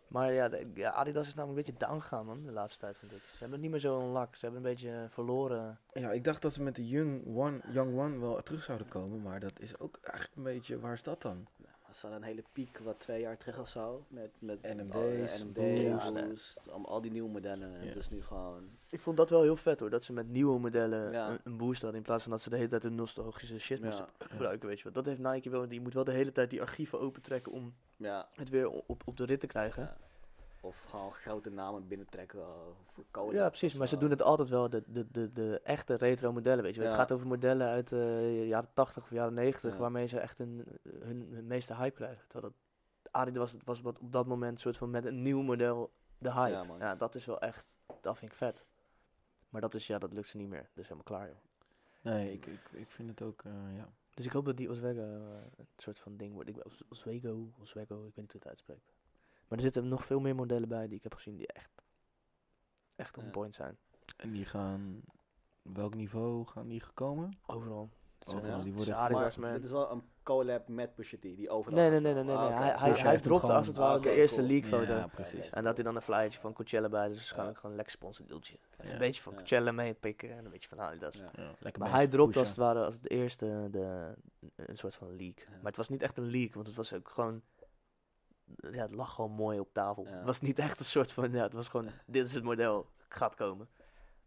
Maar ja, de- ja, Adidas is namelijk een beetje down gegaan, man, de laatste tijd, vind ik. Ze hebben het niet meer zo een lak. Ze hebben een beetje verloren.
Ja, ik dacht dat ze met de Young One, young one wel terug zouden komen, maar dat is ook eigenlijk een beetje, waar is dat dan?
Ze hadden een hele piek, wat twee jaar terug of zo. Met, met
NMD's,
al de
Boost.
NMD's, Boost, al, al die nieuwe modellen. En
Ja.
Dus nu gewoon...
Ik vond dat wel heel vet, hoor. Dat ze met nieuwe modellen
Ja.
een, een Boost hadden. In plaats van dat ze de hele tijd hun nostalgische shit moesten
Ja,
gebruiken, weet je wel. Dat heeft Nike wel. Die moet wel de hele tijd die archieven opentrekken om
ja.
het weer o- op, op de rit te krijgen.
Ja. Eh, Of gewoon grote namen binnentrekken eh, voor code.
Ja, precies. Maar ze doen het altijd wel, de, de, de, de echte retro modellen, weet je. wel. Het
Ja.
gaat over modellen uit de jaren 80 of jaren 90,
Ja.
waarmee ze echt hun, hun, hun meeste hype krijgen. Terwijl dat, Adidas was, was wat op dat moment soort van met een nieuw model de hype.
Ja,
Ja,
man.
dat is wel echt, dat vind ik vet. Maar dat is, ja, dat lukt ze niet meer. Dat is helemaal klaar, joh.
Nee, ik, ik, ik vind het ook, eh, ja.
Dus ik hoop dat die Oswego eh, een soort van ding wordt. Ik, ben- Os- Oswego, Oswego, ik weet niet hoe het uitspreekt. Maar er zitten nog veel meer modellen bij die ik heb gezien die echt, echt on
Ja.
point zijn.
En die gaan... Welk niveau gaan die gekomen?
Overal. Het is,
Oh,
eh,
Overal,
het
die
is
worden echt
Adidas,
Maar
man.
dit is wel een collab met Pusha T, die overal...
Nee, nee,
gaat
nee, nee,
komen.
nee.
Ah,
nee. Hij,
oké.
hij,
Dus je
hij
heeft hem
dropte als
gewoon-
het ware
Ah,
de
oké,
eerste
cool.
leakfoto.
Ja, precies.
En dat hij dan een flyertje van Coachella bij, dus waarschijnlijk gewoon een lekker sponsordeeltje. Even
Ja.
Een beetje van
Ja.
Coachella meepikken en een beetje van Adidas.
Ja.
Ja, lekker
Maar
bezig,
hij dropte als
Pusha.
het ware als het eerste de, een soort van leak.
Ja.
Maar het was niet echt een leak, want het was ook gewoon... Ja, het lag gewoon mooi op tafel.
Ja.
Het was niet echt een soort van... Ja, het was gewoon, dit is het model, gaat komen.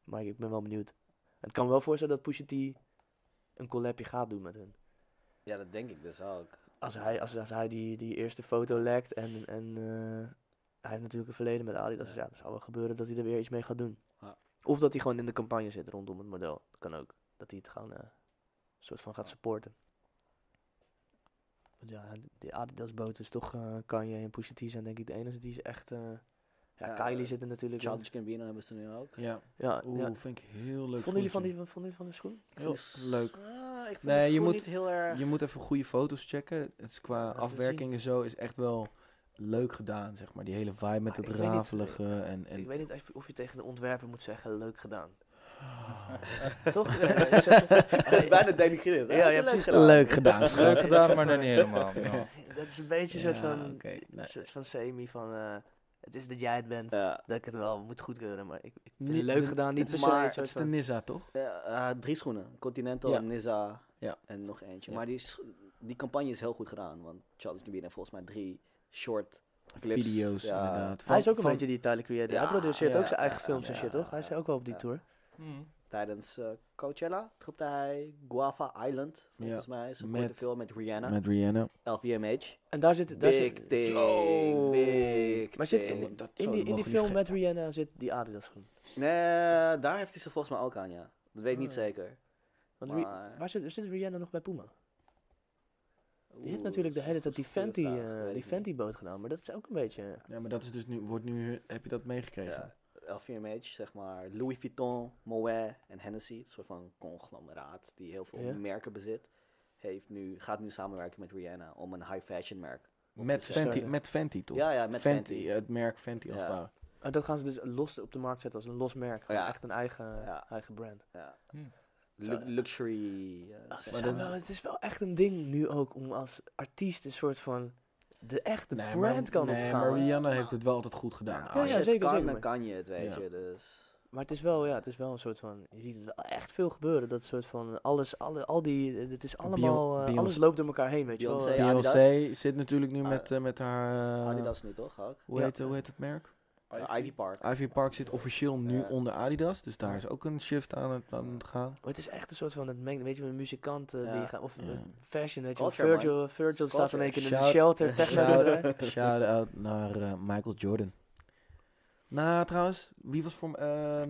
Maar ik ben wel benieuwd. Het kan me wel voorstellen dat Pusha T een collabje gaat doen met hun.
Ja, dat denk ik dus ook.
Als hij, als, als hij die, die eerste foto lekt en... en eh, hij heeft natuurlijk een verleden met Adidas. Dus ja, het zou wel gebeuren dat hij er weer iets mee gaat doen.
Ja.
Of dat hij gewoon in de campagne zit rondom het model. Dat kan ook. Dat hij het gewoon eh, een soort van gaat supporten. Want ja, die Adidas boot is toch eh Kanye en Pusha T zijn denk ik de enige die ze echt... eh, ja,
Ja,
Kylie
eh,
zit er natuurlijk in.
Childish Gambino hebben ze nu ook.
Ja,
Ja,
oeh,
ja.
vind ik heel leuk.
Vonden jullie van die,
schoentje.
vonden jullie van de schoen?
Ik vind
Heel
die
leuk.
s- ah, ik vind
Nee,
nee,
je
je
moet-
niet heel erg...
Je moet even goede foto's checken. Het is qua
laten we
afwerking en zo is echt wel leuk gedaan, zeg maar. Die hele vibe met
Ah,
het
ik weet niet,
rafelige en... en
Ik weet niet of je, of je tegen de ontwerper moet zeggen, leuk gedaan.
Ah,
Toch? Eh, zeg-
Het is bijna denigrerend.
Ja, ja, precies.
leuk gedaan,
is leuk
schat.
gedaan, maar nog niet helemaal. ja.
dat is een beetje een soort
Ja,
van...
oké, nee.
Een soort van semi van... eh, het is dat jij het bent.
Ja,
Dat ik het wel moet goedkeuren, maar ik, ik vind
Niet-
het leuk
de-
gedaan.
het
Niet
is
maar
maar
een
het
soort
is de
van-
Nizza, toch?
eh, eh, drie schoenen. Continental,
Ja.
Nizza
Ja.
en nog eentje.
Ja.
Maar die, is- die campagne is heel goed gedaan. Want Childish Gambino heeft volgens mij drie short clips.
Video's,
Ja.
inderdaad.
hij is ook een
van-
beetje die Tyler Creator.
Ja,
hij produceert
ja,
ook zijn eigen
ja,
films en
ja,
shit, toch? Hij is
ja,
ook wel op die
ja.
tour.
Hmm.
Tijdens eh, Coachella dropte hij Guava Island, volgens mij. Ze
Met-
met, veel met Rihanna.
Met Rihanna.
LVMH.
En daar zit... Daar
Big
zit
thing,
Zo.
big
maar zit in,
thing.
in
Oh, dat
die,
zou-
in
mogen
die
niet
film
vergeten.
met Rihanna zit die Adidas schoen.
Nee, daar heeft hij ze volgens mij ook aan, ja. Dat weet ik niet
Ah.
zeker.
Want Ri-
Maar-
waar zit, zit Rihanna nog bij Puma? Die heeft
Oeh,
natuurlijk de
dat
hele
is een
tijd die
goede
Fenty,
vraag,
eh,
weet ik
die
niet.
Fenty boot gedaan. Maar dat is ook een beetje...
Ja, maar dat is dus nu, wordt nu, heb je dat meegekregen?
Ja, LVMH, zeg maar Louis Vuitton, Moet en Hennessy, een soort van conglomeraat die heel veel
Ja.
merken bezit, heeft nu, gaat nu samenwerken met Rihanna om een high fashion merk. op
Met,
te zetten.
Fenty,
starten.
met Fenty, toch?
Ja, ja, met Fenty.
Het merk Fenty als
Ja.
het ware.
En dat gaan ze dus los op de markt zetten als een los merk.
Ja.
Echt een eigen,
Ja.
eigen brand.
Ja.
Hm.
Lu- luxury. eh,
Ach, ze
zeg
zijn
dat
maar.
wel- het is wel echt een ding nu ook om als artiest een soort van de echte
Nee, maar-
brand kan
nee,
opgaan.
maar
Maar,
Rihanna heeft het wel altijd goed gedaan.
Ja,
ja,
als je het
zeker,
kan,
zeker,
dan
maar-
kan je het, weet
Ja.
je. Dus.
het is wel, ja, het is wel een soort van, je ziet het wel echt veel gebeuren. Dat soort van alles, alle, al die, eh, het is allemaal, eh,
Beyon-
alles loopt door elkaar heen, weet je wel.
Beyoncé,
Ja,
ja.
Beyoncé
Adidas.
zit natuurlijk nu
Ah,
met, eh, met haar... eh,
Adidas nu toch ook?
Hoe,
Ja.
heet, hoe heet het merk?
Eh, ID Park.
Ivy Park zit officieel nu
Ja.
onder Adidas. Dus daar is ook een shift aan het, aan het gaan.
Maar het is echt een soort van, het mengen, weet je wel, muzikanten die
Ja.
gaan, of eh,
Ja.
fashion, weet je wel.
Culture, man.
Virgil, Virgil staat in
Culture.
één keer in de
Shout-
shelter, techno.
Shout- Shout-out naar eh, Michael Jordan. Nou, trouwens, wie was voor... eh, eh,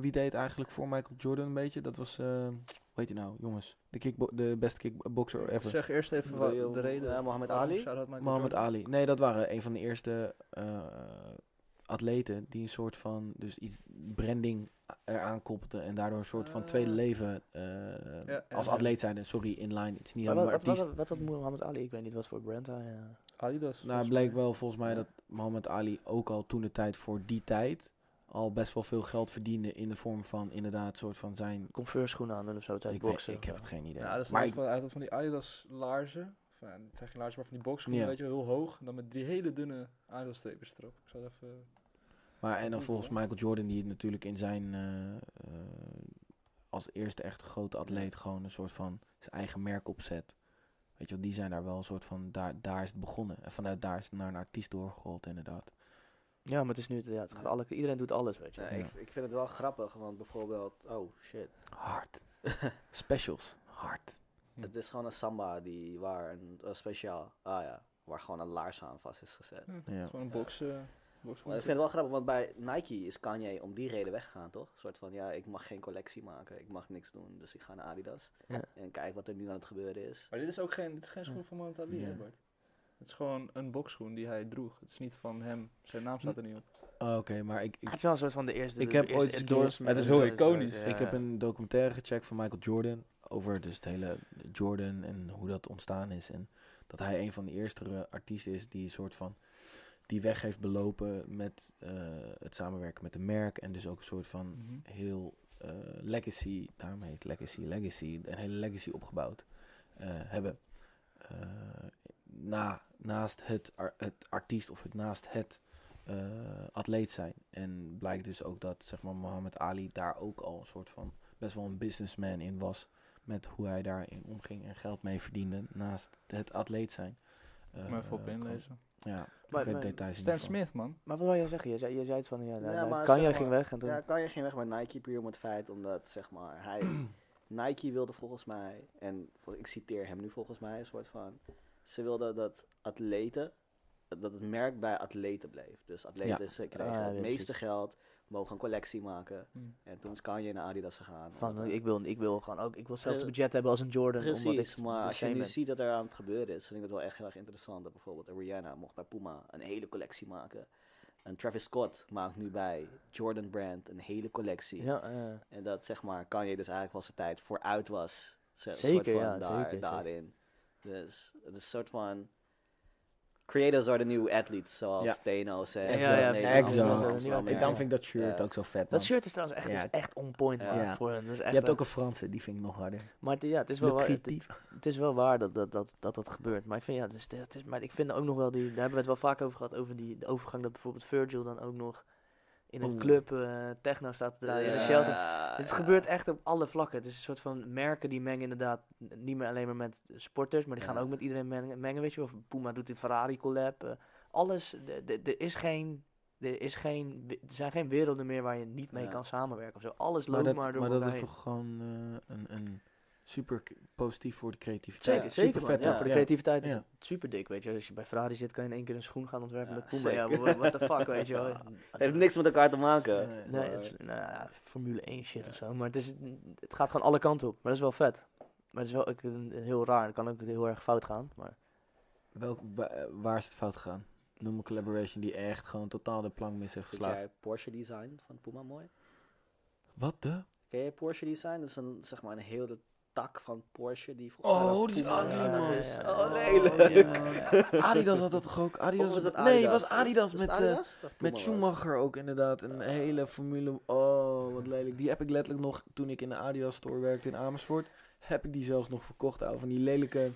wie deed eigenlijk voor Michael Jordan een beetje? Dat was... eh, hoe heet hij nou, jongens? De, kickbo- de beste kickboxer ever.
Zeg eerst even wat
Bedoel je,
de reden.
eh, Mohammed
waarom
Ali?
shout-out Michael
Muhammad
Jordan?
Ali. Nee, dat waren een van de eerste eh, atleten die een soort van dus iets branding eraan koppelden en daardoor een soort van tweede
Ah.
leven eh,
ja,
als
ja.
atleet zeiden. Sorry, inline. Het is niet
Maar wat,
helemaal
wat,
artiest.
wat, wat had Muhammad Ali? Ik weet niet wat voor brand hij... eh,
Adidas.
Nou, het
volgens
bleek
mij.
wel volgens mij dat Muhammad Ali ook al toen de tijd voor die tijd al best wel veel geld verdiende in de vorm van inderdaad soort van zijn.
Converse schoenen aan doen of zo
Ik,
tijdens
weet,
boksen.
ik heb het geen idee.
Ja, dat is
maar
maar
ik,
van, hij had van die Adidas laarzen. Of, ja, het zijn geen laarzen, maar van die boxschoenen,
Ja.
weet je wel, heel hoog. En dan met drie hele dunne Adidas streepjes erop. Ik zal het even...
Maar en dan
Goed,
volgens
hoor.
Michael Jordan, die het natuurlijk in zijn. eh, eh, als eerste echt grote atleet gewoon een soort van zijn eigen merk opzet. Weet je wel, die zijn daar wel een soort van. Daar, daar is het begonnen. En vanuit daar is het naar een artiest doorgerold, inderdaad.
Ja, maar het is nu, ja, het gaat alle, iedereen doet alles, weet je.
Nee, ik, ik vind het wel grappig, want bijvoorbeeld, oh shit.
Hard. Specials. Hard.
Hm.
Het is gewoon een samba die, waar een, een speciaal, ah ja, waar gewoon een laars aan vast is gezet.
Ja.
Gewoon een box, eh
Maar
boxschoen.
ik vind het wel grappig, want bij Nike is Kanye om die reden weggegaan, toch? Een soort van, ja, ik mag geen collectie maken, ik mag niks doen, dus ik ga naar Adidas.
Ja.
En kijk wat er nu aan het gebeuren is.
Maar dit is ook geen, dit is geen schoen van Muhammad Ali, hè,
Ja.
Bart? Het is gewoon een boxschoen die hij droeg. Het is niet van hem. Zijn naam staat er niet op.
Oh, Oké, maar ik, ik,
het is wel een soort van de eerste.
Ik
de
heb
eerste
ooit eens een keer-
endorsement
het is
en
heel
zo, dus,
iconisch.
ja.
ik heb een documentaire gecheckt van Michael Jordan over dus het hele Jordan en hoe dat ontstaan is. En dat hij een van de eerste eh, artiesten is die een soort van die weg heeft belopen met eh, het samenwerken met de merk. En dus ook een soort van
Mm-hmm.
heel eh, legacy, daarom heet het legacy, legacy, een hele legacy opgebouwd eh, hebben. Eh, na, naast het, ar- het artiest of het, naast het eh, atleet zijn. En blijkt dus ook dat zeg maar, Mohammed Ali daar ook al een soort van best wel een businessman in was. Met hoe hij daarin omging en geld mee verdiende naast het atleet zijn. Eh,
maar even op
kan-
inlezen.
Ja,
Maar-
ik weet
maar
details niet
Stan
van.
Smith, man.
Maar wat wil je zeggen? Je zei, je zei iets van, ja, nou,
Ja,
nou,
maar
Kanye
zeg
ging
maar-
weg en toen...
Ja, kan je geen weg met Nike puur om het feit omdat zeg maar hij Nike wilde volgens mij en vol- ik citeer hem nu volgens mij een soort van ze wilde dat atleten dat het merk bij atleten bleef. Dus atleten ze kregen
Ah, ja,
het
ja,
meeste geld, mogen een collectie maken
Mm.
en toen is Kanje naar Adidas gegaan.
Hmm. Van,
omdat-
eh, ik wil, ik wil gewoon ook, ik wil hetzelfde
Eh,
budget hebben als een Jordan. omdat
Precies,
ik
maar
de
als je
same
nu
ben.
ziet dat er aan het gebeuren is, vind ik het wel echt heel erg interessant. Dat bijvoorbeeld Rihanna mocht bij Puma een hele collectie maken. En Travis Scott maakt nu bij Jordan Brand een hele collectie.
Ja, eh,
En dat zeg maar Kanye dus eigenlijk wel zijn tijd vooruit was. Zo-
Zeker,
soort van
ja,
daar,
zeker,
Daarin. Dus het is een soort van... Creators are the new athletes, zoals
Ja.
Steno zegt.
Ja,
zo
ja,
Nederlands,
exact.
Nederlands,
Ik
Nederlands.
Ik, daarom vind ik dat shirt
Ja.
ook zo vet, man.
dat shirt is trouwens echt,
Ja.
is echt on point
Ja.
man,
Ja.
voor hen. Dat is echt
Je hebt
waar.
ook een Franse, die vind ik nog harder.
Maar het- ja, het is wel waar, het, het is wel waar dat dat, dat, dat dat gebeurt. Maar ik vind, ja, het is, het is, maar ik vind ook nog wel, die, daar hebben we het wel vaak over gehad, over die de overgang dat bijvoorbeeld Virgil dan ook nog in een
Oeh.
club eh, techno staat te draaien in een
Ja,
shelter.
ja.
Het gebeurt echt op alle vlakken. Het is een soort van merken die mengen inderdaad n- niet meer alleen maar met sporters, maar die gaan
Ja.
ook met iedereen mengen. mengen weet je wel, Puma doet een Ferrari collab. eh, alles, de- de- er is geen, er is geen, we- er zijn geen werelden meer waar je niet mee
Ja.
kan samenwerken of zo. Alles
Maar
loopt maar,
dat,
door
maar dat
elkaar
is
heen.
toch gewoon eh, een, een super k- positief voor de creativiteit.
Zeker,
Ja,
zeker.
Super
man.
vet
ja,
ook,
voor de
ja.
creativiteit is
Ja.
het super dik, weet je. Als je bij Ferrari zit, kan je in één keer een schoen gaan ontwerpen
Ja,
met Puma. Ja,
zeker.
wha- what the fuck, weet je wel.
Ja. heeft niks met elkaar te maken.
Nee.
Nee,
Maar-
het is nou, ja, Formule 1 shit
Ja.
of zo. Maar het, is, het gaat gewoon alle kanten op. Maar dat is wel vet. Maar het is wel ook een- een heel raar. Het kan ook heel erg fout gaan. Maar
Welk, wa- eh, waar is het fout gegaan? Noem een collaboration die echt gewoon totaal de plank mis heeft
Vind
geslagen.
jij Porsche Design van Puma mooi?
Wat de?
Ken je Porsche Design? Dat is een, zeg maar een hele tak van Porsche die volgens mij
Oh,
dan
dat is
Puma-
ugly,
Ja,
man.
is
Ja,
zo
ja, ja.
Oh,
lelijk.
Adidas had dat toch ook? Adidas
Of was dat
Nee, het was
Is-
Adidas
is
met,
het
eh,
Adidas? Dat Puma
met
was.
Schumacher ook inderdaad. Een hele formule... Oh, wat lelijk. Die heb ik letterlijk nog, toen ik in de Adidas store werkte in Amersfoort, heb ik die zelfs nog verkocht. Ouwe, van die lelijke...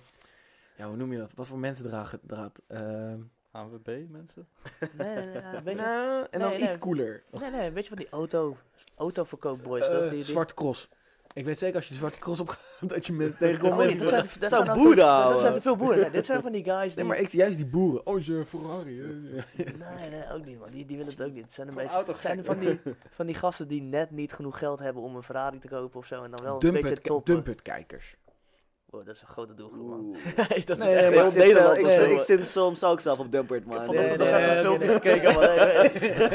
Ja, hoe noem je dat? Wat voor mensen dragen draad? Ehm
ANWB, mensen.
nee, nee, nee, weet je,
nou, en dan
nee,
iets
nee.
cooler.
nee, nee, weet je van die auto, autoverkoopboys, toch?
Oh. Eh,
Die, die,
zwarte cross. Ik weet zeker als je de zwarte cross opgaat dat je mensen
Oh,
tegenkomt.
nee,
met die
dat zijn, dat
Zou
zijn al
boeren,
te,
ouwe.
Dat zijn te veel boeren. Nee, dit zijn van die guys die...
Nee, maar ik zie juist die boeren. Oh, is je Ferrari. hè?
nee, nee, ook niet, man. Die, die willen het ook niet. Het zijn een
Gewoon
beetje... Het zijn van die,
autogek.
van die gasten die net niet genoeg geld hebben om een Ferrari te kopen of zo. En dan wel een beetje
Dumpet,
toppen.
dumpet kijkers.
Wow, dat is een grote doelgroep, man.
Oeh.
dat
Nee,
is echt
nee, maar
heel
Ik, zit,
Nederland.
zelf- ik,
man.
zit- ik zit soms ook zelf op Dumpert, man.
Van nee,
nee,
nee,
nee,
nee,
nee,
filmpje
nee.
gekeken, man.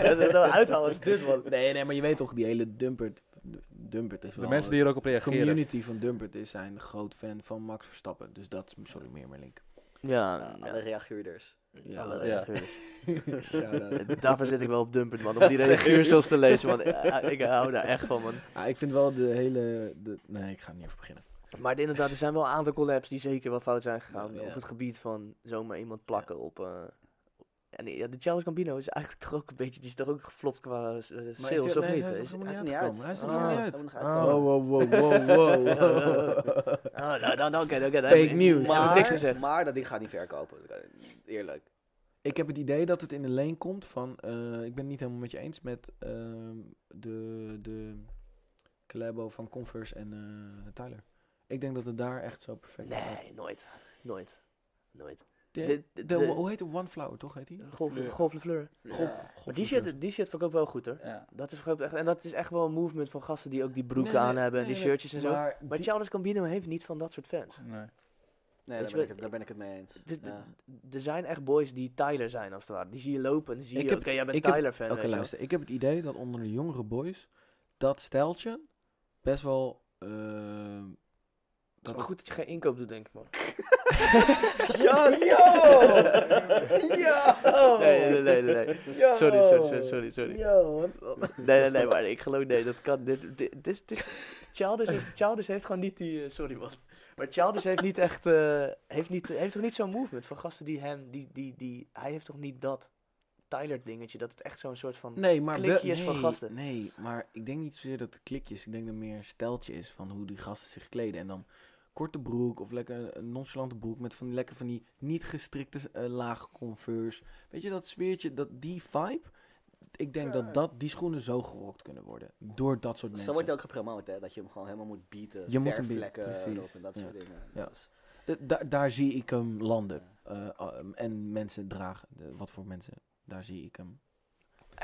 Dat we nou uithalen is dit, man.
Nee, nee, maar je weet toch, die hele Dumpert. Dumpert is
De
wel.
mensen die hier ook op
de
reageren.
community van Dumpert is zijn groot fan van Max Verstappen. Dus dat is sorry meer mijn link.
Ja,
Ja, alle reageerders.
Ja,
Ja.
shout-out.
Daarvoor zit ik wel op Dumpert, man. Om die reageurcels te lezen, man. Ja, Ik hou daar echt van, man.
Ah, ik vind wel de hele. De, nee, ik ga er niet over beginnen.
Maar inderdaad, er zijn wel een aantal collabs die zeker wel fout zijn gegaan.
Ja.
Op het gebied van zomaar iemand plakken op... eh, en ja, de Charles Gambino is eigenlijk toch ook een beetje... Die is toch ook geflopt qua eh, sales,
Maar is die-
of
nee,
niet?
hij is
Is-
nog helemaal
Hij
niet
is
uitgekomen. Hij is er nog
Ah. Ah.
helemaal niet uit.
Hij is er nog niet
Oh, wow, wow, wow, wow.
Oh, nou, dan, dan, oké, oké, dan-
Fake news.
Maar,
heb
Maar,
niks gezegd.
maar dat ding gaat niet verkopen. Eerlijk.
Ik heb het idee dat het in de leen komt van. eh, ik ben het niet helemaal met je eens met ehm, de, de collabo van Converse en eh, Tyler. Ik denk dat het daar echt zo perfect op gaat.
Nee, nooit. Nooit. Nooit.
De,
De- de-
de-
de-
hoe heet het? One Flower, toch heet die?
Golf,
Fleur.
golf Fleur.
Golf-
Maar
golf-
die shit, die shit verkoopt wel goed hoor.
Ja.
Dat is verkoopt echt. En dat is echt wel een movement van gasten die ook die broeken
Nee, nee,
aan hebben en
nee,
die
nee,
shirtjes en zo.
Maar,
Maar
die- Oh,
Charles Gambino heeft niet van dat soort fans.
Nee.
Nee,
Weet
daar
je
ben, ik
wat-
het, daar ben ik het mee eens.
D- d-
Ja.
d- Er zijn echt boys die Tyler zijn als het ware. Die zie je lopen en dan zie
Ik
je,
heb-
oké, jij bent
ik heb-
Tyler-fan.
Oké,
weet je wel.
luister. Ik heb het idee dat onder de jongere boys dat steltje best wel eh,
Het is maar goed dat je geen inkoop doet, denk ik, man.
Ja, yo! Yo!
Nee, nee, nee, nee. nee.
Yo!
Sorry, sorry, sorry, sorry, sorry.
Yo, wat-
Nee, nee, nee, maar ik geloof, nee, dat kan. Dit, dit, dit, dit, Childers, heeft, Childers heeft gewoon niet die, eh, sorry was. Maar Childers heeft niet echt, eh, heeft, niet, heeft toch niet zo'n movement van gasten die hem, die, die, die, hij heeft toch niet dat Tyler dingetje, dat het echt zo'n soort van...
Nee, maar wel-
Klikjes
nee,
van gasten.
Nee, maar ik denk niet zozeer dat het klikjes. Ik denk dat het meer een steltje is van hoe die gasten zich kleden. En dan korte broek of lekker een nonchalante broek met van die lekker van die niet gestrikte eh, lage converse. Weet je, dat sfeertje, dat, die vibe. Ik denk dat, dat die schoenen zo gerokt kunnen worden door dat soort
Zo
mensen.
wordt hij ook gepromoot, hè? Dat je hem gewoon helemaal moet bieten.
Je moet hem bieten,
verfvlekken
precies,
erop en dat
ja.
soort dingen.
Ja.
Dus,
Da- daar- daar zie ik hem landen.
ja.
Eh, ah, en mensen dragen, de- wat voor mensen, daar zie ik hem.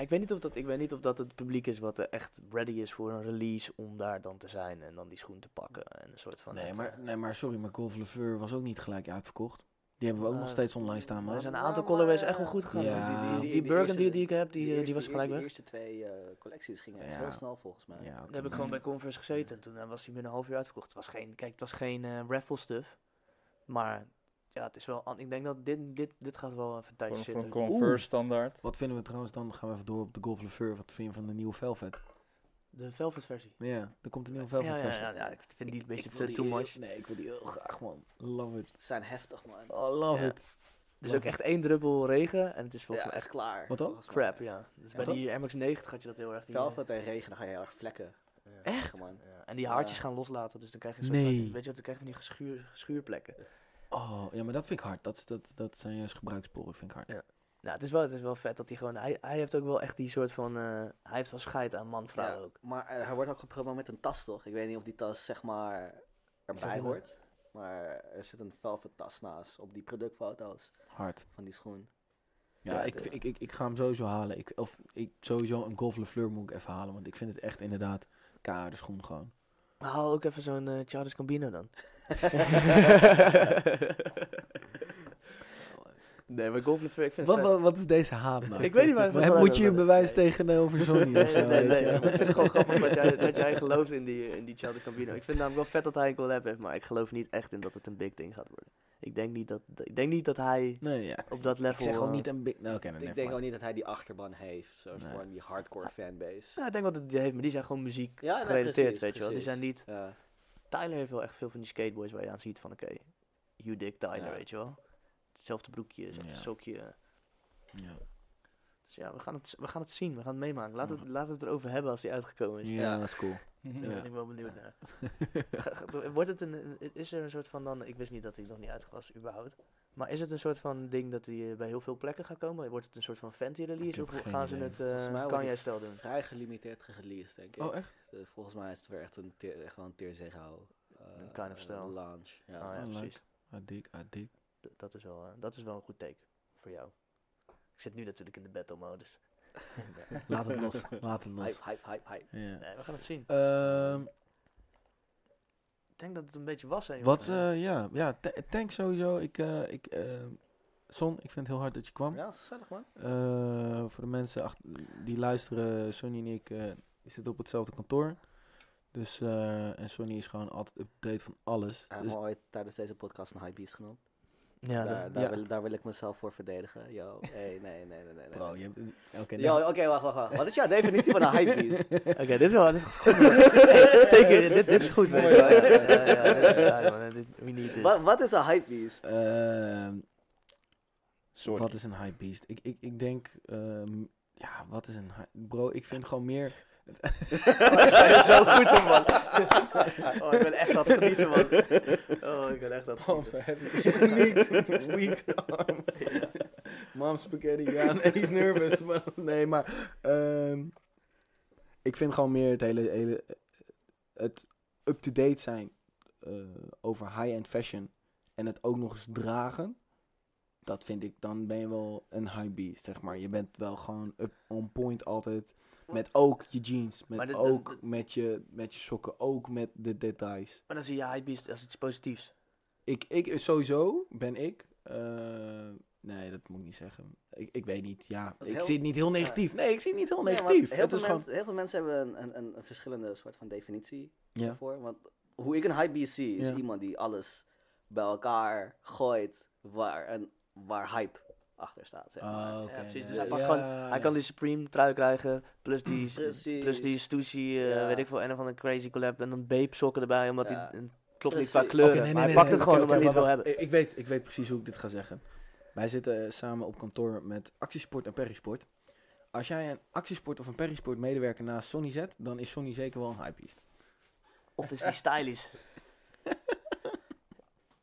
Ik weet, niet of dat, ik weet niet of dat het publiek is wat eh, echt ready is voor een release om daar dan te zijn en dan die schoen te pakken en een soort van...
Nee,
het,
maar,
eh,
nee, maar sorry, maar Golf Lefeur was ook niet gelijk uitverkocht. Die hebben we ook
Eh,
nog steeds online staan,
Er
maar...
zijn een
Ja,
aantal
maar,
colorways
eh,
echt wel goed gegaan.
Ja.
Die, die, die,
Die- die
burger die,
eerste-
die ik heb, die,
Die
eh, die,
eerste-
was gelijk
De
weg.
eerste twee eh, collecties gingen echt
Ja.
heel snel volgens mij.
Ja, oké,
Dan heb ik
maar-
gewoon bij Converse gezeten en toen eh, was hij binnen een half uur uitverkocht. Het was geen, kijk, het was geen eh, raffle stuff, maar ja, het is wel, an- ik denk dat dit, dit, dit gaat wel even een
Voor,
tijdje
een- voor een
zitten.
Converse
Oeh.
standaard.
Wat vinden we trouwens dan? Gaan we even door op de Golf Lefeur. Wat vind je van de nieuwe Velvet?
De Velvet versie.
Ja, er komt een nieuwe Velvet
ja, ja,
versie.
ja, ja, ik vind die een beetje
wil
te-
die
too
heel-
much.
Nee, ik wil die heel graag, man. Love it.
Ze zijn heftig, man.
Oh, love
Ja.
it.
Er is
Love
ook echt één druppel regen en het is
Ja,
volgens mij
is
echt
klaar.
Wat dan?
volgens mij.
crap, ja. Dus
Ja,
bij
toch?
die MX-9 gaat je dat heel erg... die, eh,
Velvet en regen, dan ga je heel erg vlekken.
Echt?
Ja, man.
En die haartjes
Ja.
gaan loslaten, dus dan krijg je een soort van-
Nee.
weet je wat, dan krijg je van die geschuur, geschuurplekken.
Oh, ja, maar dat vind ik hard. Dat, dat, dat zijn juist gebruikssporen, vind ik hard.
Ja. Nou, het is wel, het is wel vet dat hij gewoon, hij, hij heeft ook wel echt die soort van, eh, hij heeft wel scheid aan man-vrouw
Ja,
ook.
Maar eh, hij wordt ook gepromoot met een tas, toch? Ik weet niet of die tas, zeg maar, erbij
in de-
hoort. Maar er zit een velvet tas naast op die productfoto's
Hard.
van die schoen.
Oh,
Ja,
Ja,
ik,
het-
ik, ik, ik ga hem sowieso halen. Ik, of ik, sowieso een Golf Lefeur moet ik even halen. Want ik vind het echt inderdaad kade schoen gewoon.
Maar haal ook even zo'n eh Charles Gambino dan. nee, maar Golf Lefeu, ik vind
Wat,
het
wat, wat is deze haat nou?
Ik weet niet waar het
Maar
vandaan
Moet je je
komt.
bewijs tegenover Sony of
Nee,
zo?
nee, nee,
weet je
nee,
wel?
maar ik vind het gewoon grappig dat jij, dat jij gelooft in die, eh, in die Childish Gambino. Ik vind het namelijk wel vet dat hij een collab heeft, maar ik geloof niet echt in dat het een big ding gaat worden. Ik denk niet dat, ik denk niet dat hij
Nee, ja.
op dat
Ik
level...
zeg gewoon
eh,
niet een big... Nou, oké,
ik denk ook niet dat hij die achterban heeft, zo
Nee.
voor die hardcore fanbase.
Nou, ik denk wel dat hij die heeft, maar die zijn gewoon muziek
Ja, nee,
gerelateerd,
precies,
weet je wel. Die
precies.
zijn niet... eh,
Ja.
Tyler heeft wel echt veel van die skateboys waar je aan ziet van, oké, you dick Tyler,
Ja.
weet je wel. Hetzelfde broekje, hetzelfde
Ja.
sokje. eh,
Ja.
Dus ja, we gaan het, we gaan het zien, we gaan het meemaken. Laten we, het- laten we het erover hebben als die uitgekomen is.
ja, dat is cool.
Mhm.
Daar
Ja.
ben ik wel benieuwd naar. Ga- ga- Wordt het een, een- is er een soort van dan, ik wist niet dat hij nog niet uit was überhaupt. Maar is het een soort van ding dat hij eh, bij heel veel plekken gaat komen? Wordt het een soort van fancy
Ik
release
heb
of
geen
gaan ze
idee.
het
Volgens mij
eh
wordt
Kanye
het
stijl doen?
Vrij gelimiteerd gereleased, denk ik.
Oh, echt?
Eh, volgens mij is het weer echt, een teer, echt wel een teerzegel.
Een kind of style.
Launch. Ja.
Ah, ja,
Oh, leuk.
precies.
Ah, dik, ah, dik.
D- dat, is wel, eh, dat is wel een goed take voor jou. Ik zit nu natuurlijk in de battle modus. nee,
Laat het los. Laat het los.
Hype, hype, hype, hype.
Ja.
nee, we gaan het zien.
Ehm,
Ik denk dat het een beetje was. Hè, jongens.
wat, eh, ja, ja ta- thanks sowieso. Ik, eh, ik, eh, Son, ik vind het heel hard dat je kwam.
Ja, dat is gezellig, man.
Eh, voor de mensen ach- die luisteren, Sonny en ik eh, die zitten op hetzelfde kantoor. Dus, eh, en Sonny is gewoon altijd update van alles.
Hij
Dus-
heeft me ooit tijdens deze podcast een hype beast genoemd.
Ja,
daar,
dat-
daar,
ja.
wil, daar wil ik mezelf voor verdedigen. Yo, hey, nee, nee, nee, nee. nee.
bro, je hebt... Oké,
Yo, oké, wacht, wacht, wacht. Wat is jouw definitie van een hype beast?
Oké, dit is wel... Dit is goed, Hey, take it, dit, dit is goed, weet je wel. Ja, ja, ja, ja, dit is daar, man. Dit- We need this.
Wat, wat is een hype beast?
Ehm,
Sorry.
Wat is een hype beast? Ik, ik, ik denk, ehm, ja, wat is een hype... Bro, ik vind gewoon meer...
is zo goed, hoor, man. Oh, ik ben echt aan het genieten, man. Oh, ik ben echt aan het
Palms
genieten.
are heavy. Weak, weak arm. Mom spaghetti, ja, nee, he's nervous. Maar, nee, maar ehm, ik vind gewoon meer het hele, hele het up-to-date zijn eh, over high-end fashion en het ook nog eens dragen. Dat vind ik, dan ben je wel een high beast, zeg maar. Je bent wel gewoon up on point altijd. Met ook je jeans, met
Maar dit-
ook
dit-
met, je, met je sokken, ook met de details.
Maar dan zie je Hypebeast als iets positiefs.
Ik, ik, sowieso ben ik. eh, nee, dat moet ik niet zeggen. Ik, ik weet niet, ja.
Wat
ik
heel-
zie het niet heel negatief. Nee, ik zie het niet heel
Nee, want
negatief.
heel,
het
veel
is gewoon.
mensen- heel veel mensen hebben een, een, een verschillende soort van definitie
Ja.
daarvoor. Want hoe ik een hypebeast zie, is
Ja.
iemand die alles bij elkaar gooit waar, en, waar hype achter staat. Zeg maar.
Ah, oké.
Ja, precies.
ja,
Dus
ja,
hij pakt
ja,
gewoon,
ja.
hij kan die Supreme trui krijgen, plus die,
Precies.
plus die sushi, eh,
Ja.
weet ik veel, en van een crazy collab en dan babe sokken erbij, omdat
Ja.
hij een klopt niet
Precies.
qua
Oké,
kleuren.
Oké, nee,
maar hij
nee,
pakt
nee,
het
nee,
gewoon
oké,
omdat hij het wil
oké, wacht,
hebben.
wacht. Ik ik weet, ik weet precies hoe ik dit ga zeggen. Wij zitten eh, samen op kantoor met actiesport en perisport. Als jij een actiesport of een perisport medewerker naast Sony zet, dan is Sony zeker wel een hypebeast.
Of is die stylish?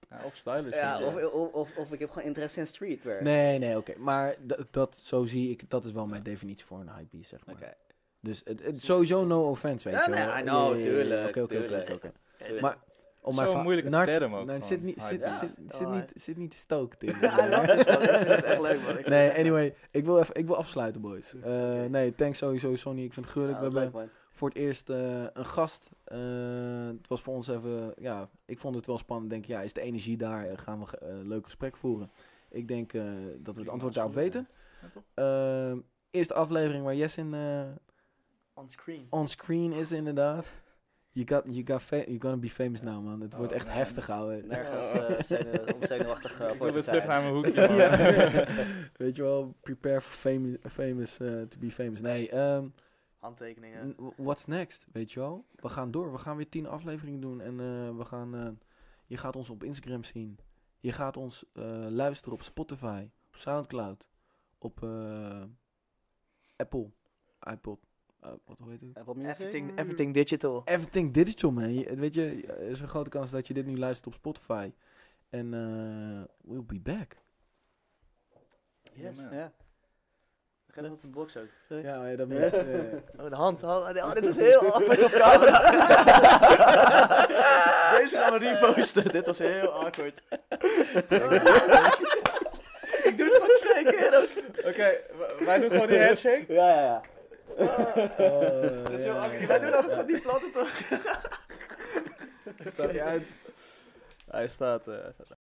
Ja, of stylish.
Ja,
inderdaad.
of, of, of, of ik heb gewoon interesse in streetwear.
Nee, nee, oké. Maar d- dat, zo zie ik, dat is wel mijn definitie voor een hypebeast, zeg maar.
Oké.
Dus het, het- sowieso no offense, weet
Ja,
je
nee,
wel.
I know,
Ja, ja, ja, ja.
tuurlijk,
Oké, oké, oké,
tuurlijk.
oké, oké. Maar om
Zo'n
maar
moeilijke term ook
zit
gewoon,
niet, zit,
hypebeast.
zit,
Ja.
zit niet, zit niet te stookt in.
Ja, I love this man. Ik vind het echt leuk man. Ik-
Nee, anyway, ik wil, even, ik wil afsluiten, boys. Eh, nee, thanks sowieso, Sonny. Ik vind het
Ja,
gruwelijk.
dat
We
is
hebben
leuk, man.
voor het eerst eh, een gast. Eh, het was voor ons even, ja, ik vond het wel spannend. Ik Denk, ja, is de energie daar? Eh, Gaan we ge- eh, een leuk gesprek voeren? Ik denk eh, dat we het
Prima,
antwoord daarop
absoluut,
weten.
Ja, toch?
Eh, eerste aflevering waar Jess in eh
On screen.
on screen is inderdaad. You got, you got fa- you're gonna be famous now, man. Het wordt
Oh,
echt
man.
heftig, ouwe.
Nergens eh, zenu- om zenuwachtig eh,
Ik
voor
wil
te
weer terug
zijn.
naar mijn hoekje. man.
Ja. Weet je wel, prepare for fami- famous, eh, to be famous. Nee, ehm,
Handtekeningen.
N- w- What's next, weet je wel? We gaan door. We gaan weer tien afleveringen doen. En eh, we gaan... eh, je gaat ons op Instagram zien. Je gaat ons eh, luisteren op Spotify. Op Soundcloud. Op eh, Apple. iPod. eh, wat hoe heet het?
Apple Music?
Everything, everything digital.
Everything digital, man. Je- weet je, er is een grote kans dat je dit nu luistert op Spotify. En eh, we'll be back.
Yes.
Ja.
Geef op de box ook.
Ja, ja dat
moet- ja,
Oh, de hand. Oh, oh, dit was heel awkward op camera. Deze gaan we reposten. Dit was heel awkward. Ik doe het gewoon twee keer ook.
Oké, w- wij doen gewoon die handshake.
Ja, ja, ja.
Oh,
Dit is heel awkward. Wij doen altijd van die platten toch?
Staat hij uit? Hij staat, eh, hij staat